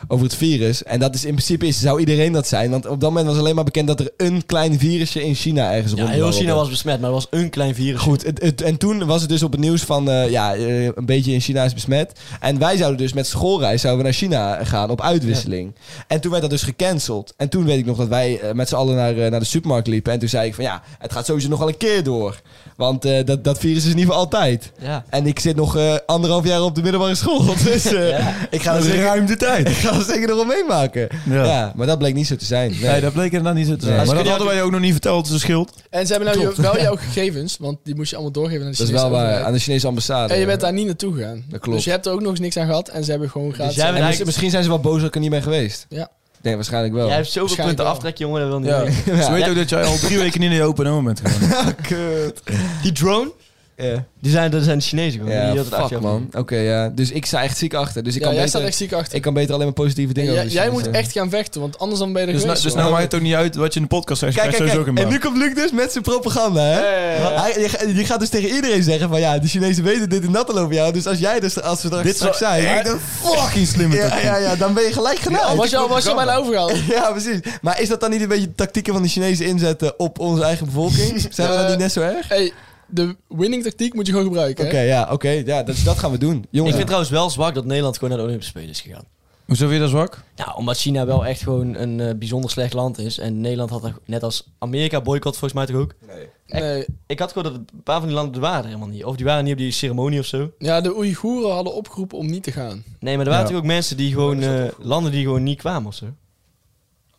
[SPEAKER 2] over het virus. En dat is in principe is, zou iedereen dat zijn. Want op dat moment was alleen maar bekend dat er een klein virusje in China China ergens
[SPEAKER 5] Ja,
[SPEAKER 2] rond.
[SPEAKER 5] heel China was besmet, maar het was een klein virus.
[SPEAKER 2] Goed, het, het- en toen was het dus op het nieuws van, eh, ja, eh, een beetje in China is besmet. En wij zouden dus met schoolreis zouden we naar China gaan op uitwisseling. En toen werd dat dus gecanceld. En toen weet ik nog dat wij eh, met z'n allen naar, eh, naar de supermarkt liepen. En toen zei ik van, ja, het gaat sowieso nog wel een keer door. Want eh, dat, dat virus is niet voor altijd.
[SPEAKER 5] Ja.
[SPEAKER 2] En ik zit nog eh, anderhalf jaar op de middelbare school. Dus eh, ik, ga
[SPEAKER 4] Dat
[SPEAKER 2] dat
[SPEAKER 4] is
[SPEAKER 2] zeker,
[SPEAKER 4] ruim de tijd.
[SPEAKER 2] ik ga dat zeker nog wel meemaken. Ja.
[SPEAKER 4] Ja.
[SPEAKER 2] maar dat bleek niet zo te zijn. Nee.
[SPEAKER 4] Nee, dat bleek inderdaad niet zo te zijn.
[SPEAKER 2] Nee.
[SPEAKER 4] Maar dat
[SPEAKER 5] Ze kunnen
[SPEAKER 4] hadden wij je ook nog niet verteld, dus dat scheelt.
[SPEAKER 3] En ze hebben nou je- wel jouw gegevens, want die moest je allemaal doorgeven aan de
[SPEAKER 2] dat is
[SPEAKER 3] Chinese
[SPEAKER 2] wel waar.
[SPEAKER 3] overheid.
[SPEAKER 2] Aan de Chinese ambassade.
[SPEAKER 3] En je bent
[SPEAKER 2] Ja.
[SPEAKER 3] daar niet naartoe gegaan.
[SPEAKER 2] Dat klopt.
[SPEAKER 3] Dus je hebt er ook nog eens niks aan gehad. En ze hebben gewoon gratis...
[SPEAKER 5] jij bent-
[SPEAKER 2] En
[SPEAKER 5] Ja,
[SPEAKER 2] misschien- misschien zijn ze wel boos dat ik er niet ben geweest.
[SPEAKER 3] Ja.
[SPEAKER 2] Nee, waarschijnlijk wel.
[SPEAKER 5] Jij hebt zoveel
[SPEAKER 3] Waarschijnlijk
[SPEAKER 5] punten
[SPEAKER 3] wel.
[SPEAKER 5] aftrek, jongen, dat wil niet
[SPEAKER 4] Ja.
[SPEAKER 5] weten.
[SPEAKER 4] Ze weten ook dat jij al drie weken niet in je open open bent gegaan.
[SPEAKER 2] Kut.
[SPEAKER 5] Die drone,
[SPEAKER 2] Ja,
[SPEAKER 5] die zijn, dat zijn de Chinezen gewoon. die hield het achter
[SPEAKER 2] fuck
[SPEAKER 5] jou.
[SPEAKER 2] man. Oké, ja. Dus ik sta echt ziek achter. Dus ik,
[SPEAKER 3] Ja,
[SPEAKER 2] kan
[SPEAKER 3] jij
[SPEAKER 2] beter,
[SPEAKER 3] staat echt ziek achter.
[SPEAKER 2] ik kan beter alleen maar positieve dingen dus
[SPEAKER 3] Ja,
[SPEAKER 2] over de
[SPEAKER 3] jij
[SPEAKER 2] Chinezen
[SPEAKER 3] moet
[SPEAKER 2] zeggen.
[SPEAKER 3] echt gaan vechten, want anders dan ben je er
[SPEAKER 4] Dus, nou-
[SPEAKER 3] geweest.
[SPEAKER 4] dus
[SPEAKER 3] hoor.
[SPEAKER 4] nou maakt het ook niet uit wat je in de podcast zegt.
[SPEAKER 2] Kijk,
[SPEAKER 4] Kijk,
[SPEAKER 2] kijk,
[SPEAKER 4] sowieso geen
[SPEAKER 2] kijk. En nu
[SPEAKER 4] baan.
[SPEAKER 2] komt Luc dus met zijn propaganda, hè? Hij, die, die gaat dus tegen iedereen zeggen van... Ja, de Chinezen weten dit en dat al over jou. Dus als jij dus, als we er
[SPEAKER 4] Dit
[SPEAKER 2] straks
[SPEAKER 4] zou
[SPEAKER 2] zijn...
[SPEAKER 4] echt een fucking slimme
[SPEAKER 2] ja,
[SPEAKER 4] tactiek.
[SPEAKER 2] ja, ja, dan ben je gelijk
[SPEAKER 3] Ja,
[SPEAKER 2] genaaid.
[SPEAKER 3] was jou, was jou bijna overgehaald.
[SPEAKER 2] Ja, precies. Maar is dat dan niet een beetje de tactieken van de Chinezen inzetten op onze eigen bevolking? Zijn we dan
[SPEAKER 3] Eh,
[SPEAKER 2] niet net zo erg?
[SPEAKER 3] Hey, de winning tactiek moet je gewoon gebruiken.
[SPEAKER 2] Oké,
[SPEAKER 3] hè?
[SPEAKER 2] ja, oké. ja, dat, dat gaan we doen.
[SPEAKER 5] Ik
[SPEAKER 2] Jongens,
[SPEAKER 5] vind trouwens wel zwak dat Nederland gewoon naar de Olympische Spelen is gegaan.
[SPEAKER 4] Hoezo weer dat zwak?
[SPEAKER 5] Nou, omdat China wel echt gewoon een eh, bijzonder slecht land is. En Nederland had er- net als Amerika boycott volgens mij toch ook. Echt?
[SPEAKER 3] Nee.
[SPEAKER 5] Ik had gewoon dat een paar van die landen er waren helemaal niet. Of die waren niet op die ceremonie of zo.
[SPEAKER 3] Ja, de Oeigoeren hadden opgeroepen om niet te gaan.
[SPEAKER 5] Nee, maar er waren
[SPEAKER 4] Ja.
[SPEAKER 5] toch ook mensen die gewoon...
[SPEAKER 2] dat is wel
[SPEAKER 5] eh, landen die gewoon niet kwamen of zo.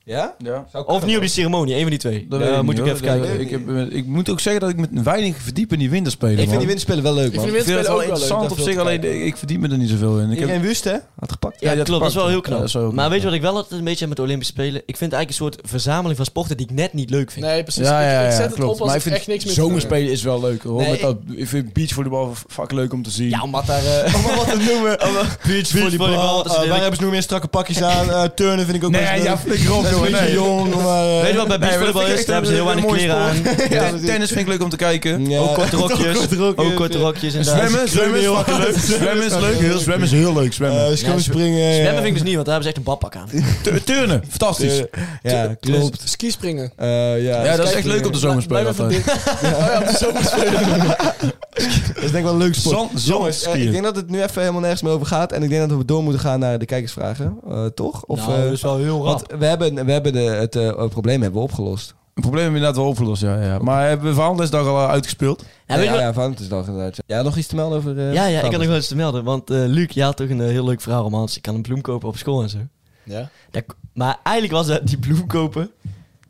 [SPEAKER 2] ja?
[SPEAKER 4] Ja.
[SPEAKER 5] Of niet op die ceremonie, een van die twee.
[SPEAKER 4] Dat
[SPEAKER 5] Ja,
[SPEAKER 4] weet ik
[SPEAKER 5] moet
[SPEAKER 4] niet,
[SPEAKER 5] ik even
[SPEAKER 4] hoor. Dat-
[SPEAKER 5] kijken.
[SPEAKER 4] Ik, heb, eh, ik moet ook zeggen dat ik me weinig verdiep in die winterspelen.
[SPEAKER 2] Ik vind die
[SPEAKER 4] man.
[SPEAKER 2] windspelen wel leuk,
[SPEAKER 3] Ik
[SPEAKER 2] man.
[SPEAKER 3] vind- windspelen
[SPEAKER 4] het
[SPEAKER 3] ook
[SPEAKER 4] wel
[SPEAKER 3] wel leuk,
[SPEAKER 4] interessant
[SPEAKER 3] dat
[SPEAKER 4] op
[SPEAKER 3] veel
[SPEAKER 4] zich,
[SPEAKER 3] te
[SPEAKER 4] alleen ik ik verdiep me er niet zoveel in. Ik heb,
[SPEAKER 2] Iedereen wust, hè? Had gepakt.
[SPEAKER 5] Ja,
[SPEAKER 4] Ja, die had
[SPEAKER 5] klopt. Dat is wel heel
[SPEAKER 4] gepakt.
[SPEAKER 5] knap.
[SPEAKER 4] Ja, dat is wel heel
[SPEAKER 5] maar
[SPEAKER 4] knap,
[SPEAKER 5] weet je
[SPEAKER 4] ja.
[SPEAKER 5] wat ik wel altijd een beetje met de Olympische Spelen... Ik vind het eigenlijk een soort verzameling van sporten die ik net niet leuk vind.
[SPEAKER 3] Nee, precies.
[SPEAKER 4] ja, ja,
[SPEAKER 3] Ik-
[SPEAKER 4] ja,
[SPEAKER 3] ik zet het
[SPEAKER 4] klopt.
[SPEAKER 3] op als
[SPEAKER 4] maar
[SPEAKER 3] ik
[SPEAKER 4] ik vind
[SPEAKER 3] echt niks meer
[SPEAKER 4] zomerspelen is wel leuk hoor.
[SPEAKER 5] Nee,
[SPEAKER 4] Met dat, ik vind beachvolleybal fucking leuk om te zien.
[SPEAKER 2] Nou,
[SPEAKER 5] Ja, omdat daar... eh,
[SPEAKER 2] Om maar wat te noemen.
[SPEAKER 5] Beachvolleybal,
[SPEAKER 2] Beachvolleybal.
[SPEAKER 5] dat is
[SPEAKER 2] eh,
[SPEAKER 5] leuk.
[SPEAKER 2] Waar hebben ze nog meer strakke pakjes aan? Eh, turnen vind ik ook
[SPEAKER 4] Nee,
[SPEAKER 2] best leuk.
[SPEAKER 4] ja, flikker op,
[SPEAKER 2] Dat is een
[SPEAKER 4] jongen,
[SPEAKER 2] beetje
[SPEAKER 4] nee.
[SPEAKER 2] jong, maar... eh,
[SPEAKER 5] Weet je wat bij
[SPEAKER 4] Nee, maar dat
[SPEAKER 5] beachvolleybal
[SPEAKER 4] vind
[SPEAKER 5] is?
[SPEAKER 4] ik
[SPEAKER 5] Daar hebben ze heel
[SPEAKER 4] echt
[SPEAKER 5] weinig
[SPEAKER 4] een
[SPEAKER 5] kleren aan.
[SPEAKER 4] Ten-
[SPEAKER 2] precies.
[SPEAKER 4] tennis vind ik leuk om te kijken.
[SPEAKER 2] Ja.
[SPEAKER 5] Ook korte rokjes.
[SPEAKER 2] Ook korte rokjes,
[SPEAKER 5] Ook korte
[SPEAKER 2] ja.
[SPEAKER 5] rokjes. inderdaad.
[SPEAKER 4] Zwemmen, zwemmen is fucking leuk. Zwemmen is leuk. Heel, zwemmen is heel leuk. Zwemmen.
[SPEAKER 2] eh, schoonspringen. ja.
[SPEAKER 5] Zwemmen vind ik dus niet, want daar hebben ze echt een badpak aan.
[SPEAKER 4] Tu- turnen, fantastisch.
[SPEAKER 2] eh, Ja, klopt.
[SPEAKER 3] Dus Ski springen.
[SPEAKER 2] Eh, ja,
[SPEAKER 4] ja, dat is echt leuk op de zomerspelen.
[SPEAKER 3] Bijna
[SPEAKER 4] altijd.
[SPEAKER 3] verdiend.
[SPEAKER 2] Dat is denk ik wel een leuk sport.
[SPEAKER 4] Zand-
[SPEAKER 2] Jongens, eh,
[SPEAKER 4] zandskiën.
[SPEAKER 2] ik denk dat het nu even helemaal nergens meer over gaat. En ik denk dat we door moeten gaan naar de kijkersvragen. eh, toch? Of,
[SPEAKER 5] nou,
[SPEAKER 2] eh,
[SPEAKER 5] dat is wel heel rap.
[SPEAKER 2] want we hebben, we hebben de, het eh, probleem hebben we opgelost.
[SPEAKER 4] Het probleem hebben we inderdaad wel opgelost, ja. ja. Maar hebben we Valentijnsdag al eh, uitgespeeld?
[SPEAKER 5] Ja, weet je
[SPEAKER 2] ja,
[SPEAKER 5] wat-
[SPEAKER 2] ja, Valentijnsdag inderdaad. Ja, nog iets te melden over... eh,
[SPEAKER 5] ja, ja, ik had
[SPEAKER 2] Valentijnsdag?
[SPEAKER 5] nog wel eens te melden. Want eh, Luc, je had toch een eh, heel leuk verhaal om Hans. Ik kan een bloem kopen op school en zo.
[SPEAKER 3] Ja.
[SPEAKER 5] Dat- maar eigenlijk was dat die bloem kopen...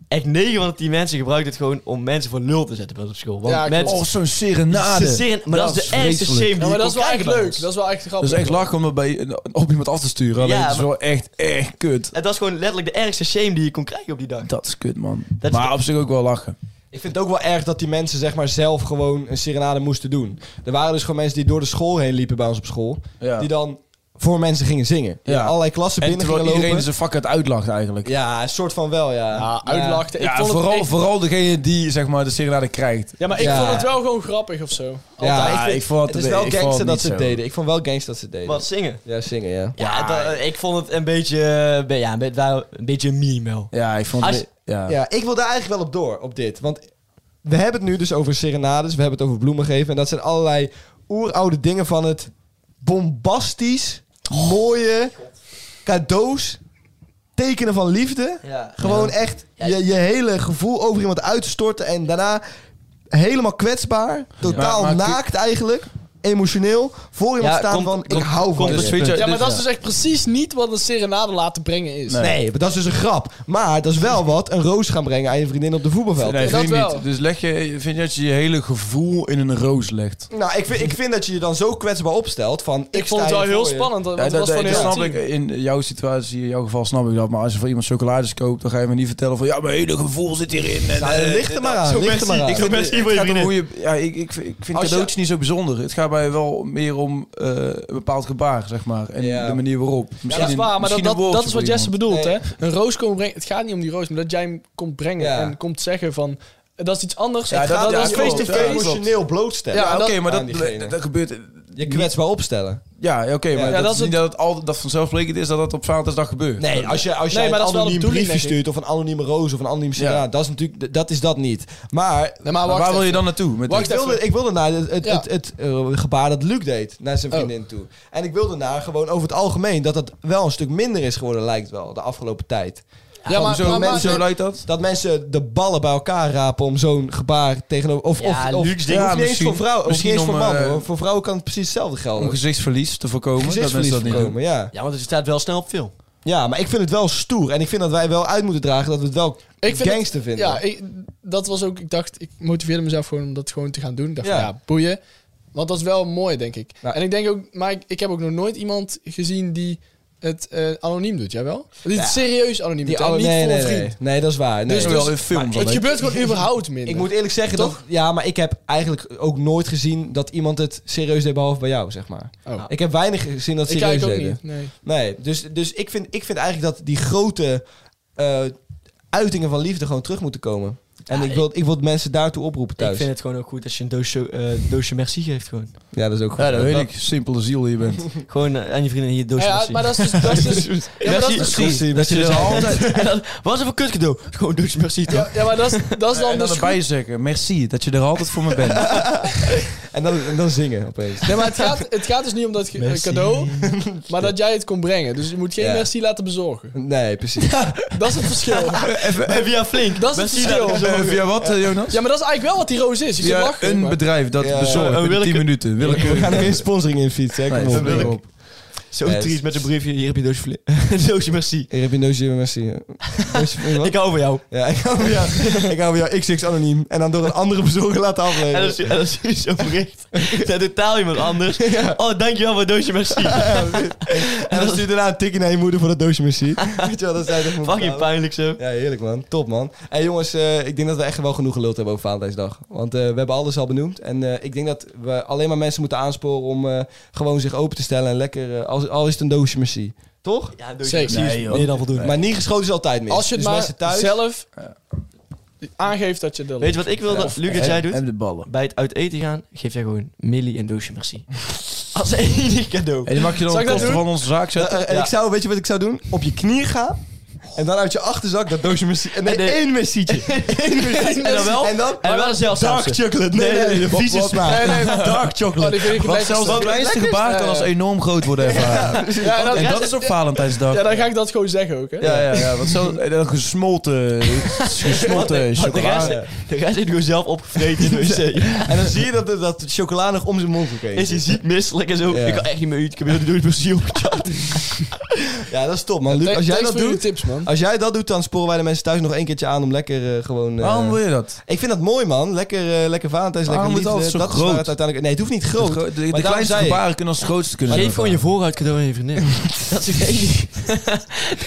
[SPEAKER 5] Echt 9 van de 10 mensen gebruikten het gewoon om mensen voor lul te zetten op school. Want
[SPEAKER 3] Ja, klopt.
[SPEAKER 5] mensen...
[SPEAKER 4] Oh, zo'n serenade.
[SPEAKER 5] Ze zingen- maar dat, is de ergste shame
[SPEAKER 4] vreselijk.
[SPEAKER 5] die
[SPEAKER 3] Ja, maar
[SPEAKER 5] ik
[SPEAKER 3] dat
[SPEAKER 5] kon
[SPEAKER 3] is wel echt
[SPEAKER 5] krijgen bij
[SPEAKER 3] leuk.
[SPEAKER 5] ons.
[SPEAKER 3] Dat is wel echt grappig.
[SPEAKER 4] Dat is echt lachen om dat bij, op iemand af te sturen. Alleen
[SPEAKER 5] Ja,
[SPEAKER 4] het is wel echt, echt kut.
[SPEAKER 5] En dat is gewoon letterlijk de ergste shame die je kon krijgen op die dag.
[SPEAKER 4] Dat is kut, man.
[SPEAKER 5] is-
[SPEAKER 4] maar op zich ook wel lachen.
[SPEAKER 2] Ik vind het ook wel erg dat die mensen zeg maar zelf gewoon een serenade moesten doen. Er waren dus gewoon mensen die door de school heen liepen bij ons op school.
[SPEAKER 4] Ja.
[SPEAKER 2] Die dan voor mensen gingen zingen. Die
[SPEAKER 4] Ja.
[SPEAKER 2] in allerlei klassen
[SPEAKER 4] En
[SPEAKER 2] binnen gingen
[SPEAKER 4] terwijl
[SPEAKER 2] lopen.
[SPEAKER 4] iedereen zijn vak uit uitlacht eigenlijk.
[SPEAKER 2] Ja, een soort van wel, ja.
[SPEAKER 3] Ja, uitlachten. Ik
[SPEAKER 4] Ja,
[SPEAKER 3] vond het
[SPEAKER 4] vooral,
[SPEAKER 3] echt-
[SPEAKER 4] vooral degene die zeg maar, de serenade krijgt.
[SPEAKER 3] Ja, maar ik
[SPEAKER 2] Ja.
[SPEAKER 3] vond het wel gewoon grappig of zo.
[SPEAKER 2] Ja,
[SPEAKER 3] Altijd.
[SPEAKER 2] ik, vind,
[SPEAKER 4] ik vond het-
[SPEAKER 2] het is wel
[SPEAKER 4] ik vond
[SPEAKER 2] gangster
[SPEAKER 4] het
[SPEAKER 2] dat
[SPEAKER 4] niet
[SPEAKER 2] ze het
[SPEAKER 4] zo.
[SPEAKER 2] deden. Ik vond wel gangster dat ze het deden.
[SPEAKER 5] Wat zingen?
[SPEAKER 2] Ja, zingen, ja.
[SPEAKER 5] Ja, dat- ik vond het een beetje, eh, be- ja, een, be- wel een beetje een meme wel.
[SPEAKER 4] Ja, ik vond
[SPEAKER 5] Als-
[SPEAKER 4] het... Ja.
[SPEAKER 2] Ja, ik wil daar eigenlijk wel op door, op dit. Want we hebben het nu dus over serenades, we hebben het over bloemen geven. En dat zijn allerlei oeroude dingen van het bombastisch,
[SPEAKER 5] Oh.
[SPEAKER 2] mooie cadeaus, tekenen van liefde.
[SPEAKER 5] Ja.
[SPEAKER 2] Gewoon echt je, je hele gevoel over iemand uitstorten en daarna helemaal kwetsbaar, totaal
[SPEAKER 4] Maar- maar-
[SPEAKER 2] naakt eigenlijk, emotioneel, voor iemand
[SPEAKER 5] Ja,
[SPEAKER 2] staan
[SPEAKER 5] komt-
[SPEAKER 2] van ik
[SPEAKER 5] komt-
[SPEAKER 2] hou van
[SPEAKER 5] komt
[SPEAKER 2] je.
[SPEAKER 4] Dus weet je,
[SPEAKER 3] Ja, maar
[SPEAKER 4] dus-
[SPEAKER 3] dat is dus echt precies niet wat een serenade laten brengen is.
[SPEAKER 4] Nee.
[SPEAKER 2] Nee, maar dat is dus een grap. Maar dat is wel wat, een roos gaan brengen aan je vriendin op de voetbalveld.
[SPEAKER 4] Nee,
[SPEAKER 3] Dat
[SPEAKER 4] vind ik
[SPEAKER 3] wel.
[SPEAKER 4] niet. Dus leg je, vind je dat je je hele gevoel in een roos legt?
[SPEAKER 2] Nou, ik vind, ik vind dat je je dan zo kwetsbaar opstelt van... Ik,
[SPEAKER 3] Ik vond het
[SPEAKER 2] sta
[SPEAKER 3] wel
[SPEAKER 2] hier
[SPEAKER 3] heel
[SPEAKER 2] voor je.
[SPEAKER 3] spannend, want
[SPEAKER 4] Ja,
[SPEAKER 3] het
[SPEAKER 4] dat,
[SPEAKER 3] was
[SPEAKER 4] dat,
[SPEAKER 3] van
[SPEAKER 4] dat
[SPEAKER 3] heel
[SPEAKER 4] snap ik. In jouw situatie, in jouw geval snap ik dat. Maar als je voor iemand chocolades koopt, dan ga je me niet vertellen van... Ja, mijn hele gevoel zit hierin. En,
[SPEAKER 2] Nou,
[SPEAKER 4] eh,
[SPEAKER 2] ligt er maar aan,
[SPEAKER 5] Zo'n
[SPEAKER 2] ligt er
[SPEAKER 5] mensen-
[SPEAKER 2] maar aan.
[SPEAKER 5] ik vind
[SPEAKER 4] Het-
[SPEAKER 5] mensen hier voor
[SPEAKER 4] het
[SPEAKER 5] je
[SPEAKER 4] gaat om
[SPEAKER 5] vriendin.
[SPEAKER 4] hoe je, ja, ik, ik, vind- ik vind
[SPEAKER 2] Als je-
[SPEAKER 4] cadeautjes niet zo bijzonder. Het gaat mij wel meer om eh, een bepaald gebaar, zeg maar. En
[SPEAKER 2] Ja.
[SPEAKER 4] de manier waarop. Misschien
[SPEAKER 3] Ja, dat is
[SPEAKER 4] een-
[SPEAKER 3] waar, maar dat,
[SPEAKER 4] misschien
[SPEAKER 3] dat,
[SPEAKER 4] een woordje
[SPEAKER 3] dat is wat
[SPEAKER 4] voor
[SPEAKER 3] Jesse
[SPEAKER 4] iemand.
[SPEAKER 3] bedoelt,
[SPEAKER 2] Nee.
[SPEAKER 3] hè? Een roos komen brengen, het gaat niet om die roos, maar dat jij hem komt brengen
[SPEAKER 2] Ja.
[SPEAKER 3] en komt zeggen van, eh, dat is iets anders.
[SPEAKER 4] Ja,
[SPEAKER 3] Ik ga-
[SPEAKER 4] dat-
[SPEAKER 3] dat
[SPEAKER 4] ja,
[SPEAKER 3] was
[SPEAKER 4] klopt,
[SPEAKER 3] face-to-face.
[SPEAKER 4] ja.
[SPEAKER 2] emotioneel blootstellen.
[SPEAKER 3] Ja,
[SPEAKER 4] Ja,
[SPEAKER 3] dat- Ah,
[SPEAKER 4] oké, maar
[SPEAKER 2] aan
[SPEAKER 4] dat,
[SPEAKER 2] diegene.
[SPEAKER 4] dat, dat gebeurt...
[SPEAKER 2] je kwetsbaar opstellen.
[SPEAKER 4] Ja, oké, maar
[SPEAKER 3] Ja,
[SPEAKER 4] dat,
[SPEAKER 3] dat
[SPEAKER 4] is
[SPEAKER 3] is
[SPEAKER 4] niet dat het altijd dat vanzelfsprekend is dat dat op Valentijnsdag gebeurt.
[SPEAKER 2] Nee, als je, als je
[SPEAKER 3] Nee,
[SPEAKER 2] een
[SPEAKER 3] maar dat is wel de
[SPEAKER 2] anoniem
[SPEAKER 3] bedoeling,
[SPEAKER 2] briefje
[SPEAKER 3] denk ik.
[SPEAKER 2] stuurt of een anonieme roos of een anoniem
[SPEAKER 4] Ja.
[SPEAKER 2] sigaar, dat is natuurlijk dat is dat niet. Maar
[SPEAKER 3] Nee, maar
[SPEAKER 4] Maar
[SPEAKER 3] wacht
[SPEAKER 4] waar wil je
[SPEAKER 3] even.
[SPEAKER 4] dan naartoe? Met
[SPEAKER 3] Wacht
[SPEAKER 4] dit?
[SPEAKER 2] ik wilde, ik wilde naar het, het,
[SPEAKER 3] Ja.
[SPEAKER 2] het, het, eh, gebaar dat Luc deed naar zijn
[SPEAKER 3] Oh.
[SPEAKER 2] vriendin toe. En ik wilde naar gewoon over het algemeen dat dat wel een stuk minder is geworden, lijkt wel, de afgelopen tijd.
[SPEAKER 3] Ja, maar,
[SPEAKER 4] Hoezo,
[SPEAKER 3] maar, maar-
[SPEAKER 4] mensen,
[SPEAKER 3] nee,
[SPEAKER 4] zo luidt dat?
[SPEAKER 2] Dat mensen de ballen bij elkaar rapen om zo'n gebaar tegenover. Of,
[SPEAKER 5] Ja,
[SPEAKER 2] of, of,
[SPEAKER 5] Luc's ding.
[SPEAKER 2] of niet eens
[SPEAKER 4] misschien-
[SPEAKER 2] voor vrouwen. Of niet
[SPEAKER 4] misschien
[SPEAKER 2] eens voor
[SPEAKER 4] om,
[SPEAKER 2] mannen.
[SPEAKER 4] eh,
[SPEAKER 2] hoor. voor vrouwen kan het precies hetzelfde
[SPEAKER 4] Om
[SPEAKER 2] gelden.
[SPEAKER 4] gezichtsverlies te voorkomen.
[SPEAKER 2] Gezichtsverlies
[SPEAKER 4] dat mensen dat niet
[SPEAKER 2] voorkomen, ja.
[SPEAKER 5] Ja, want het staat wel snel op film.
[SPEAKER 2] Ja, maar ik vind het wel stoer. En ik vind dat wij wel uit moeten dragen dat we het wel
[SPEAKER 3] Ik vind
[SPEAKER 2] gangster vinden.
[SPEAKER 3] Ja, ik, dat was ook... Ik dacht, ik motiveerde mezelf gewoon om dat gewoon te gaan doen. Ik dacht
[SPEAKER 2] Ja.
[SPEAKER 3] van, ja, boeien. Want dat is wel mooi, denk ik.
[SPEAKER 2] Nou.
[SPEAKER 3] en ik denk ook... Maar ik, ik heb ook nog nooit iemand gezien die het eh, anoniem doet, jij wel? Die het serieus anoniem doet, en
[SPEAKER 2] alle-
[SPEAKER 3] niet
[SPEAKER 2] nee,
[SPEAKER 3] voor
[SPEAKER 2] nee,
[SPEAKER 3] een vriend.
[SPEAKER 2] Nee, nee, dat is waar. Nee.
[SPEAKER 3] Dus-
[SPEAKER 4] Wel in films
[SPEAKER 3] Maar
[SPEAKER 4] dan,
[SPEAKER 3] het
[SPEAKER 4] hè?
[SPEAKER 3] gebeurt gewoon überhaupt minder.
[SPEAKER 2] ik moet eerlijk zeggen, dat, ja, maar ik heb eigenlijk ook nooit gezien dat iemand het serieus deed, behalve bij jou, zeg maar.
[SPEAKER 3] Oh.
[SPEAKER 2] Ik heb weinig gezien dat
[SPEAKER 3] ik
[SPEAKER 2] serieus
[SPEAKER 3] kijk ook
[SPEAKER 2] deden.
[SPEAKER 3] niet. Nee.
[SPEAKER 2] Nee, dus, dus ik, vind, ik vind eigenlijk dat die grote eh, uitingen van liefde gewoon terug moeten komen. En
[SPEAKER 5] Ja,
[SPEAKER 2] ik, wil, ik wil mensen daartoe oproepen
[SPEAKER 5] Ik
[SPEAKER 2] thuis.
[SPEAKER 5] vind het gewoon ook goed als je een doosje, eh, doosje merci geeft gewoon.
[SPEAKER 2] Ja, dat is ook goed.
[SPEAKER 5] Ja, dat
[SPEAKER 4] Weet
[SPEAKER 5] Ja.
[SPEAKER 4] ik, simpele ziel je bent.
[SPEAKER 5] Gewoon eh, aan je vrienden hier doosje
[SPEAKER 3] Ja,
[SPEAKER 5] merci.
[SPEAKER 3] maar dat is dus... Dat is dus ja, maar dat is dus
[SPEAKER 5] Merci,
[SPEAKER 3] goed.
[SPEAKER 5] merci.
[SPEAKER 4] Dat je
[SPEAKER 5] Dus
[SPEAKER 4] er altijd...
[SPEAKER 5] en dan, wat is er voor kut cadeau? Gewoon doosje merci toch?
[SPEAKER 3] Ja, ja, maar dat is, dat is dan
[SPEAKER 4] En dan
[SPEAKER 3] dus goed.
[SPEAKER 4] erbij zeggen, merci, dat je er altijd voor me bent.
[SPEAKER 2] En, dan, en dan zingen opeens.
[SPEAKER 3] Nee, maar het gaat, het gaat dus niet om dat ge-
[SPEAKER 5] Merci.
[SPEAKER 3] cadeau, maar dat jij het kon brengen. Dus je moet geen
[SPEAKER 2] Ja.
[SPEAKER 3] merci laten bezorgen.
[SPEAKER 2] Nee, precies.
[SPEAKER 3] Dat is het verschil.
[SPEAKER 5] En via flink.
[SPEAKER 3] Dat is het
[SPEAKER 5] merci
[SPEAKER 3] verschil.
[SPEAKER 5] laten
[SPEAKER 4] Eh,
[SPEAKER 5] bezorgen.
[SPEAKER 4] Via wat, eh, Jonas?
[SPEAKER 3] Ja, maar dat is eigenlijk wel wat die roos is. Je
[SPEAKER 4] Via
[SPEAKER 3] lachen,
[SPEAKER 4] een
[SPEAKER 3] maar-
[SPEAKER 4] bedrijf dat
[SPEAKER 2] Ja,
[SPEAKER 4] bezorgt
[SPEAKER 5] een
[SPEAKER 4] in 10
[SPEAKER 5] willeke-
[SPEAKER 4] minuten.
[SPEAKER 2] We
[SPEAKER 4] Willekeurig.
[SPEAKER 2] gaan er geen sponsoring in fietsen. Hè? Kom
[SPEAKER 4] Nee,
[SPEAKER 2] op.
[SPEAKER 4] kom maar
[SPEAKER 5] Willeke-
[SPEAKER 4] op.
[SPEAKER 5] Zo
[SPEAKER 2] Ja,
[SPEAKER 5] triest met een briefje. Hier heb je doosje, fli- doosje merci.
[SPEAKER 2] Hier heb je no zin merci.
[SPEAKER 5] Ik hou van jou.
[SPEAKER 2] Ja, ik hou van jou. Ik hou van jou XX anoniem. En dan door een andere bezorger laten
[SPEAKER 5] En
[SPEAKER 2] afleveren.
[SPEAKER 5] dan zie- en dan zie je zo'n bericht. Zet totaal iemand anders. Oh, dankjewel voor het doosje merci.
[SPEAKER 2] En dan stuur je daarna een tikje naar je moeder voor dat doosje merci. Weet je wel, dat zijn toch moet
[SPEAKER 5] Fucking
[SPEAKER 2] betalen.
[SPEAKER 5] pijnlijk zo.
[SPEAKER 2] Ja, heerlijk man. Top man. hey, jongens, eh, ik denk dat we echt wel genoeg geluld hebben over Valentijnsdag. Want eh, we hebben alles al benoemd. En eh, ik denk dat we alleen maar mensen moeten aansporen om eh, gewoon zich open te stellen. En lekker, eh, als, al is het een doosje merci. Toch?
[SPEAKER 5] Ja, doosje
[SPEAKER 3] Zeker.
[SPEAKER 5] merci.
[SPEAKER 4] Nee, joh.
[SPEAKER 5] Meer dan voldoende.
[SPEAKER 2] Maar niet geschoten is altijd mis.
[SPEAKER 3] Als je het
[SPEAKER 2] Dus
[SPEAKER 3] maar
[SPEAKER 2] mensen thuis...
[SPEAKER 3] zelf aangeeft dat je dat...
[SPEAKER 5] Weet je wat ik wil, dat, Luc, dat jij doet?
[SPEAKER 4] En de ballen.
[SPEAKER 5] Bij het uit eten gaan, geef jij gewoon Millie en doosje merci. Als enige cadeau.
[SPEAKER 4] En die mag je dan
[SPEAKER 3] Zal ik
[SPEAKER 4] de
[SPEAKER 3] dat
[SPEAKER 4] kosten
[SPEAKER 3] doen?
[SPEAKER 4] van onze zaak zetten?
[SPEAKER 2] Eh, en ik zou, weet je wat ik zou doen? Op je knieën gaan. En dan uit je achterzak dat doosje merci. eh, Nee,
[SPEAKER 5] En de-
[SPEAKER 2] één messietje. Eén messietje.
[SPEAKER 5] En dan wel-
[SPEAKER 2] En dan...
[SPEAKER 5] En wel een
[SPEAKER 2] Dark
[SPEAKER 5] zelfzaamste.
[SPEAKER 2] chocolate. Nee, nee,
[SPEAKER 5] Nee,
[SPEAKER 2] nee.
[SPEAKER 5] nee,
[SPEAKER 2] vieze
[SPEAKER 4] wat-
[SPEAKER 2] smaak.
[SPEAKER 3] Nee, nee, maar-
[SPEAKER 4] Dark
[SPEAKER 3] Oh, die
[SPEAKER 4] chocolate.
[SPEAKER 3] vind ik
[SPEAKER 4] Want
[SPEAKER 3] het
[SPEAKER 4] zelfs het
[SPEAKER 3] lekkerste.
[SPEAKER 4] kleinste
[SPEAKER 3] Lekkerste.
[SPEAKER 4] gebaar kan als enorm groot worden ervaren.
[SPEAKER 3] Ja, en dan-
[SPEAKER 4] En dat is op Valentijnsdag.
[SPEAKER 3] Ja, dan ga ik dat gewoon zeggen ook, hè.
[SPEAKER 4] Ja, ja, ja. Want zo, eh, dat gesmolten, gesmolten
[SPEAKER 5] Want de rest,
[SPEAKER 4] chocolade.
[SPEAKER 5] de rest heeft gewoon zelf opgevreten dus, in de wc.
[SPEAKER 2] En dan zie je dat, dat chocola nog om zijn mond gekeken
[SPEAKER 5] Is hij ziek, misselijk en zo.
[SPEAKER 2] Ja.
[SPEAKER 5] Ik kan echt niet meer uit. Ik heb heel de doosje merci opgechapt.
[SPEAKER 2] Ja, dat is top, man. Luc, dus als jij
[SPEAKER 3] Thanks
[SPEAKER 2] dat
[SPEAKER 3] voor jullie
[SPEAKER 2] doet,
[SPEAKER 3] tips, man.
[SPEAKER 2] als jij dat doet, dan sporen wij de mensen thuis nog één keertje aan om lekker eh, gewoon... eh,
[SPEAKER 4] Waarom wil je dat?
[SPEAKER 2] Ik vind dat mooi, man. Lekker, eh lekker Valentijns, lekker
[SPEAKER 4] Waarom moet
[SPEAKER 2] liefde.
[SPEAKER 4] het altijd zo
[SPEAKER 2] dat is
[SPEAKER 4] groot?
[SPEAKER 2] waar het uiteindelijk... Nee, het hoeft niet groot.
[SPEAKER 4] De gro- De, de
[SPEAKER 2] maar daarom
[SPEAKER 4] kleinste
[SPEAKER 2] zei ik-
[SPEAKER 4] gebaren kunnen als het grootste kunnen
[SPEAKER 5] Geef
[SPEAKER 4] zijn.
[SPEAKER 5] gewoon je vooruit cadeau aan je vriendin. dat is het enige.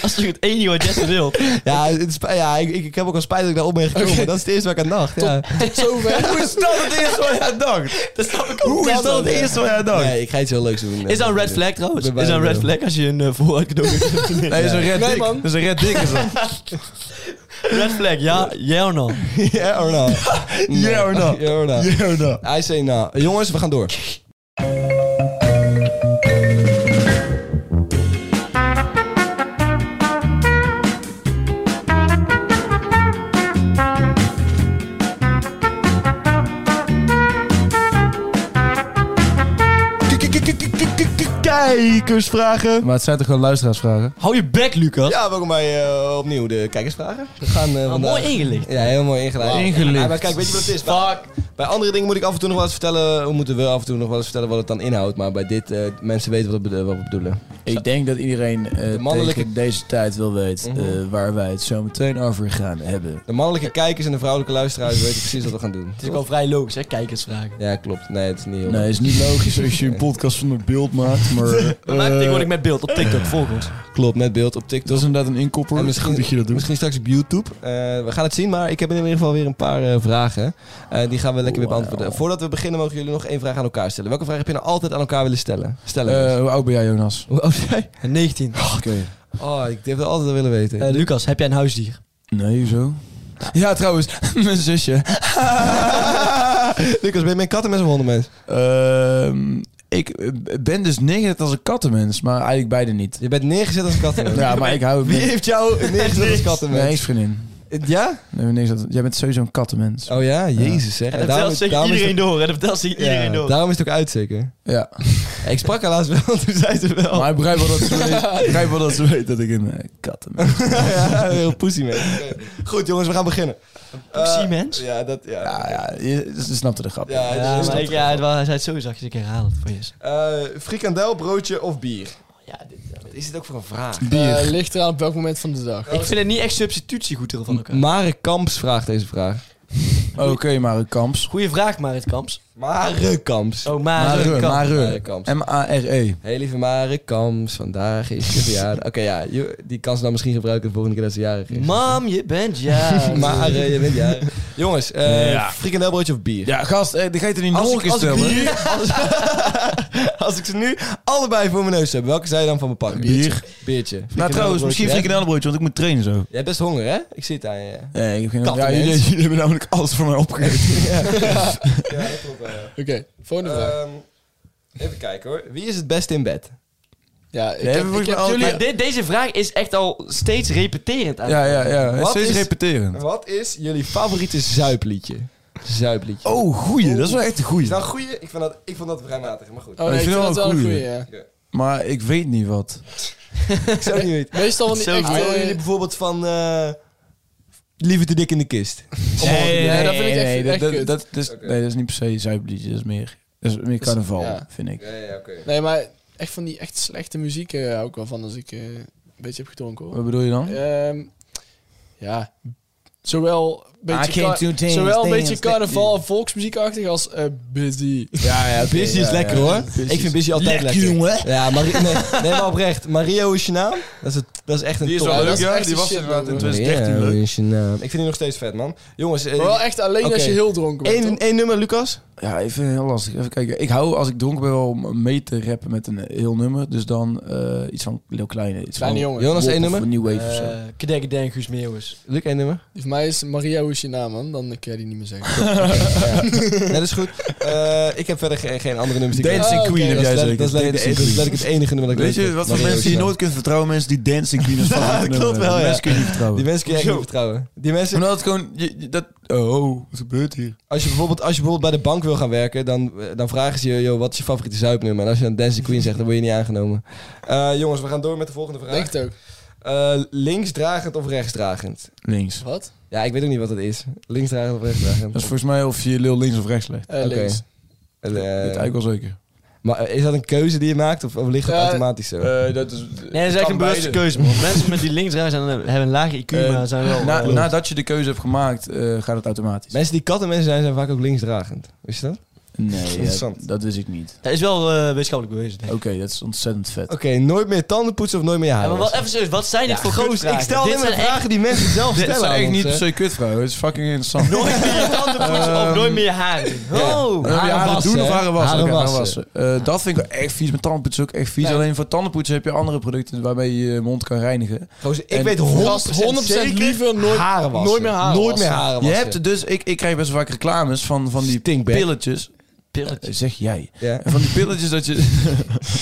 [SPEAKER 5] dat is toch het enige wat Jesse wil.
[SPEAKER 2] Ja, het is, sp- ja ik, ik, ik heb ook al spijt dat ik daar op ben gekomen. Dat is het eerste waar ik aan dacht. Ja.
[SPEAKER 3] Tot zover.
[SPEAKER 4] is dat het eerste wat jij dacht? Hoe is dat het eerste wat jij dacht?
[SPEAKER 2] Nee, ik ga iets heel leuks doen.
[SPEAKER 5] Is dat een red flag trouwens?
[SPEAKER 2] Ik ben
[SPEAKER 5] Is dat een
[SPEAKER 2] bijna
[SPEAKER 5] red flag als je een eh, vooruit cadeau geeft?
[SPEAKER 4] Nee, dat is een red
[SPEAKER 3] Nee,
[SPEAKER 4] dik.
[SPEAKER 3] man.
[SPEAKER 4] Dat is een red dik is dat.
[SPEAKER 5] red flag, ja? Ja of no?
[SPEAKER 2] Ja or no?
[SPEAKER 4] Yeah or no?
[SPEAKER 2] Yeah or no?
[SPEAKER 4] Ja, nou.
[SPEAKER 2] I say no. Jongens, we gaan door. Kijkersvragen.
[SPEAKER 4] Maar het zijn toch gewoon luisteraarsvragen?
[SPEAKER 5] Hou je bek, Lucas.
[SPEAKER 2] Ja, welkom bij eh, opnieuw de kijkersvragen. We gaan eh,
[SPEAKER 5] Ah,
[SPEAKER 2] vandaag...
[SPEAKER 5] mooi ingelicht.
[SPEAKER 2] Ja, heel mooi ingelicht.
[SPEAKER 4] Wauw. Ingelicht.
[SPEAKER 2] Ja, maar kijk, weet je wat het is? Bij, bij andere dingen moet ik af en toe nog wel eens vertellen. We moeten wel af en toe nog wel eens vertellen wat het dan inhoudt. Maar bij dit, eh, mensen weten wat, we bedo- wat we bedoelen.
[SPEAKER 4] Ik denk dat iedereen eh,
[SPEAKER 2] mannelijke-
[SPEAKER 4] tegen deze tijd wel weet eh, waar wij het zo meteen over gaan hebben.
[SPEAKER 2] De mannelijke kijkers en de vrouwelijke luisteraars weten precies wat we gaan doen.
[SPEAKER 5] Het is ook al vrij logisch, hè? Kijkersvragen.
[SPEAKER 2] Ja, klopt. Nee, het is niet heel...
[SPEAKER 4] Nee, Nou, is niet logisch als je een podcast zonder beeld maakt, maar...
[SPEAKER 5] We maken
[SPEAKER 4] eh,
[SPEAKER 5] tegenwoordig met beeld op TikTok, volg ons.
[SPEAKER 2] Klopt, met beeld op TikTok.
[SPEAKER 4] dat is inderdaad een inkopper.
[SPEAKER 2] En
[SPEAKER 4] Goed dat je dat doet.
[SPEAKER 2] misschien straks op YouTube. Eh, we gaan het zien, maar ik heb in ieder geval weer een paar eh, vragen. Eh, die gaan we lekker weer
[SPEAKER 4] Oh, Wauw.
[SPEAKER 2] beantwoorden. Voordat we beginnen mogen jullie nog één vraag aan elkaar stellen. Welke vraag heb je nou altijd aan elkaar willen stellen? Stellen.
[SPEAKER 4] Eh,
[SPEAKER 2] jongens.
[SPEAKER 4] hoe oud ben jij, Jonas?
[SPEAKER 2] Hoe oud ben jij?
[SPEAKER 5] 19.
[SPEAKER 4] Oké.
[SPEAKER 2] Oh, ik heb dat altijd al willen weten.
[SPEAKER 5] Eh, Lucas, heb jij een huisdier?
[SPEAKER 4] Nee, zo. Ja, trouwens, mijn zusje.
[SPEAKER 2] Lucas, ben je mijn kat en met zijn hondenmens?
[SPEAKER 4] Ehm, ik eh, ben dus neergezet als een kattenmens, maar eigenlijk beide niet.
[SPEAKER 2] Je bent neergezet als een kattenmens.
[SPEAKER 4] Ja, maar ik hou...
[SPEAKER 2] Wie
[SPEAKER 4] ben-
[SPEAKER 2] heeft jou neergezet als kattenmens?
[SPEAKER 4] Nee, vriendin.
[SPEAKER 2] Ja?
[SPEAKER 4] Nee, nee, dat- jij bent sowieso een kattenmens.
[SPEAKER 2] Oh ja, jezus zeg.
[SPEAKER 5] En dat vertelt zich
[SPEAKER 2] daarom is
[SPEAKER 5] iedereen
[SPEAKER 2] het-
[SPEAKER 5] door. En dat vertelt zich
[SPEAKER 2] ja,
[SPEAKER 5] iedereen door.
[SPEAKER 2] Daarom is het ook uit zeker.
[SPEAKER 4] Ja.
[SPEAKER 2] Ja, Ik sprak haar laatst wel, toen zei ze wel.
[SPEAKER 4] Maar ik begrijp wel dat ze weet, ik begrijp wel dat, ze weet dat ik een eh, kattenmens ben.
[SPEAKER 2] ja, heel poesie mee. Oké. Goed jongens, we gaan beginnen.
[SPEAKER 5] Poesie,
[SPEAKER 2] Eh,
[SPEAKER 5] mens?
[SPEAKER 2] Ja, dat... Ja,
[SPEAKER 4] Ja, ja, je, ze snapte de grap.
[SPEAKER 2] Ja,
[SPEAKER 5] Ja,
[SPEAKER 2] dat is
[SPEAKER 5] maar
[SPEAKER 2] toch-
[SPEAKER 5] ik, ja, het wa- hij zei het zo zachtjes. Ik herhaal het voor je. eens.
[SPEAKER 2] Eh, frikandel, broodje of bier?
[SPEAKER 5] Ja, dit,
[SPEAKER 2] Wat is dit ook voor een vraag?
[SPEAKER 3] Eh, ligt eraan op welk moment van de dag.
[SPEAKER 5] ik vind het niet echt substitutie goed van elkaar.
[SPEAKER 2] Marek Kamps vraagt deze vraag.
[SPEAKER 4] Oké, maar een kamps.
[SPEAKER 5] Goeie vraag, Marit Kamps.
[SPEAKER 2] Mare Kamps.
[SPEAKER 5] Oh, maar
[SPEAKER 4] Mare,
[SPEAKER 5] Kamps.
[SPEAKER 4] Mare.
[SPEAKER 2] Kamps.
[SPEAKER 4] M-A-R-E.
[SPEAKER 2] Hey lieve Mare Kamps, vandaag is je verjaardag. Oké ja, je- die kan ze dan misschien gebruiken de volgende keer dat ze jarig is.
[SPEAKER 5] Mam, je bent ja.
[SPEAKER 2] Mare, je bent jarig. Jongens, eh
[SPEAKER 4] Ja.
[SPEAKER 2] frikandelbroodje of bier?
[SPEAKER 4] Ja, gast, eh, die ga je er niet nog
[SPEAKER 2] Als
[SPEAKER 4] een
[SPEAKER 2] ik,
[SPEAKER 4] keer
[SPEAKER 2] als, ik
[SPEAKER 4] stellen.
[SPEAKER 2] nu- als, als ik ze nu allebei voor mijn neus heb, welke zou je dan van me pakken?
[SPEAKER 4] Bier.
[SPEAKER 2] Biertje.
[SPEAKER 4] Nou, trouwens, misschien frikandelbroodje, want ik moet trainen zo.
[SPEAKER 2] Jij hebt best honger, hè? Ik zie het aan je.
[SPEAKER 4] Nee, ik heb geen Ja,
[SPEAKER 2] Kattenmens.
[SPEAKER 4] jullie, jullie hebben namelijk alles voor mij opgegeten.
[SPEAKER 2] Ja, dat klopt wel, ja.
[SPEAKER 3] Oké, volgende vraag.
[SPEAKER 2] Ehm, even kijken hoor. Wie is het beste in bed?
[SPEAKER 3] Ja, ik
[SPEAKER 4] Nee,
[SPEAKER 3] heb,
[SPEAKER 4] we
[SPEAKER 3] ik
[SPEAKER 4] moeten
[SPEAKER 3] heb
[SPEAKER 4] al-
[SPEAKER 3] jullie...
[SPEAKER 5] Maar dit- deze vraag is echt al steeds repeterend. aan.
[SPEAKER 4] Ja, ja, ja. Het is
[SPEAKER 2] Wat
[SPEAKER 4] steeds
[SPEAKER 2] is-
[SPEAKER 4] repeterend.
[SPEAKER 2] Wat is jullie favoriete zuipliedje? Zuipliedje.
[SPEAKER 4] Oh, goeie. Dat is wel echt een goeie.
[SPEAKER 2] Is dat een goeie? Ik, vond dat, ik vond dat vrij matig, maar goed.
[SPEAKER 3] Oh nee, ik vind dat wel een goeie, ja.
[SPEAKER 4] Maar ik weet niet wat.
[SPEAKER 2] Ik zou het niet weten.
[SPEAKER 3] Meestal van die
[SPEAKER 5] Zo
[SPEAKER 3] echt...
[SPEAKER 5] goed.
[SPEAKER 3] eh,
[SPEAKER 2] Houden jullie bijvoorbeeld van... eh Liever te dik in de kist.
[SPEAKER 3] nee, nee, dat vind ik echt- echt
[SPEAKER 4] dat-
[SPEAKER 3] kut.
[SPEAKER 4] dat- dat is-
[SPEAKER 2] Oké.
[SPEAKER 4] Nee, dat is niet per se zuipliedje. Dat is meer, dat is meer carnaval,
[SPEAKER 3] ja.
[SPEAKER 4] vind ik.
[SPEAKER 2] ja, oké.
[SPEAKER 3] Nee, maar echt van die echt slechte muziek eh, hou ik wel van als ik eh, een beetje heb gedronken hoor.
[SPEAKER 4] Wat bedoel je dan?
[SPEAKER 3] Ehm, ja, zowel een beetje,
[SPEAKER 4] can't
[SPEAKER 3] ca-
[SPEAKER 4] do things,
[SPEAKER 3] zowel een beetje
[SPEAKER 4] things,
[SPEAKER 3] carnaval volksmuziekachtig als eh busy.
[SPEAKER 4] Ja, ja.
[SPEAKER 2] Busy is lekker hoor. Ik vind Busy altijd lekker.
[SPEAKER 4] jongen.
[SPEAKER 2] Ja, Mari- nee, nee, maar oprecht. Mario is je naam. Dat is, het, dat is echt een
[SPEAKER 4] Die is
[SPEAKER 2] top.
[SPEAKER 4] wel
[SPEAKER 3] dat
[SPEAKER 4] leuk,
[SPEAKER 3] is
[SPEAKER 4] ja.
[SPEAKER 3] echt
[SPEAKER 4] Die
[SPEAKER 3] de
[SPEAKER 4] was
[SPEAKER 3] shit,
[SPEAKER 4] inderdaad in
[SPEAKER 3] man.
[SPEAKER 4] 2013 leuk.
[SPEAKER 2] is je naam. Ik vind die nog steeds vet, man. Jongens, eh,
[SPEAKER 3] Maar wel echt alleen
[SPEAKER 2] Oké.
[SPEAKER 3] als je heel dronken bent.
[SPEAKER 2] één,
[SPEAKER 3] toch?
[SPEAKER 2] één nummer, Lucas?
[SPEAKER 4] Ja, ik vind het heel lastig. Even kijken. Ik hou, als ik dronken ben, wel om mee te rappen met een heel nummer. Dus dan eh, iets van Lil Kleine. Iets
[SPEAKER 3] Kleine
[SPEAKER 4] van
[SPEAKER 3] jongen.
[SPEAKER 2] Jonas,
[SPEAKER 4] Wop
[SPEAKER 2] één
[SPEAKER 4] of
[SPEAKER 2] nummer?
[SPEAKER 4] New Wave of zo.
[SPEAKER 5] Eh, Kedekkedek, Guus Meeuwis.
[SPEAKER 2] Luc, één nummer?
[SPEAKER 3] Die Voor mij is Maria hoe is je naam man, dan kan je die niet meer zeggen.
[SPEAKER 2] Nee, dat is goed. Eh, ik heb verder geen, geen andere nummers die ik Ah,
[SPEAKER 4] Dancing
[SPEAKER 3] Oh, oké.
[SPEAKER 4] Queen heb
[SPEAKER 2] Dat
[SPEAKER 4] jij
[SPEAKER 2] is letterlijk-
[SPEAKER 4] zeker.
[SPEAKER 2] dat is letterlijk het- dat is
[SPEAKER 4] Dancing Queen.
[SPEAKER 2] letterlijk het enige nummer dat ik
[SPEAKER 4] Weet je, wat voor
[SPEAKER 2] Mario
[SPEAKER 4] mensen
[SPEAKER 2] is
[SPEAKER 4] je
[SPEAKER 2] je
[SPEAKER 4] nooit kunt vertrouwen, mensen die dancing queen is van
[SPEAKER 2] Ja,
[SPEAKER 4] het nummer
[SPEAKER 2] klopt wel,
[SPEAKER 4] hebben.
[SPEAKER 2] ja.
[SPEAKER 4] Mensen kun je niet
[SPEAKER 2] naam.
[SPEAKER 4] vertrouwen.
[SPEAKER 2] Die mensen kun je echt niet
[SPEAKER 5] Zo.
[SPEAKER 2] vertrouwen. Die mensen,
[SPEAKER 4] Omdat het gewoon, je- je- dat, oh, wat gebeurt hier?
[SPEAKER 2] als je, bijvoorbeeld, als je bijvoorbeeld bij de bank wil gaan werken, dan, eh, dan vragen ze je, joh, wat is je favoriete zuipnummer? En als je dan Dancing Queen zegt, dan word je niet aangenomen. Eh, jongens, we gaan door met de volgende vraag.
[SPEAKER 3] Denk het ook.
[SPEAKER 2] Eh, linksdragend of rechtsdragend?
[SPEAKER 4] Links.
[SPEAKER 3] Wat?
[SPEAKER 2] Ja, ik weet ook niet wat het is. Linksdragend of rechtsdragend?
[SPEAKER 4] Dat is volgens mij of je lul links of rechts legt.
[SPEAKER 3] Eh
[SPEAKER 2] Oké.
[SPEAKER 3] links.
[SPEAKER 2] Eh,
[SPEAKER 4] dat weet ik eigenlijk wel zeker.
[SPEAKER 2] maar eh, is dat een keuze die je maakt of, of ligt dat
[SPEAKER 3] Eh,
[SPEAKER 2] automatisch zo?
[SPEAKER 4] dat is,
[SPEAKER 5] Nee, dat is echt een bewuste keuze, man. Mensen met die linksdraai zijn, hebben een lage IQ,
[SPEAKER 4] Eh,
[SPEAKER 5] maar zijn wel...
[SPEAKER 4] Na,
[SPEAKER 5] eh,
[SPEAKER 4] nadat je de keuze hebt gemaakt, eh, gaat het automatisch.
[SPEAKER 2] mensen die kattenmensen zijn, zijn vaak ook linksdragend. Wist je dat?
[SPEAKER 4] Nee, ja,
[SPEAKER 2] Interessant.
[SPEAKER 4] dat wist ik niet.
[SPEAKER 5] dat is wel eh, wetenschappelijk bewezen, denk
[SPEAKER 4] Oké,
[SPEAKER 5] ik.
[SPEAKER 4] dat is ontzettend vet.
[SPEAKER 2] Oké, nooit meer tanden poetsen of nooit meer
[SPEAKER 5] Ja,
[SPEAKER 2] haren.
[SPEAKER 5] maar wat, even serieus, wat zijn dit voor
[SPEAKER 2] Goos,
[SPEAKER 5] kutvragen?
[SPEAKER 2] ik stel
[SPEAKER 5] dit
[SPEAKER 2] alleen maar
[SPEAKER 5] zijn echt
[SPEAKER 2] vragen die mensen zelf
[SPEAKER 4] Dit
[SPEAKER 2] stellen.
[SPEAKER 4] is eigenlijk
[SPEAKER 2] aan
[SPEAKER 4] niet
[SPEAKER 2] ons,
[SPEAKER 4] per
[SPEAKER 2] hè.
[SPEAKER 4] se kutvrouw. Het is fucking interessant. Nooit
[SPEAKER 5] Nooit meer je tanden poetsen of nooit meer je haren. Oh!
[SPEAKER 4] Haren,
[SPEAKER 2] Haren wassen,
[SPEAKER 4] doen of
[SPEAKER 2] hè?
[SPEAKER 4] haren wassen?
[SPEAKER 2] Haren
[SPEAKER 4] Oké, haren
[SPEAKER 2] wassen.
[SPEAKER 4] wassen. Eh, dat vind ik wel echt vies. Met tandenpoetsen ook echt vies.
[SPEAKER 3] Nee.
[SPEAKER 4] Alleen voor tandenpoetsen heb je andere producten waarmee je je mond kan reinigen.
[SPEAKER 2] Goos, ik
[SPEAKER 4] En-
[SPEAKER 2] weet 100%,
[SPEAKER 3] Gast, 100%
[SPEAKER 2] zeker
[SPEAKER 3] liever nooit-
[SPEAKER 2] haren wassen.
[SPEAKER 3] nooit meer haren
[SPEAKER 2] Nooit meer
[SPEAKER 3] wassen.
[SPEAKER 2] haren
[SPEAKER 4] Je
[SPEAKER 2] wassen.
[SPEAKER 4] hebt dus, ik, ik krijg best wel vaak reclames van, van die
[SPEAKER 2] Stinkbag.
[SPEAKER 4] pilletjes. Eh, Zeg jij.
[SPEAKER 2] Ja.
[SPEAKER 4] En van die pilletjes dat je,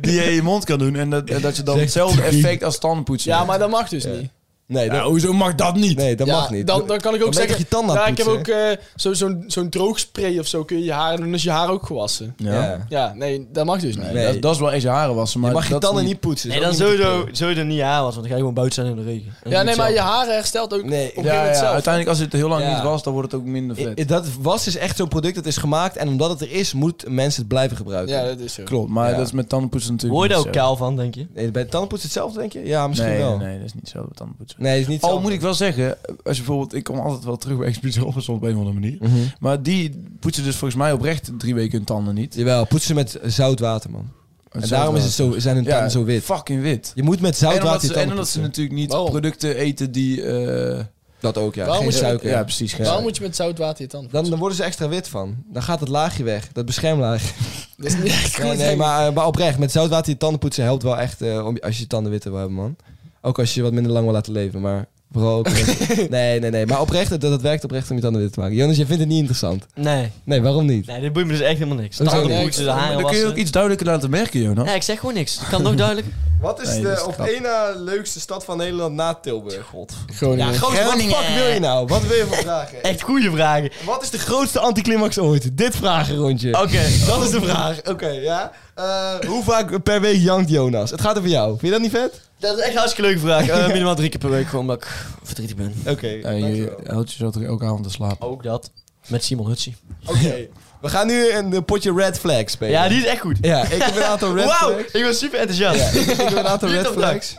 [SPEAKER 4] die je in je mond kan doen. En dat, en dat je dan
[SPEAKER 2] Zeg
[SPEAKER 4] hetzelfde
[SPEAKER 2] drie.
[SPEAKER 4] effect als tandenpoetsen
[SPEAKER 3] Ja,
[SPEAKER 4] hebt.
[SPEAKER 3] maar dat mag dus niet.
[SPEAKER 2] Nee, dat,
[SPEAKER 4] Ja, hoezo mag dat niet?
[SPEAKER 2] nee, dat
[SPEAKER 3] Ja,
[SPEAKER 2] mag niet.
[SPEAKER 3] Dan, dan kan ik
[SPEAKER 2] Dan
[SPEAKER 3] ook
[SPEAKER 2] ben je
[SPEAKER 3] zeggen...
[SPEAKER 2] toch je tanden aan
[SPEAKER 3] ja,
[SPEAKER 2] het
[SPEAKER 3] ik heb ook
[SPEAKER 2] poetsen,
[SPEAKER 3] eh, zo- zo'n zo'n droogspray of zo kun je je haren doen, dan is je haar ook gewassen.
[SPEAKER 4] Ja.
[SPEAKER 2] Ja.
[SPEAKER 3] Ja, nee, dat mag dus niet.
[SPEAKER 4] Nee, Dat, dat is wel eens je haren wassen. Maar
[SPEAKER 2] je mag je
[SPEAKER 4] dat is
[SPEAKER 2] tanden
[SPEAKER 4] niet-
[SPEAKER 2] niet poetsen.
[SPEAKER 5] Nee,
[SPEAKER 2] is ook
[SPEAKER 5] dan
[SPEAKER 2] niet te
[SPEAKER 5] sowieso,
[SPEAKER 2] doen.
[SPEAKER 5] sowieso niet ja, want dan ga je gewoon buiten zijn in de regen.
[SPEAKER 3] Ja, nee, maar je haren herstelt ook
[SPEAKER 2] Nee,
[SPEAKER 3] op een gegeven
[SPEAKER 4] Ja, ja,
[SPEAKER 3] moment zelf.
[SPEAKER 4] uiteindelijk als het heel lang
[SPEAKER 2] Ja.
[SPEAKER 4] niet was, dan wordt het ook minder vet.
[SPEAKER 2] I- Dat was is echt zo'n product dat is gemaakt. En omdat het er is, moet mensen het blijven gebruiken.
[SPEAKER 3] Ja, dat is zo.
[SPEAKER 4] Klopt, maar
[SPEAKER 2] Ja.
[SPEAKER 4] dat is met tandenpoetsen natuurlijk
[SPEAKER 5] Hoor je daar ook
[SPEAKER 4] niet zo.
[SPEAKER 5] kaal van, denk je?
[SPEAKER 2] Nee, bij tandenpoetsen hetzelfde, denk je? Ja, misschien
[SPEAKER 4] nee,
[SPEAKER 2] wel.
[SPEAKER 4] Nee, nee, dat is niet zo met tandenpoetsen.
[SPEAKER 2] Nee, het is niet
[SPEAKER 4] Al
[SPEAKER 2] hetzelfde.
[SPEAKER 4] Oh, moet ik wel zeggen, als je bijvoorbeeld, ik kom altijd wel terug bij Expeditie Robinson op een of andere manier.
[SPEAKER 2] Mhm.
[SPEAKER 4] Maar die poetsen dus volgens mij oprecht drie weken hun tanden niet.
[SPEAKER 2] Jawel, poetsen met zout water, man. En daarom is het zo, zijn hun
[SPEAKER 4] Ja,
[SPEAKER 2] tanden zo wit.
[SPEAKER 4] Fucking wit.
[SPEAKER 2] Je moet met zout
[SPEAKER 4] En omdat,
[SPEAKER 2] water je
[SPEAKER 4] ze, en
[SPEAKER 2] tanden
[SPEAKER 4] omdat ze
[SPEAKER 2] poetsen.
[SPEAKER 4] natuurlijk niet
[SPEAKER 3] Waarom?
[SPEAKER 4] producten eten die... eh,
[SPEAKER 2] Dat ook, ja.
[SPEAKER 3] Waarom
[SPEAKER 2] Geen
[SPEAKER 3] moet je-
[SPEAKER 2] suiker.
[SPEAKER 4] ja, precies. geen-
[SPEAKER 3] Waarom moet je met zout water je tanden
[SPEAKER 2] Dan, dan worden ze extra wit van. Dan gaat het laagje weg, dat beschermlaagje.
[SPEAKER 3] poetsen? Dat is niet echt goed.
[SPEAKER 2] Nee, nee,
[SPEAKER 3] denk ik.
[SPEAKER 2] maar, eh, maar oprecht, met zout water je tanden poetsen helpt wel echt eh, om, als je je tanden wit wil hebben, man. Ook als je je wat minder lang wil laten leven, maar Bro, oprecht. nee, nee, nee. Maar oprecht, dat, dat werkt oprecht om je tanden wit te maken. Jonas, je vindt het niet interessant.
[SPEAKER 5] Nee.
[SPEAKER 2] Nee, waarom niet?
[SPEAKER 5] Nee, dit boeit me dus echt helemaal niks.
[SPEAKER 2] Hoezo
[SPEAKER 5] Tanden
[SPEAKER 3] niet?
[SPEAKER 5] poetsen, de haren
[SPEAKER 4] Dan kun je ook
[SPEAKER 5] wassen.
[SPEAKER 4] iets duidelijker laten merken, Jonas.
[SPEAKER 5] Nee, ik zeg gewoon niks. Ik kan nog duidelijk.
[SPEAKER 2] Wat is
[SPEAKER 4] Nee, dat is
[SPEAKER 2] de op
[SPEAKER 4] knap.
[SPEAKER 2] één na leukste stad van Nederland na Tilburg?
[SPEAKER 5] God.
[SPEAKER 3] Groningen.
[SPEAKER 2] Gozer, wat de fuck
[SPEAKER 5] Groningen.
[SPEAKER 2] wil je nou? Wat wil je van vragen?
[SPEAKER 5] Echt goede vragen.
[SPEAKER 2] Wat is de grootste anticlimax ooit? Dit vragenrondje.
[SPEAKER 4] Oh.
[SPEAKER 5] Oké,
[SPEAKER 2] Dat is de vraag. Oké, ja. Eh, hoe vaak per week jankt Jonas? Het gaat over jou. Vind je dat niet vet?
[SPEAKER 5] dat is echt een hartstikke leuke vraag. Eh, minimaal drie keer per week, gewoon omdat ik verdrietig ben.
[SPEAKER 2] Oké.
[SPEAKER 4] En je houdt je zo toch ook aan om te slapen.
[SPEAKER 5] Ook dat. Met Simon Hutsie.
[SPEAKER 2] Oké. We gaan nu een eh, potje red flags spelen.
[SPEAKER 5] Ja, die is echt goed.
[SPEAKER 2] Ja, ik heb een aantal red
[SPEAKER 5] Wauw,
[SPEAKER 2] flags.
[SPEAKER 5] ik ben super enthousiast.
[SPEAKER 2] Ja, ik, ik heb een aantal
[SPEAKER 5] Dit
[SPEAKER 2] red
[SPEAKER 5] op dak.
[SPEAKER 2] flags.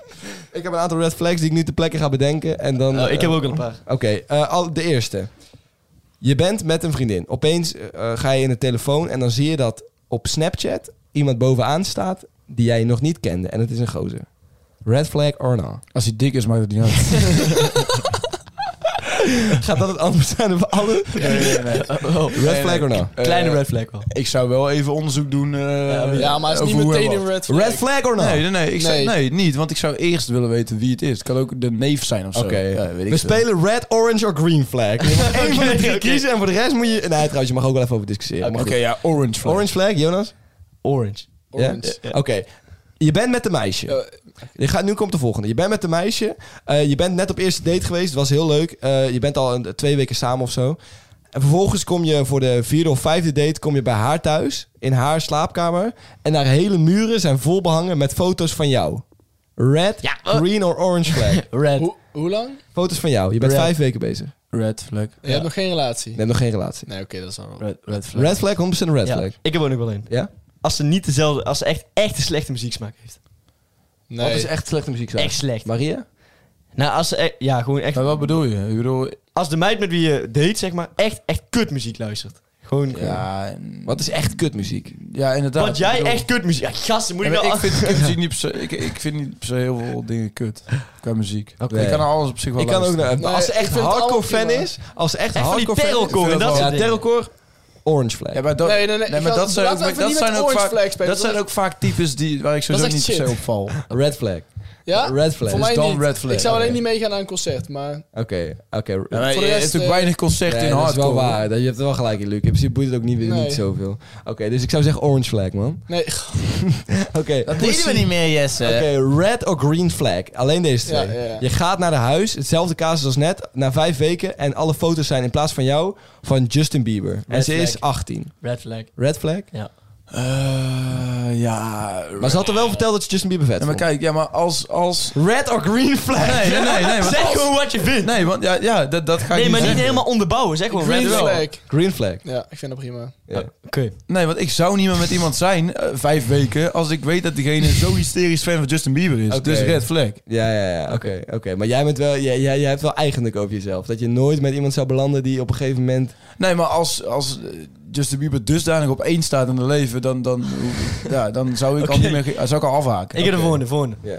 [SPEAKER 2] Ik heb een aantal red flags die ik nu ter plekke ga bedenken. En dan,
[SPEAKER 5] Oh, ik heb
[SPEAKER 2] eh,
[SPEAKER 5] ook al een paar.
[SPEAKER 2] Oké, eh, al de eerste. Je bent met een vriendin. Opeens eh, ga je in de telefoon en dan zie je dat op Snapchat iemand bovenaan staat die jij nog niet kende. En het is een gozer. Red flag or not?
[SPEAKER 4] Als hij dik is, maakt het niet uit.
[SPEAKER 2] Gaat dat het antwoord zijn op alle? Red flag or
[SPEAKER 4] Eh,
[SPEAKER 2] not?
[SPEAKER 5] Kleine red flag wel.
[SPEAKER 4] Ik zou wel even onderzoek doen. eh,
[SPEAKER 3] Ja, maar het is niet
[SPEAKER 4] over hoe
[SPEAKER 3] meteen
[SPEAKER 4] en
[SPEAKER 3] een
[SPEAKER 4] wat.
[SPEAKER 3] red flag.
[SPEAKER 2] Red flag or not?
[SPEAKER 4] Nee, nee, nee, ik zou-
[SPEAKER 3] Nee.
[SPEAKER 4] nee, niet. Want ik zou eerst willen weten wie het is. Het kan ook de neef zijn of zo.
[SPEAKER 2] Oké,
[SPEAKER 4] Ja, weet ik
[SPEAKER 2] we
[SPEAKER 4] veel.
[SPEAKER 2] spelen red, orange or green flag. Je mag één van de drie
[SPEAKER 5] oké.
[SPEAKER 2] kiezen en voor de rest moet je... Nee, trouwens, je mag ook wel even over discussiëren.
[SPEAKER 4] Oké,
[SPEAKER 2] maar goed.
[SPEAKER 4] ja, orange flag.
[SPEAKER 2] Orange flag, Jonas?
[SPEAKER 5] Orange.
[SPEAKER 2] Ja?
[SPEAKER 3] Orange.
[SPEAKER 2] Oké. Je bent met een meisje. Je gaat, nu komt de volgende. Je bent met een meisje. eh, je bent net op eerste date geweest. Het was heel leuk. Eh, je bent al een, twee weken samen of zo. En vervolgens kom je voor de vierde of vijfde date kom je bij haar thuis. In haar slaapkamer. En haar hele muren zijn vol behangen met foto's van jou. Red,
[SPEAKER 5] Ja, eh.
[SPEAKER 2] green or orange flag.
[SPEAKER 5] Red.
[SPEAKER 3] Hoe, hoe lang?
[SPEAKER 2] foto's van jou. Je bent
[SPEAKER 5] Red.
[SPEAKER 2] vijf weken bezig.
[SPEAKER 4] Red flag.
[SPEAKER 3] Je hebt nog geen relatie.
[SPEAKER 2] Neem nog geen relatie.
[SPEAKER 3] Nee, oké, dat is wel.
[SPEAKER 4] Red, red flag.
[SPEAKER 2] Red flag, 100% een red
[SPEAKER 5] Ja,
[SPEAKER 2] flag.
[SPEAKER 5] ik heb ook nog wel een.
[SPEAKER 2] Ja?
[SPEAKER 5] Als ze niet dezelfde, als ze echt, echt een slechte muzieksmaak heeft.
[SPEAKER 3] Nee.
[SPEAKER 2] Wat is echt slechte muziek?
[SPEAKER 5] Echt slecht.
[SPEAKER 2] Maria?
[SPEAKER 5] Nou, als ze, e- ja, gewoon echt.
[SPEAKER 4] Maar wat bedoel je? Ik bedoel,
[SPEAKER 5] Als de meid met wie je date, zeg maar, echt, echt kutmuziek luistert. Gewoon.
[SPEAKER 4] ja, en-
[SPEAKER 2] Wat is echt kutmuziek?
[SPEAKER 4] ja inderdaad.
[SPEAKER 5] Want jij
[SPEAKER 4] Ik bedoel-
[SPEAKER 5] echt kutmuziek. Ja, gasten, moet
[SPEAKER 4] Ja,
[SPEAKER 5] ik
[SPEAKER 4] maar
[SPEAKER 5] nou.
[SPEAKER 4] ik, vind, ik, muziek niet per se, ik, ik vind niet per se heel veel dingen kut qua muziek.
[SPEAKER 2] Oké.
[SPEAKER 4] Ik kan naar alles op zich wel
[SPEAKER 2] Ik kan ook
[SPEAKER 4] luisteren.
[SPEAKER 2] naar,
[SPEAKER 3] Nee,
[SPEAKER 2] als ze
[SPEAKER 3] ik
[SPEAKER 2] echt
[SPEAKER 3] vind het
[SPEAKER 2] hardcore
[SPEAKER 3] allemaal
[SPEAKER 2] fan
[SPEAKER 3] prima.
[SPEAKER 2] is, als ze echt
[SPEAKER 5] Echt van die
[SPEAKER 2] hardcore fan is,
[SPEAKER 5] terrorcore en
[SPEAKER 2] ja,
[SPEAKER 5] dat soort dingen.
[SPEAKER 2] terrorcore, orange flag.
[SPEAKER 4] Ja, maar dat,
[SPEAKER 3] Nee, nee, nee, ik
[SPEAKER 4] maar
[SPEAKER 3] ga-
[SPEAKER 4] dat zijn ook,
[SPEAKER 3] laten we
[SPEAKER 4] dat
[SPEAKER 3] even niet
[SPEAKER 4] zijn
[SPEAKER 3] met
[SPEAKER 4] ook
[SPEAKER 3] orange flag
[SPEAKER 4] vaak,
[SPEAKER 3] spelen,
[SPEAKER 4] dat
[SPEAKER 3] dat
[SPEAKER 4] zijn
[SPEAKER 3] is-
[SPEAKER 4] ook vaak types die, waar ik sowieso
[SPEAKER 3] echt
[SPEAKER 4] niet per se
[SPEAKER 3] shit.
[SPEAKER 4] op val.
[SPEAKER 2] Red flag.
[SPEAKER 3] Ja?
[SPEAKER 2] Red flag.
[SPEAKER 3] Ah, Voor
[SPEAKER 4] Dus
[SPEAKER 3] mij
[SPEAKER 4] dan
[SPEAKER 3] niet.
[SPEAKER 4] red flag.
[SPEAKER 3] Ik zou alleen
[SPEAKER 4] Oké.
[SPEAKER 3] niet meegaan naar een concert, maar...
[SPEAKER 2] Oké, oké.
[SPEAKER 4] Ja, maar
[SPEAKER 3] Voor de
[SPEAKER 4] je
[SPEAKER 3] rest,
[SPEAKER 4] hebt natuurlijk
[SPEAKER 3] eh,
[SPEAKER 4] weinig concert
[SPEAKER 2] Nee,
[SPEAKER 4] in
[SPEAKER 2] dat is
[SPEAKER 4] hardcore.
[SPEAKER 2] wel waar. Dat- Je hebt er wel gelijk in, Luc. In principe boeit het ook niet,
[SPEAKER 3] Nee.
[SPEAKER 2] niet zoveel. Oké, dus ik zou zeggen orange flag, man.
[SPEAKER 3] Nee,
[SPEAKER 2] Oké, oké,
[SPEAKER 4] deden we niet meer, Jesse.
[SPEAKER 2] red of green flag. Alleen deze
[SPEAKER 3] Eh, Ja,
[SPEAKER 2] twee.
[SPEAKER 3] ja, ja.
[SPEAKER 2] Je gaat naar de huis, hetzelfde casus als net, na vijf weken. En alle foto's zijn in plaats van jou van Justin Bieber. en
[SPEAKER 5] Red
[SPEAKER 2] ze
[SPEAKER 5] flag.
[SPEAKER 2] is 18.
[SPEAKER 5] Red flag.
[SPEAKER 2] Red flag?
[SPEAKER 5] Ja.
[SPEAKER 4] Eh, ja.
[SPEAKER 2] Maar ze had er wel verteld dat ze Justin Bieber vet
[SPEAKER 4] Ja, maar
[SPEAKER 2] vond.
[SPEAKER 4] kijk, ja, maar als... als
[SPEAKER 2] Red of green flag?
[SPEAKER 4] nee, nee, nee. nee, maar
[SPEAKER 5] Zeg
[SPEAKER 4] als-
[SPEAKER 5] gewoon wat je vindt.
[SPEAKER 4] Nee, want ja, ja dat, dat ga ik
[SPEAKER 5] Nee, maar niet
[SPEAKER 4] zeggen.
[SPEAKER 5] helemaal onderbouwen. Zeg gewoon
[SPEAKER 3] green
[SPEAKER 5] red flag.
[SPEAKER 3] flag.
[SPEAKER 2] Green flag.
[SPEAKER 3] Ja, ik vind dat prima. Nou,
[SPEAKER 2] Ja.
[SPEAKER 5] Oké.
[SPEAKER 4] Nee, want ik zou niet meer met iemand zijn, eh, vijf weken, als ik weet dat diegene zo hysterisch fan van Justin Bieber is.
[SPEAKER 2] Oké.
[SPEAKER 4] Dus red flag.
[SPEAKER 2] Ja, ja, ja. Oké, oké. Maar jij, bent wel, jij, jij, jij hebt wel eigenlijk over jezelf. Dat je nooit met iemand zou belanden die op een gegeven moment...
[SPEAKER 4] Nee, maar als, als eh, Justin Bieber dusdanig op één staat in het leven, dan, dan, hoe- ja, dan zou ik al niet meer, ge- zou ik al afhaken.
[SPEAKER 5] Ik heb de volgende, volgende.
[SPEAKER 2] Ja.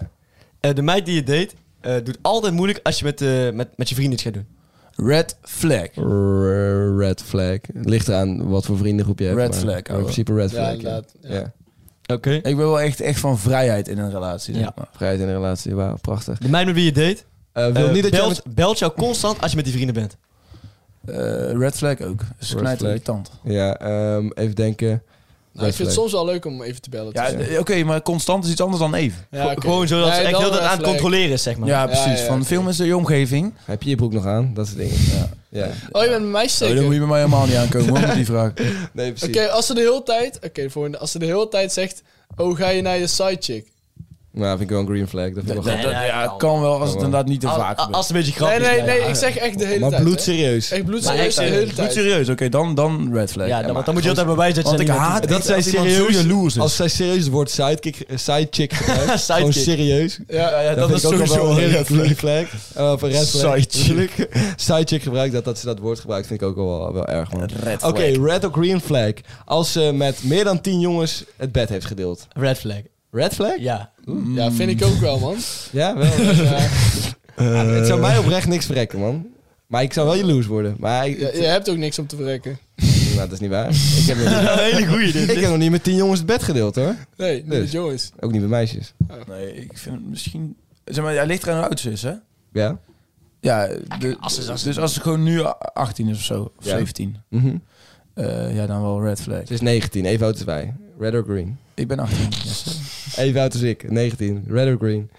[SPEAKER 5] Eh, de meid die je date, eh, doet altijd moeilijk als je met, eh, met, met je vrienden iets gaat doen.
[SPEAKER 4] Red flag.
[SPEAKER 2] Red flag. Ligt eraan wat voor vriendengroep je hebt.
[SPEAKER 4] Red
[SPEAKER 2] maar
[SPEAKER 4] flag,
[SPEAKER 2] In
[SPEAKER 4] ouwe.
[SPEAKER 2] principe red
[SPEAKER 3] Ja,
[SPEAKER 2] flag. Ja,
[SPEAKER 3] inderdaad.
[SPEAKER 2] ja.
[SPEAKER 3] Ja.
[SPEAKER 5] Oké.
[SPEAKER 4] Ik ben wel echt, echt van vrijheid in een relatie. Zeg
[SPEAKER 5] Ja.
[SPEAKER 4] maar.
[SPEAKER 2] Vrijheid in een relatie. Wauw, prachtig.
[SPEAKER 5] De meid met wie je date,
[SPEAKER 2] Eh wil
[SPEAKER 5] eh,
[SPEAKER 2] niet dat jij
[SPEAKER 5] belt,
[SPEAKER 2] met-
[SPEAKER 5] belt jou constant als je met die vrienden bent.
[SPEAKER 4] Eh, red flag ook. Dus
[SPEAKER 2] Red
[SPEAKER 4] knijt
[SPEAKER 2] flag.
[SPEAKER 4] irritant.
[SPEAKER 2] Ja, ehm, even denken.
[SPEAKER 3] Nou, ik
[SPEAKER 2] Red
[SPEAKER 3] vind het
[SPEAKER 2] flag.
[SPEAKER 3] soms wel leuk om even te bellen.
[SPEAKER 4] Ja,
[SPEAKER 3] te
[SPEAKER 4] d-
[SPEAKER 3] zeggen.
[SPEAKER 4] oké, maar constant is iets anders dan even.
[SPEAKER 3] Ja,
[SPEAKER 5] Go-
[SPEAKER 3] oké.
[SPEAKER 5] Gewoon zo dat
[SPEAKER 3] Nee,
[SPEAKER 5] ze echt
[SPEAKER 3] dan
[SPEAKER 5] heel dat
[SPEAKER 3] red
[SPEAKER 5] aan het
[SPEAKER 3] flag.
[SPEAKER 5] controleren is, zeg maar.
[SPEAKER 4] Ja, precies.
[SPEAKER 3] ja,
[SPEAKER 4] van
[SPEAKER 3] oké.
[SPEAKER 4] veel mensen in je omgeving.
[SPEAKER 2] Heb je je broek nog aan? Dat soort dingen. Ja. ja.
[SPEAKER 3] Oh, je bent met mij
[SPEAKER 4] Oh,
[SPEAKER 3] zeker?
[SPEAKER 4] dan moet je bij mij helemaal niet aankomen hoor, met die vraag.
[SPEAKER 2] Nee,
[SPEAKER 3] Oké,
[SPEAKER 2] precies.
[SPEAKER 3] als ze de hele tijd... Oké, de volgende. Als ze de hele tijd zegt... Oh, ga je naar je sidechick?
[SPEAKER 2] Nou, vind ik wel een green flag. Dat vind ik wel
[SPEAKER 4] Dat,
[SPEAKER 2] grappig.
[SPEAKER 4] dat-
[SPEAKER 5] nee,
[SPEAKER 4] ja,
[SPEAKER 5] kan.
[SPEAKER 4] kan wel als het inderdaad niet te
[SPEAKER 5] Al-
[SPEAKER 4] vaak
[SPEAKER 5] al-
[SPEAKER 4] gebeurt.
[SPEAKER 5] als het een beetje
[SPEAKER 3] Nee,
[SPEAKER 5] grappig
[SPEAKER 3] nee,
[SPEAKER 5] is.
[SPEAKER 3] nee.
[SPEAKER 5] ja.
[SPEAKER 3] Ik zeg echt de hele
[SPEAKER 2] Maar
[SPEAKER 3] tijd. hè.
[SPEAKER 2] bloedserieus.
[SPEAKER 3] Echt
[SPEAKER 5] Maar
[SPEAKER 3] bloedserieus
[SPEAKER 5] echt, eh,
[SPEAKER 3] de hele
[SPEAKER 4] Goed
[SPEAKER 3] tijd.
[SPEAKER 4] serieus, oké, dan, dan red flag.
[SPEAKER 5] Ja,
[SPEAKER 4] Ja,
[SPEAKER 5] dan,
[SPEAKER 4] maar-
[SPEAKER 5] want dan moet je altijd bij wijzen dat
[SPEAKER 4] Want
[SPEAKER 5] je
[SPEAKER 4] ik haat
[SPEAKER 5] dat
[SPEAKER 4] dat zij serieus jaloers is.
[SPEAKER 2] Als zij serieus het woord sidekick, eh, sidechick gebruikt, gewoon
[SPEAKER 5] Sidekick.
[SPEAKER 2] serieus,
[SPEAKER 3] Ja, ja.
[SPEAKER 2] Dat,
[SPEAKER 5] dat
[SPEAKER 2] vind
[SPEAKER 5] is
[SPEAKER 2] ik ook al
[SPEAKER 5] sowieso
[SPEAKER 2] wel
[SPEAKER 5] een
[SPEAKER 2] een
[SPEAKER 5] red
[SPEAKER 2] green flag. Eh, Of een red flag.
[SPEAKER 5] Sidechick.
[SPEAKER 2] natuurlijk. Sidechick gebruikt, dat, dat ze dat woord gebruikt, vind ik ook al wel, wel erg, man.
[SPEAKER 4] Red
[SPEAKER 2] Oké, red of green flag. Als ze met meer dan tien jongens het bed heeft gedeeld.
[SPEAKER 5] Red flag.
[SPEAKER 2] Red flag?
[SPEAKER 5] Ja.
[SPEAKER 3] ja, vind ik ook wel, man.
[SPEAKER 2] Ja, wel.
[SPEAKER 3] Ja,
[SPEAKER 2] Ja, het zou mij oprecht niks verrekken, man. Maar ik zou wel jaloers worden. Maar ik,
[SPEAKER 3] je, je hebt ook niks om te verrekken.
[SPEAKER 2] nou, dat is niet waar. Ik heb, nog niet,
[SPEAKER 5] Een hele goeie dit.
[SPEAKER 2] ik heb nog niet met tien jongens het bed gedeeld, hoor.
[SPEAKER 3] Nee, niet
[SPEAKER 2] Dus.
[SPEAKER 3] met jongens.
[SPEAKER 2] Ook niet met meisjes.
[SPEAKER 4] Nee, ik vind het misschien... Zeg maar, hij ligt eraan hoe oud ze is, hè?
[SPEAKER 2] Ja?
[SPEAKER 4] ja, de-
[SPEAKER 5] als ze- als ze-
[SPEAKER 4] dus als ze gewoon nu 18 is of zo, of
[SPEAKER 2] Ja.
[SPEAKER 4] 17,
[SPEAKER 2] Mhm.
[SPEAKER 4] eh, ja, dan wel red flag.
[SPEAKER 2] Ze is 19, even oud als wij. Red or green.
[SPEAKER 4] Ik ben 18. yes.
[SPEAKER 2] Even oud als ik, 19. Red or green.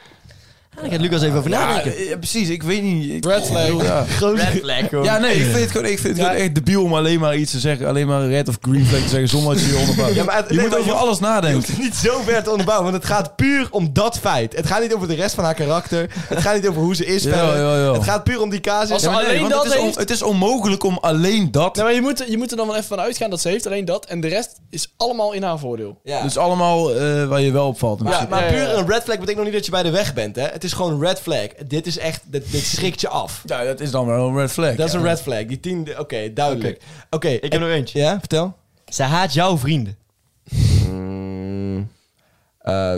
[SPEAKER 5] Daar gaat Lucas even over
[SPEAKER 4] Ja,
[SPEAKER 5] nadenken.
[SPEAKER 4] eh, precies, ik weet niet. Ik,
[SPEAKER 3] Red flag.
[SPEAKER 4] bedoel, ja.
[SPEAKER 5] Red flag, hoor.
[SPEAKER 4] Ja, nee, ik vind het gewoon, ik vind het
[SPEAKER 3] Ja.
[SPEAKER 4] gewoon echt debiel om alleen maar iets te zeggen. Alleen maar red of green flag te zeggen zonder dat je je onderbouwt.
[SPEAKER 2] Ja, maar het-
[SPEAKER 4] je
[SPEAKER 2] nee,
[SPEAKER 4] moet
[SPEAKER 2] maar
[SPEAKER 4] over
[SPEAKER 2] je-
[SPEAKER 4] alles
[SPEAKER 2] Je
[SPEAKER 4] nadenken.
[SPEAKER 2] hoeft het niet zo ver te onderbouwen, want het gaat puur om dat feit. Het gaat niet over de rest van haar karakter. Het gaat niet over hoe ze is.
[SPEAKER 4] Jawel,
[SPEAKER 2] verder.
[SPEAKER 4] jawel, jawel.
[SPEAKER 2] Het gaat puur om die casus.
[SPEAKER 3] Als ze
[SPEAKER 4] Ja, maar nee,
[SPEAKER 3] alleen
[SPEAKER 4] want
[SPEAKER 3] dat
[SPEAKER 4] het, is on-
[SPEAKER 3] heeft-
[SPEAKER 4] het is onmogelijk om alleen dat.
[SPEAKER 3] Nee, maar je moet, je moet er dan wel even van uitgaan dat ze heeft alleen dat. En de rest is allemaal in haar voordeel.
[SPEAKER 2] Ja.
[SPEAKER 4] Dus allemaal eh, waar je wel op valt. in
[SPEAKER 2] Maar,
[SPEAKER 4] principe.
[SPEAKER 2] maar
[SPEAKER 3] Ja, ja, ja.
[SPEAKER 2] puur een red flag betekent nog niet dat je bij de weg bent. Hè? Het is gewoon een red flag. Dit is echt, dit, dit schrikt je af.
[SPEAKER 4] ja, dat is dan wel een red flag.
[SPEAKER 2] Dat is
[SPEAKER 4] ja.
[SPEAKER 2] een red flag. Die tien, oké, duidelijk. Oké,
[SPEAKER 5] Ik
[SPEAKER 2] en-
[SPEAKER 5] heb nog eentje.
[SPEAKER 2] Ja, vertel.
[SPEAKER 5] Zij haat jouw vrienden.
[SPEAKER 2] Mm, eh,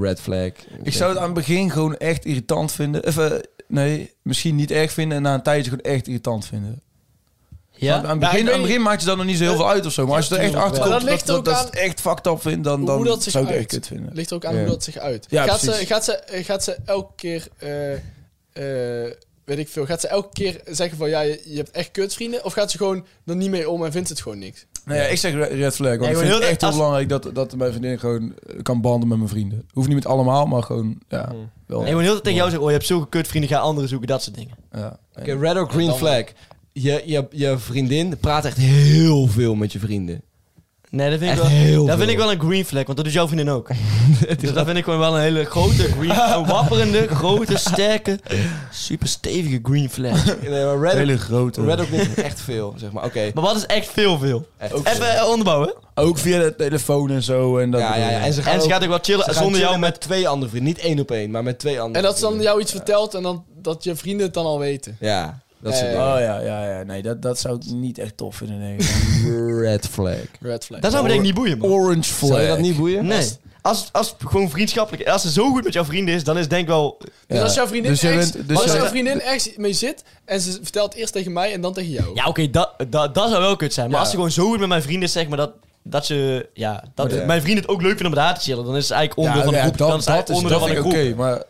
[SPEAKER 2] red flag.
[SPEAKER 4] Ik zou het aan het begin gewoon echt irritant vinden. Of, eh, nee, misschien niet erg vinden en na een tijdje gewoon echt irritant vinden.
[SPEAKER 5] Ja?
[SPEAKER 4] Want Aan het
[SPEAKER 3] Ja, ik
[SPEAKER 4] begin,
[SPEAKER 3] weet
[SPEAKER 4] aan het begin maakt je dan nog niet zo heel veel uit of zo. Maar als je er echt achter
[SPEAKER 3] Maar
[SPEAKER 4] komt
[SPEAKER 3] dat
[SPEAKER 4] dat,
[SPEAKER 3] ligt
[SPEAKER 4] dat,
[SPEAKER 3] ook
[SPEAKER 4] dat
[SPEAKER 3] aan
[SPEAKER 4] het echt fucked up vindt, dan,
[SPEAKER 3] Hoe
[SPEAKER 4] dan
[SPEAKER 3] dat zich
[SPEAKER 4] zou ik het
[SPEAKER 3] uit.
[SPEAKER 4] echt kut vinden.
[SPEAKER 3] Ligt er ook aan
[SPEAKER 2] Ja.
[SPEAKER 3] hoe dat zich uit.
[SPEAKER 4] Ja,
[SPEAKER 3] gaat, ze,
[SPEAKER 4] precies.
[SPEAKER 3] gaat, ze, gaat ze elke keer, eh, eh, weet ik veel, gaat ze elke keer zeggen van ja, je, je hebt echt kutvrienden? Of gaat ze gewoon er niet mee om en vindt het gewoon niks?
[SPEAKER 4] Nee, ja, ik zeg re- red flag. Want
[SPEAKER 5] Nee,
[SPEAKER 4] ik vind
[SPEAKER 5] maar heel
[SPEAKER 4] het
[SPEAKER 5] de-
[SPEAKER 4] echt heel
[SPEAKER 5] als-
[SPEAKER 4] belangrijk dat, dat mijn vriendin gewoon eh, kan banden met mijn vrienden. Hoeft niet met allemaal, maar gewoon, ja, wel.
[SPEAKER 5] Nee, maar heel de tijd tegen jou zeggen, oh, je hebt zulke kutvrienden, ga anderen zoeken, dat soort dingen.
[SPEAKER 4] ja. En-
[SPEAKER 2] Oké, red or green flag. Je, je, je vriendin praat echt heel veel met je vrienden.
[SPEAKER 5] Nee, dat vind
[SPEAKER 2] Echt
[SPEAKER 5] ik wel...
[SPEAKER 2] heel
[SPEAKER 5] Dat
[SPEAKER 2] veel.
[SPEAKER 5] vind ik wel een green flag, want dat doet jouw vriendin ook. dus dat vind ik gewoon wel een hele grote green Een wapperende, grote, sterke, super stevige green flag.
[SPEAKER 2] Nee, maar red,
[SPEAKER 4] Hele grote.
[SPEAKER 2] red or green is echt veel, zeg maar. Oké.
[SPEAKER 5] Maar wat is echt veel, veel?
[SPEAKER 2] echt
[SPEAKER 5] Even eh, onderbouwen.
[SPEAKER 4] Ook via de telefoon en zo. En dat
[SPEAKER 2] Ja, ja, ja. En ze gaan,
[SPEAKER 5] En ze
[SPEAKER 2] ook-
[SPEAKER 5] gaat ook wel
[SPEAKER 2] ze
[SPEAKER 5] chillen
[SPEAKER 2] gaan
[SPEAKER 5] zonder jou
[SPEAKER 2] chillen
[SPEAKER 5] met...
[SPEAKER 2] twee andere vrienden. Niet één op één, maar met twee andere
[SPEAKER 3] En dat ze dan
[SPEAKER 2] vrienden.
[SPEAKER 3] jou iets vertelt en dan dat je vrienden het dan al weten.
[SPEAKER 2] Ja, dat
[SPEAKER 3] Eh,
[SPEAKER 2] soort dingen.
[SPEAKER 4] Oh ja, ja, ja. Nee, dat, dat zou ik niet echt tof vinden. Nee.
[SPEAKER 2] Red flag.
[SPEAKER 3] Red flag.
[SPEAKER 5] Dat zou me denk ik niet boeien, man.
[SPEAKER 4] Orange flag.
[SPEAKER 2] Zou je dat niet boeien?
[SPEAKER 5] Nee. Als, als het gewoon vriendschappelijk... Als ze zo goed met jouw vrienden is, dan is het denk ik wel...
[SPEAKER 3] Dus
[SPEAKER 4] Ja.
[SPEAKER 3] als jouw vriendin,
[SPEAKER 4] Dus jij
[SPEAKER 3] ergens-
[SPEAKER 4] bent- dus
[SPEAKER 3] als
[SPEAKER 4] jij-
[SPEAKER 3] jouw vriendin ergens mee zit en ze vertelt eerst tegen mij en dan tegen jou.
[SPEAKER 5] Ja, oké, dat, dat, dat zou wel kut zijn. Maar
[SPEAKER 4] Ja.
[SPEAKER 5] als ze gewoon zo goed met mijn vrienden is, zeg maar, dat, dat ze... Ja, dat
[SPEAKER 2] Ja.
[SPEAKER 5] mijn vrienden het ook leuk vinden om met haar te chillen. Dan is het eigenlijk onderdeel van de groep.
[SPEAKER 4] dat,
[SPEAKER 5] dan is het
[SPEAKER 4] dat is
[SPEAKER 5] eigenlijk onderdeel
[SPEAKER 4] dat
[SPEAKER 5] van de
[SPEAKER 4] vind ik
[SPEAKER 5] groep.
[SPEAKER 4] oké, maar,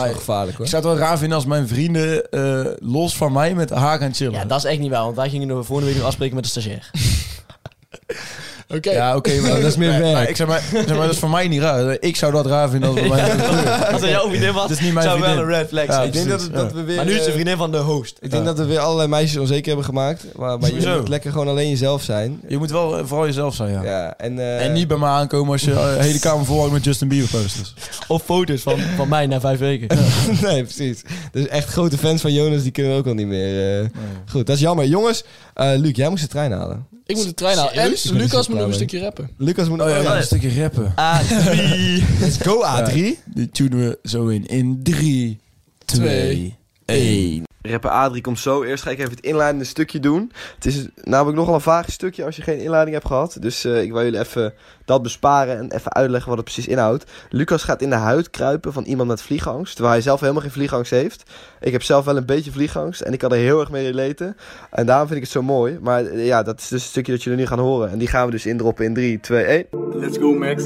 [SPEAKER 4] maar ik
[SPEAKER 2] Gevaarlijk hoor.
[SPEAKER 4] zou het wel raar vinden als mijn vrienden eh, los van mij met haar gaan chillen.
[SPEAKER 5] Ja, dat is echt niet waar, want wij gingen de volgende week nog afspreken met de stagiair.
[SPEAKER 3] Oké,
[SPEAKER 4] Ja, oké, maar
[SPEAKER 2] Dat is meer
[SPEAKER 4] Nee,
[SPEAKER 2] werk.
[SPEAKER 4] maar ik zeg maar, zeg maar, dat is voor mij niet raar. Ik zou dat raar vinden als bij mij.
[SPEAKER 5] Als dat jouw vriendin was,
[SPEAKER 4] Het is niet mijn
[SPEAKER 5] zou wel
[SPEAKER 4] vriendin.
[SPEAKER 5] een red flag
[SPEAKER 4] Ja,
[SPEAKER 5] zijn.
[SPEAKER 2] ik denk dat,
[SPEAKER 4] precies,
[SPEAKER 2] dat
[SPEAKER 4] ja.
[SPEAKER 2] we weer.
[SPEAKER 5] maar nu is
[SPEAKER 2] eh,
[SPEAKER 5] ze vriendin van de host.
[SPEAKER 2] ik denk dat we weer allerlei meisjes onzeker hebben gemaakt. Maar, maar je
[SPEAKER 4] Sowieso.
[SPEAKER 2] moet lekker gewoon alleen jezelf zijn.
[SPEAKER 4] Je moet wel eh, vooral jezelf zijn, ja.
[SPEAKER 2] Ja, en, eh,
[SPEAKER 4] En niet bij me aankomen als je eh, de hele kamer vol hangt met Justin Bieber posters.
[SPEAKER 5] Of foto's van, van mij na vijf weken.
[SPEAKER 2] nee, precies. Dus echt grote fans van Jonas, die kunnen we ook al niet meer. eh. Goed, dat is jammer. Jongens, eh, Luc, jij moest de trein halen.
[SPEAKER 3] ik moet de trein halen. En
[SPEAKER 2] Serieus? Ik ben er
[SPEAKER 3] Lucas
[SPEAKER 2] zo
[SPEAKER 3] moet nog een
[SPEAKER 2] blij mee.
[SPEAKER 3] stukje rappen.
[SPEAKER 2] Lucas moet...
[SPEAKER 4] Oh ja,
[SPEAKER 5] ja.
[SPEAKER 4] een stukje rappen.
[SPEAKER 5] Ah, A3.
[SPEAKER 2] Let's go, A3.
[SPEAKER 4] Die tunen we zo in. In 3, 2, 1.
[SPEAKER 2] Rapper Adrie komt zo. Eerst ga ik even het inleidende stukje doen. Het is namelijk nogal een vaag stukje als je geen inleiding hebt gehad. Dus eh, ik wil jullie even dat besparen en even uitleggen wat het precies inhoudt. Lucas gaat in de huid kruipen van iemand met vliegangst. Terwijl hij zelf helemaal geen vliegangst heeft. Ik heb zelf wel een beetje vliegangst en ik kan er heel erg mee relaten. En daarom vind ik het zo mooi. Maar eh, ja, dat is dus het stukje dat jullie nu gaan horen. En die gaan we dus indroppen in 3, 2, 1.
[SPEAKER 6] Let's go, Max.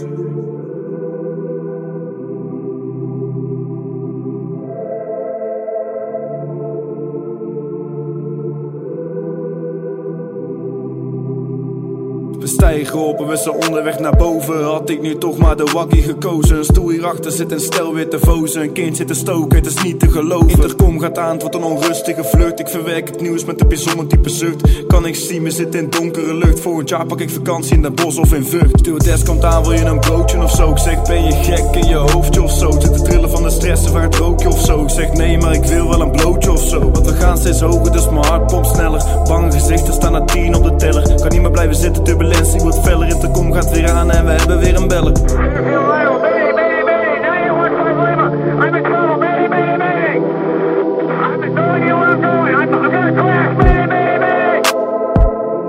[SPEAKER 6] We stijgen op en we zijn onderweg naar boven. Had ik nu toch maar de wakkie gekozen. Een stoel hierachter zit een stel witte vozen. Een kind zit te stoken, het is niet te geloven. Intercom gaat aan, het wordt een onrustige vlucht. Ik verwerk het nieuws met een bijzonder diepe zucht. Kan ik zien, we zitten in donkere lucht. Volgend jaar pak ik vakantie in Den Bosch of in Vught. Stewardess komt aan, wil je een broodje of zo? Ik zeg, ben je gek in je hoofdje of zo? Ik Zit te trillen van de stress en waar het rookje of zo? Ik zeg, nee, maar ik wil wel een blootje of zo. Want we gaan steeds hoger, dus mijn hart pompt sneller. Bange gezichten staan na tien op de teller. Kan niet meer blijven zitten, turbulentie wordt feller. Intercom gaat weer aan en we hebben weer een beller.
[SPEAKER 7] I'm in trouble, baby, baby, baby. I'm telling you where I'm going. I'm, I'm gonna crash, baby, baby, baby.